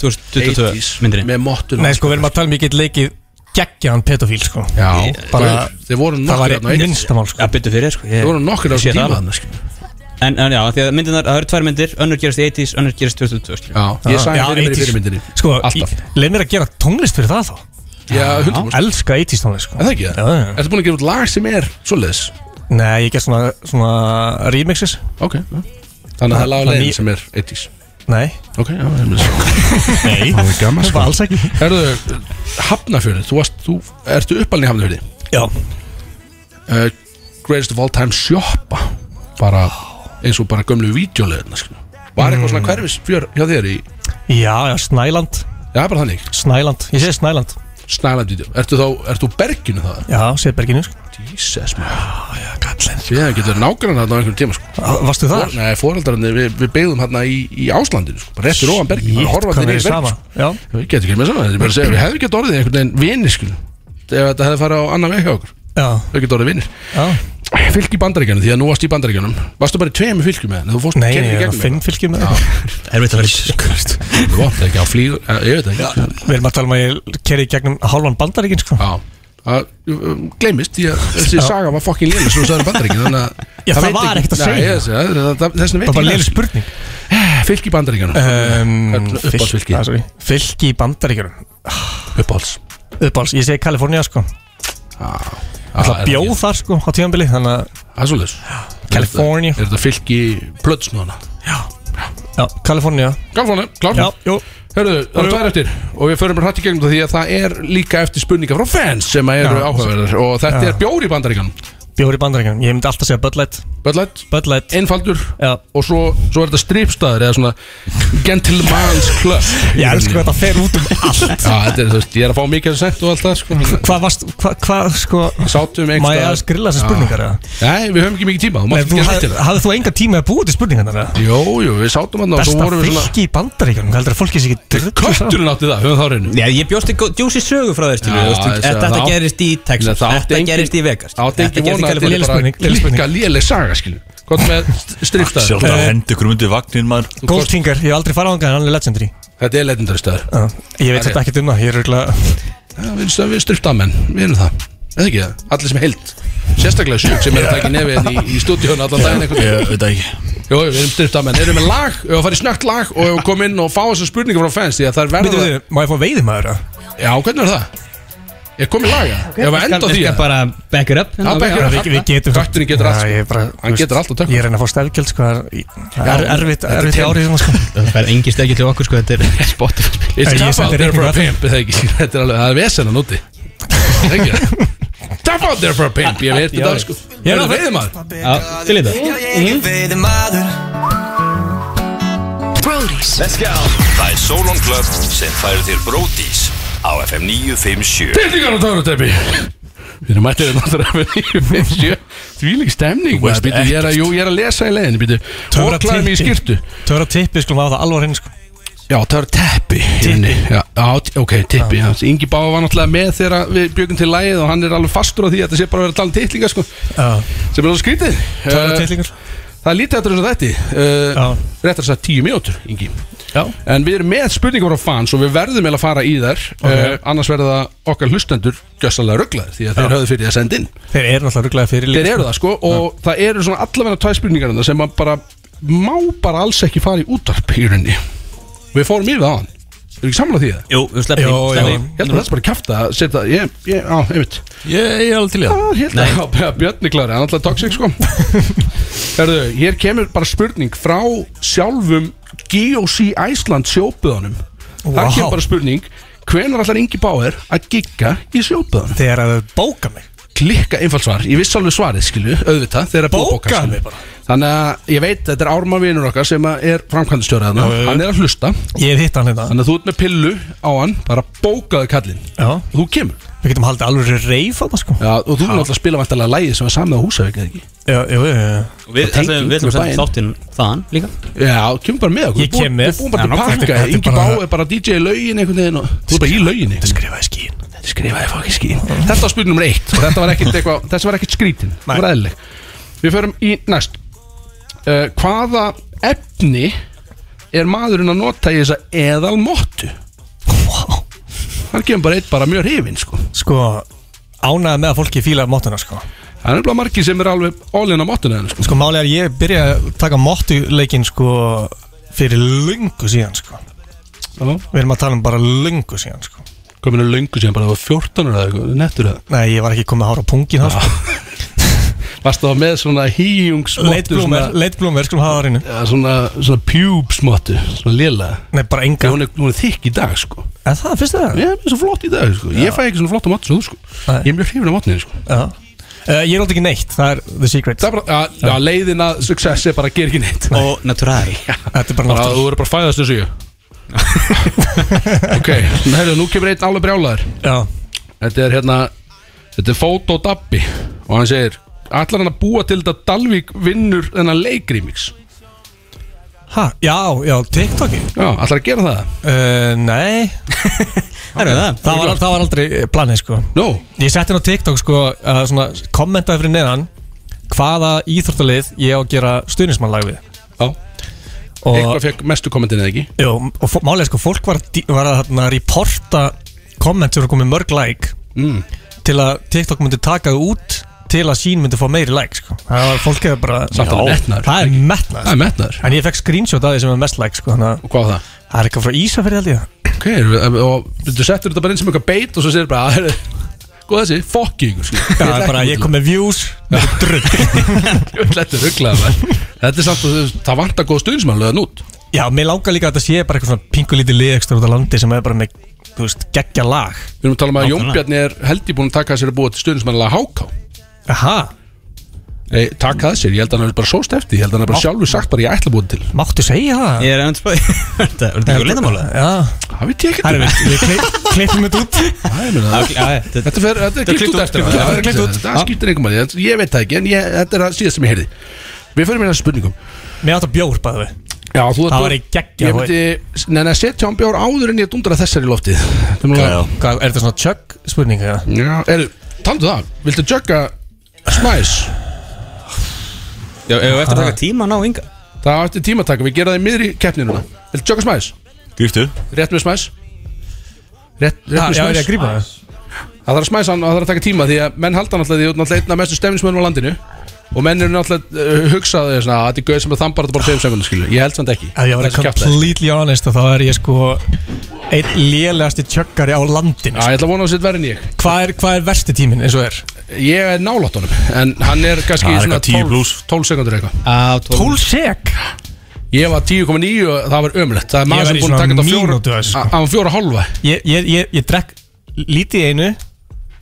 2022 myndinni Með mottun Nei, sko, við erum að tala um ég get leikið geggjaðan pedofíl, sko Já, bara bara- Þeir voru nokkur Það var þarna á eitt minnstamál, sko Já, byttu fyrir sko Þeir voru nokkur á Ég sé þessum það tíma alveg. þarna, sko. En, en já, því að myndirnar, það eru tvær myndir Önnur gerast í 80s, önnur gerast 2022 skilur. Já, ég Já, sagði fyrir mér í 80s. fyrirmyndinni Sko, Alltaf. leið mér að gera tónlist fyrir það þá Já, 100%. Elska 80s tónlist sko. Er það ekki það? Já, já. Ertu búin að gefa út lag sem er svoleiðis? Nei, ég get svona, svona remixes Ok, já. Þannig að það er lag á leiðin sem er 80s Nei Ok, já, það er mjög svo Nei. Það er gaman sko Bara alls ekki. Erðu, Hafnafjörði, þú varst, þú, ertu uppalinn í Hafnafjörði Já uh, Greatest of all time sjoppa Bara, eins og bara gömlu vídeoleðina sko Var eitthvað Mm. svona hverfisfjör hjá þér í Já, já, Snæland Já, bara þannig Snæland, ég segi Snæland Snæland vídeo Ertu þá, ertu úr berginu það? Já, Sýðberginu sko. Jesus maður Já, já, kallinn Við hefum getur nágrann þarna á einhverjum tíma sko Á, Ah, varstu þar? For- Nei, foreldrarnir, við, við beigðum þarna í, í Áslandinu sko bara Rétt fyrir ofan berginu, bara horfandi niður í berginu sko. Já Við getum ekki með saman, þetta er bara að segja Við hefum getur orðið einhvern veginn vinir sko Ef þetta hefði farið á annan veg hjá okkur Já Við getur orðið vinir Já Fylg í bandaríkjanum, því að nú varst í bandaríkjanum Varstu bara í tveimur fylgjum með henni? Þú fórst Nei, keyrðir í ég er á gegnum fimm þetta? fylgjum með Er veit að vera Þú vant ekki á flýgur, eh, ég veit það ekki Við erum að tala um að ég kerði gegnum hálfan bandaríkin sko. Já að, um, gleymist því að þessi Já. saga var fokkin lélis og þú sagði bandaríkin þannig að Já, það veit var ekkert að Nei, segja. ég, það, það, það, þessna veit Það var bara ég léleg næst. spurning. fylg í bandaríkjanum um, uppáhalds fylki? ah, sorry. Fylki í bandaríkjörnum Uppáhalds Uppáhalds, ég segi Kalifornía sko Það er ah, bjóð þar sko á tímanbili Þannig að Aðsólis California. Er þetta fylg í plötsnóðana? Já, Kalifornía Galfónu, klár Já, jú Hörðu, það er Jú. tvær eftir og við förum bara hrætt í gegnum það því að það er líka eftir spurningar frá fans sem að eru Já. áhugaverðar og þetta Já. er bjór í bandaríkjanum Bjóður í bandaríkjörnum, ég myndi alltaf segja Bud Light Bud Light, Bud Light einfaldur Já. og svo, svo er þetta stripstaður eða svona gentleman's club Ég elsku hvað þetta fer út um allt Já, þetta er, þú veist, ég er að fá mikið að senda og allt það, sko Hvað varst, hvað, hvað sko Sátum einhvers Má ég staðar- aðeins grilla þessar Já. spurningar eða? Nei, við höfum ekki mikið tíma, þú Nei, mátt þú ekki að hafði, hættir það hafði þú enga tíma að búa til spurningarnar eða? Jú, jú, við sátum hann og svo Besta vorum við svona fylki í bandaríkjörnum, heldur að fólki sé ekki drullu saman? Kötturinn átti það, höfum það á reynu Já, ég bjóst í gó- djúsi sögu frá þér, Já, skilur ég segi Þetta það þetta átt- gerist í Texas, Þetta átti þetta engin- gerist í Vegas Átti Þetta ekki gerist í vona að Kaliforníu. þetta er bara klikka léleg saga, skilju Hvort með stripstaður Sjálf það hendi ykkur undir vagnin maður Goldfinger, ég hef aldrei farað á hann, hann er legendary Þetta er legendary staður Já, Ég veit Það er- þetta ekkert um það, ég er örgulega Já, Við erum stöð- við stripstamenn, við erum það Eða ekki það, allir sem heild Sérstaklega sjúk sem er að taka nefið hérna í, í stúdíun allan daginn einhvern Ég veginn veit það ekki Jó, við erum stripstamenn, erum við með lag, ef að fara í snögt lag og ef við komum inn og fá þessar spurningar frá fans því að það er Býtu verða við, má ég fá veiði maður það? Já, hvernig er það? Ég kom í laga Ég var enda á því Ég skal bara back it up Já, back it up. Við, við getum Kötturinn getur allt, Já, sko. ég er bara, Hann getur allt á tökum. Ég er að reyna að fá stefgjöld sko það er- Það er Já, erfitt, þetta er erfitt í tennis. árið sem sko Það er engin stekki til okkur, sko, þetta er Spotify It's Ég tough out sendi there for a reikningum öllum. pimp er Það ekki, þetta er alveg, það er vesennan úti Það er ekki það? Tough out there for a pimp, ég veit þetta sko Ég er að veiði maður Já, til í þetta Brody's Það er Solon Club sem færir þér Bródís á FM 957 Pillingar og töruteppi Við erum hérna mættið náttúrulega með 957 Því lík stemning Þú veist maður, býtu, ég, er að, jú, ég er að lesa í leiðin býtu. Töfra Óklaði mig í tippi. skýrtu Töfra tippi skulum hafa það alvar hinn sko Já, töruteppi Tippi Já, á, t- ok, tippi já. Ingi Báa var náttúrulega með þegar við bjögum til lagið og hann er alveg fastur á því að þetta sé bara að vera að tala um titlinga sko sem er alveg skrítið Töfra Eh, tipplingur Það er lítið eftir eins og þetta Já. uh, Réttar þess að tíu mínútur, Ingi Já En við erum með spurningum frá fans og við verðum eiginlega að fara í þær okay. Annars verða okkar hlustendur gjössalega rugglaðir Því að þeir höfðu fyrir því að senda inn Þeir eru náttúrulega rugglega fyrir Þeir eru það sko og það eru svona allavega tvær spurningar þarna sem að bara má bara alls ekki fara í útarp í rauninni Við fórum yfir það á hann Eru ekki samlega því það? Jú, við sleppum Jó, því, jó. sleppum því. Ég held að þetta bara kæfta að setja Ég, ég, á, einmitt Ég, ég er alveg til í það Já, Ég held að það var Björn er klári, hann er alltaf toxic sko Herðu, hér kemur bara spurning frá sjálfum GOC Æsland sjóböðunum Það Vá. kemur bara spurning Hvenær allar Ingi Báer að gigga í sjóböðunum? Þegar að þau bóka mig Klikka einfalt svar, ég viss alveg svarið skilu, auðvitað Þegar að Bókaðu bóka mig skilu bara. Þannig að ég veit, þetta er Ármann vinur okkar sem að er framkvæmdastjórað Já, já, já. Hann er að hlusta Ég hef hitt hann hérna Þannig að þú ert með pillu á hann, bara bókaðu kallinn Já og Þú kemur Við getum haldið alveg reif á það sko Já, og þú er náttúrulega að spila vantarlega lægið sem var samið á Húsavík eða ekki Já, jú, jú, jú Við Það tengir ætlum- við ætlum að bæinn. senda þáttinn þaðan líka Já, kemur bara með okkur Ég kem með. Við búum bara Já, til nákvæmlega. pakka Þetta er Ingi Bá bara- er bara DJ í laugin einhvern veginn og Þú er bara í lauginni Þetta skrifaði skín Skrifaði fokkin skín Þetta var spurning nummer eitt og þetta var ekkert eitthvað Þessi var ekkert skrítin Það var eðlileg Við förum í næst uh, Hvaða efni er maðurinn að nota í þessa eðalmottu? Vá. Hann kemur bara eitt bara mjög hrifinn sko Sko Ánæði með að fólki fíla mótuna sko Það er nefnilega margir sem er alveg all in á mottuna henni sko Sko málið er að ég byrja að taka mótuleikin sko Fyrir lungu síðan sko Já. Við erum að tala um bara lungu síðan sko hvað minna löngu síðan bara það var 14 ára eða eitthvað, nettur það Nei, ég var ekki komið að hára pungin hans sko. Varst það með svona hýjungsmottu Leitblómer, leitblómer, skulum hafa það á hreinu ja, svona, svona pjúbsmottu, svona lila Nei, bara enga Hún er, hún er þykk í dag, sko En það, finnst þér það? Ég er svo flott í dag, sko Ég fæ ekki svona flotta mottu sem þú, sko Ég er mjög hrifin af mottunni, sko Já Uh, ég er alltaf ekki neitt, það er the secret Það er bara, já, já leiðin að success er bara að gera ekki neitt Og natural Þetta Bara er bara að þú náttúrulega verður bara að fæðast þessu ég Ok, herru, nú kemur einn alveg brjálaður Já Þetta er hérna Þetta er Fótó Dabbi Og hann segir Ætlar hann að búa til þetta að Dalvík vinnur þennan leikrýmix Ha, já, já, TikToki Já, ætlar að gera það Uh, nei Það er það. var, það var aldrei eh, planið sko no. Ég setti hann á TikTok sko að svona kommentaði fyrir neðan hvaða íþróttalið ég á að gera stuðnismannlag við Já Og- Eitthvað fekk mestu kommentin eða ekki Jó, og fó- málið er sko, fólk var, að dí- var að hérna, reporta komment sem voru komið mörg like mm. til að TikTok myndi taka þau út til að sín myndi fá meiri like sko. það var fólk eða bara Samt alveg Já, metnaður. það er metnaður Það er metnaður. en ég fekk screenshot af því sem er mest like sko, og hvað var það? það er eitthvað frá Ísafirði held ég Ok, og- og þú settur þetta bara inn sem eitthvað beit Og svo segir bara "Herru, Góð þessi, fokk í ykkur sko. Já, það er bara, ég kom með views með drugg Þetta er rugglega um Þetta er samt að þú- það vantar góð stuðnismann Löðan út Já, mér langar líka að þetta sé bara eitthvað svona pingulítið liðekstur út á landi sem er bara með, þú veist, geggja lag Við erum að tala um að Jón Bjarni er held ég búin að taka að sér að búa til stuðnismannlega háká Aha, Nei, taka að sér, ég held að hann er bara sóst eftir Ég held að hann er bara Má- sjálfur sagt bara ég ætla að búa til máttu segja það? Ég er enn spöði Þetta er ekki leinamála Já, Það veit ég ekki það er við, við klip, klippum þetta út Æ, ég meina, það- Þetta fer- þetta er klipt út eftir á. Þetta er klipt Það út það skiptir einhver maður, ég veit það ekki En ég, þetta er það síðast sem ég heyrði Við fyrir mér að spurningum Mér átt að bjór, bæði við Já, þú Það var í geggja, Ég myndi, neina, setja án bjór áður en ég dundra þessari í loftið Þetta er Já, mjög- Hvað, er þetta svona chug spurning eða? Já, eru, taldu það Viltu jugga smæs? Já, ef við eftir að taka tíma að ná ynga Það á eftir tímataka, við gera það í miðri keppninuna Viltu jugga smæs? Gríftu Rétt með smæs? Rétt, rétt Já, með já, er ég smæs? að grípa það? Það þarf að smæsa hann og það þarf að taka tíma því að menn halda hann alltaf því að þú ert náttúrulega einn af mestu stefnismönnum á landinu og menn eru náttúrulega uh, hugsaði svona að þetta er gauð sem að þambar þetta bara 5 sekundar skilju ég held samt ekki Ef ég var Þessi kjaftaði. completely honest þá er ég sko einn lélegasti chuggari á landinu sko. Já, ég ætla að vona að þetta verði en ég Hvað er, hvað er versti tíminn eins og er? ég er nálátt honum en hann er kannski Það er svona eitthvað 10 12, 12 sekundur eitthvað Á, 12 sek? ég var 10,9 og það var ömulegt það er Ég maður var sem í búin að taka svona þetta á fjóra- mínútu að þessu, sko. á- á fjóra hálfa Ég, ég, ég, ég drekk lítið í einu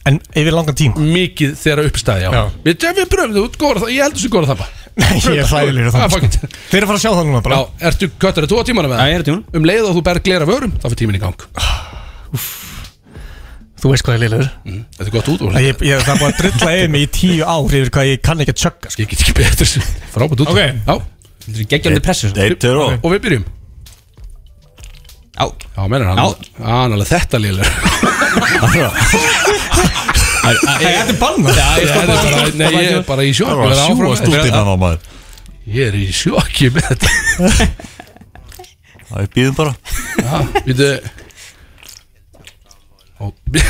en yfir langan tíma mikið þegar uppstæði já. Já. Við, við pröfum þú, góra, það- ég heldur sem góra það bara Nei, ég er hlægilegur á Ah, það fuck sko. it. Þeir eru að fara að sjá það núna bara Já, ertu, Köttur, er þú á tímanum með Já, ég er á tímanum. Um leið og þú berð glera vörum, þá fyrir tíminn í gang Ah, Þú veist hvað ég er lélegur Mm, Þetta er gott út úr Ég, ég það er búin að drulla yfir mig í tíu ár yfir hvað ég kann ekki að chugga sko. Ég get ekki betur Frábært út Ok. Já Þetta er geggjandi pressu svona. Eitt er og Og við byrjum Á, Já, menar hann Já. Hann alveg þetta lélur Þetta er banna Já, ég stoppa Nei, ég er bara í Það sjokk Ég var að er áfram sjúast út innan á maður Ég er í sjokki með þetta Það er býðum bara Já, Býtu Ó, bí-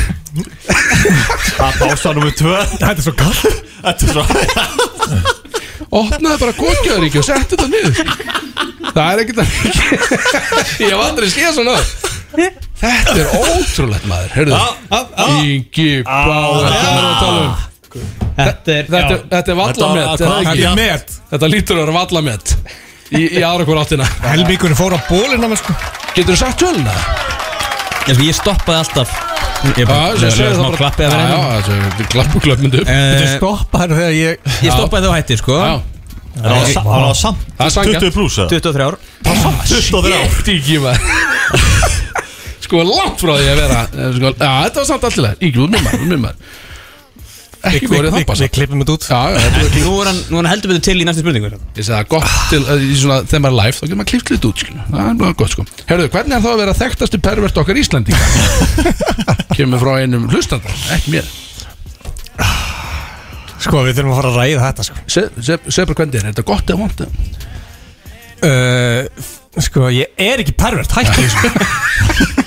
Það pása nummið tvö Þetta er svo kall Þetta er svo Opnaði bara kokjaður ekki og setti þetta niður Það er ekkert að Ég hef aldrei séð svona áður. Þetta er ótrúlegt maður Hörðu Ingi Báður Þetta er um. Þetta er- ah. þetta er vallamett Þetta var- er það Þetta ekki? er met Þetta lítur að vera vallamett Í, í aðra hver áttina Helmingurinn fór á bólinn á mig sko Getur þú sagt töluna? Ég, sko, ég stoppaði alltaf Ég bara sem segir lögði smá bara- klappið að Já, vera já, þessu klappu klöpmundu Þetta hérna stoppaði þegar ég Ég stoppaði þá hætti sko Eh, Já, Það var sa- það var samt það er sangja 20 pluss eða? 23 ár 23 Þetta ekki maður Sko langt frá því að vera eh, sko, Já, þetta var samt allirlega Ígjum út mimmar, mimmar Ekki Við voru það bara við klippum þetta út Já, já, þetta er Nú er hann, nú er hann heldur betur til í næstu spurningu sko. Ég segi það gott til eh, í svona, Þegar maður er live, þá getur maður klift lítið út skilur. Það er bara gott sko Herðu, hvernig er það að vera þekktastu pervert okkar Íslendinga? Kemur frá einum hlustandar, ekki mér Sko við þurfum að fara að ræða þetta sko Segð se, se bara hvernig er, er þetta gott eða vond? uh, Sko ég er ekki pervert Hætti því sko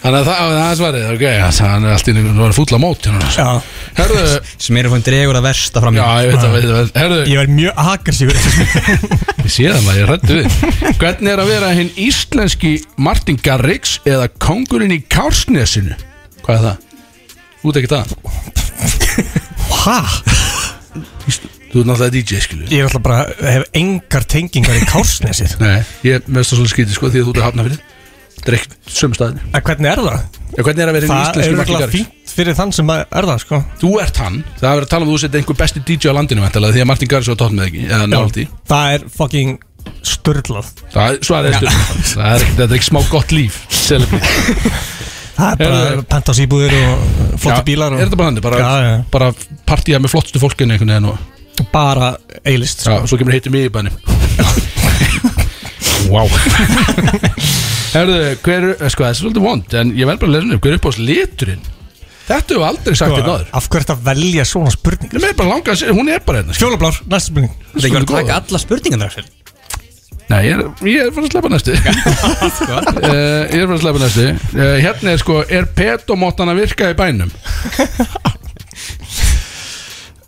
Þannig að það, það er svarið, ok, hann er allt í einu- hann var fúll á mót hérna. Já Herðu- Smerufóin dregur að versta fram í. Já, ég veit það, veit það, veit það. Herðu- Ég var mjög aggressífur Ég sé það maður, ég hrættu við Hvernig er að vera hinn íslenski Martin Garrix eða kongurinn í Kársnesinu? Hvað er það? Þú ert ekki það? Hæ? Þú ert náttúrulega DJ, skilju Ég er alltaf bara, hef engar tengingar í kársnesið Nei, ég mest að svolítið skýti, sko, því að þú ert að hafna fyrir Þetta er ekkert sömu staðin En hvernig er það? Já, hvernig er að vera hinn Það íslenski er Martin ekki Garrix? fínt fyrir þann sem að er það sko Þú ert hann, það er að vera að tala um að þú setja einhver besti DJ á landinu væntanlega, Því að Martin Garrix var tótt með ekki, eða nált í Það er fucking störlað Það er- Svarið er stundum Það er ekkert- þetta er ekki smá gott líf, celebrity Það er bara Heyrðu- pentás íbúðir og uh, flotti bílar og... Er þetta bara þannig, bara, Já, já. bara partíja með flottstu fólkinu einhvern veginn og Bara sko. eilist Já, svo kemur heitir mig í bænum Vá Herðu, hver, sko það er svolítið vond En ég verð bara að lesa um, hver er upp á liturinn Þetta hefur aldrei sagt Sko, þetta áður Af hverju ertu að velja svona spurningar? Mér er bara langað að segja, hún er bara hérna Fjólublár, næsta spurning Það er ekki verið að taka alla spurningan þar Nei, ég er, ég er bara að sleppa næstu Eh, Ég er bara að sleppa næstu Eh, Hérna er sko, er pedomottan að virka í bænum?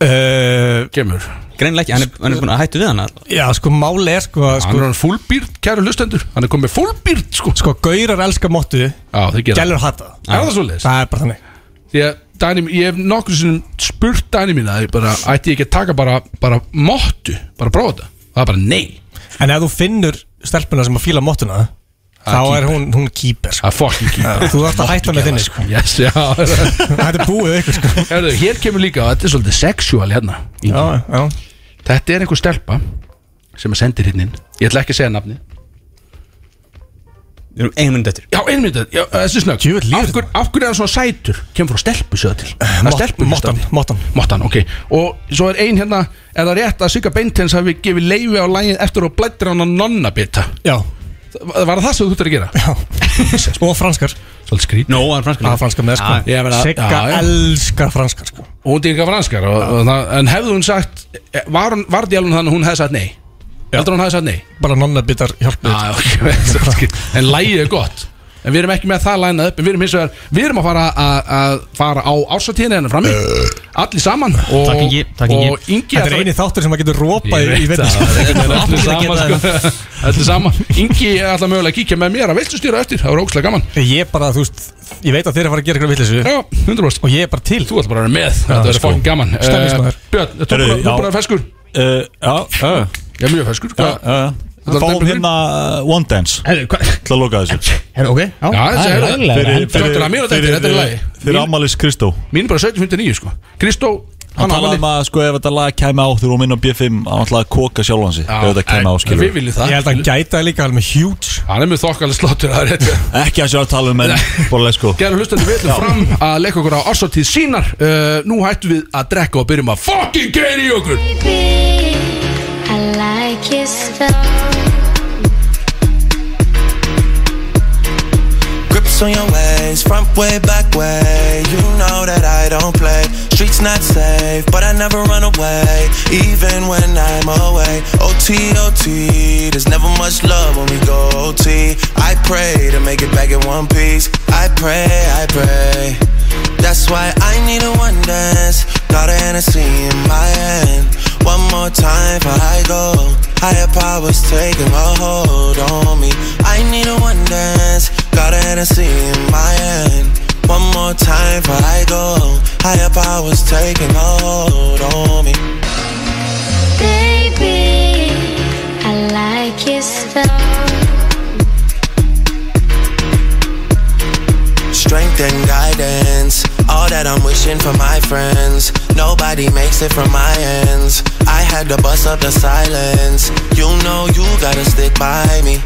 uh, Kemur Greinlega ekki, hann er, hann er búin að hættu við hann alltaf Já, sko, máli er sko, Hann sko er hann fullbýrd, kæru hlustendur Hann er komið fullbýrd, sko Sko, gaurar elska móttu Já, þau gera Gælur hata Er það svoleiðis? Það er bara þannig Því að Dani, ég hef nokkru sinnum spurt Dani mín að ég bara, ætti ég ekki að taka bara, bara mottu, bara prófa þetta Það er bara nei En ef þú finnur stelpuna sem að fíla móttuna Þá Það er er hún, hún keeper sko. Það er fucking keeper Þú þarft að hætta með þinni sko Yes, já Þetta er búið ykkur sko Herðu, hér kemur líka, og þetta er svolítið sexual hérna já, já. Þetta er einhver stelpa sem að sendir hérna inn Ég ætla ekki að segja nafni Við erum einum minnum dættur Já, einu myndu, já, þessi snögg af, hver, af hverju er hann svona sætur? Kemur frá stelpu sjöða til Það er Eh, Mott- stelpu Mottan, hlustandi. mottan Mottan, ok Og svo er ein hérna Er það rétt að Sigga Beintens hafi gefið leifi á lægin eftir og blættir hann að nonna bita? Já Var var það það sem þú þurftir að gera? Já Og franskar Svolítið skrít Nó, hann er franskar Það er franskar með sko Já, ég meina- Sigga já, já. elskar franskar sko Og hún dýrka franskar og, og, það- En hefði hún sagt Var, hún- var djálun þannig að hún hefði sagt nei? Heldur hún hefði sagt nei? Bara nonnabitar hjálpið Já, ok, svolítið skrít. En lægið er gott En við erum ekki með það lænað upp En við erum hins vegar Við erum að fara, að, að fara á ársatíðina hennar frammi Allir saman og, Takk, Ingi, takk, Ingi. Og Ingi Þetta er eini þáttur sem að getur rópað í- í Ég veit veitni það, það er einhvern veginn Allir öllu sama, geta sko. það. Öllu sama Ingi er alltaf mögulega að kíkja með mér að viltu stýra eftir Það var ógslag gaman Ég bara, þú veist, ég veit að þeir eru að fara að gera eitthvað vitleysu Já, 100% Og ég er bara til Þú ætlar bara að vera með Þetta verður fokkin gaman Stemmismæður Eh, Björn, þú Herru, bara- þú já. bara er feskur Uh, já, já, já. Ég er mjög sko. feskur Já, já, já. eh, Fáum hérna uh, One Dance Herru, hvað Til að loka þessu Herru, ok Já, þessi er það Fyrir, fyrir, Þetta er að mér og þetta fyrir, þetta er í lagi fyrir, Amalis Kristó Mín er bara 17.59 sko Kristó, Hann hann ámali talaði um að sko ef þetta lag kæmi á þurr og minn á B5 Hann ætlaði að koka sjálfan sig Ef þetta kæmi á skilur Við viljum það Ég held að hann gæta það líka alveg með huge Hann er með þokkalega slottur Það er rétt Ekki að sjá að tala um en Bara let's go Gerðu hlustandi við ætlum fram að leika okkur á ársáttíð sínar uh, Nú hættum við að drekka og byrjum að fucking geiri í okkur Baby, I like your style. Grips on your ways, front way, back way. You know that I don't play. Streets not safe, but I never run away. Even when I'm away. OT, OT, there's never much love when we go OT. I pray to make it back in one piece. I pray, I pray. That's why I need a one dance. Got a Hennessy in my hand. One more time before I go. Higher powers taking a hold on me. I need a one dance. Got a Hennessy in my hand. One more time before I go. Higher powers taking a hold on me. Baby, I like your style. Strength and guidance, all that I'm wishing for my friends. Nobody makes it from my ends. I had to bust up the silence. You know you gotta stick by me.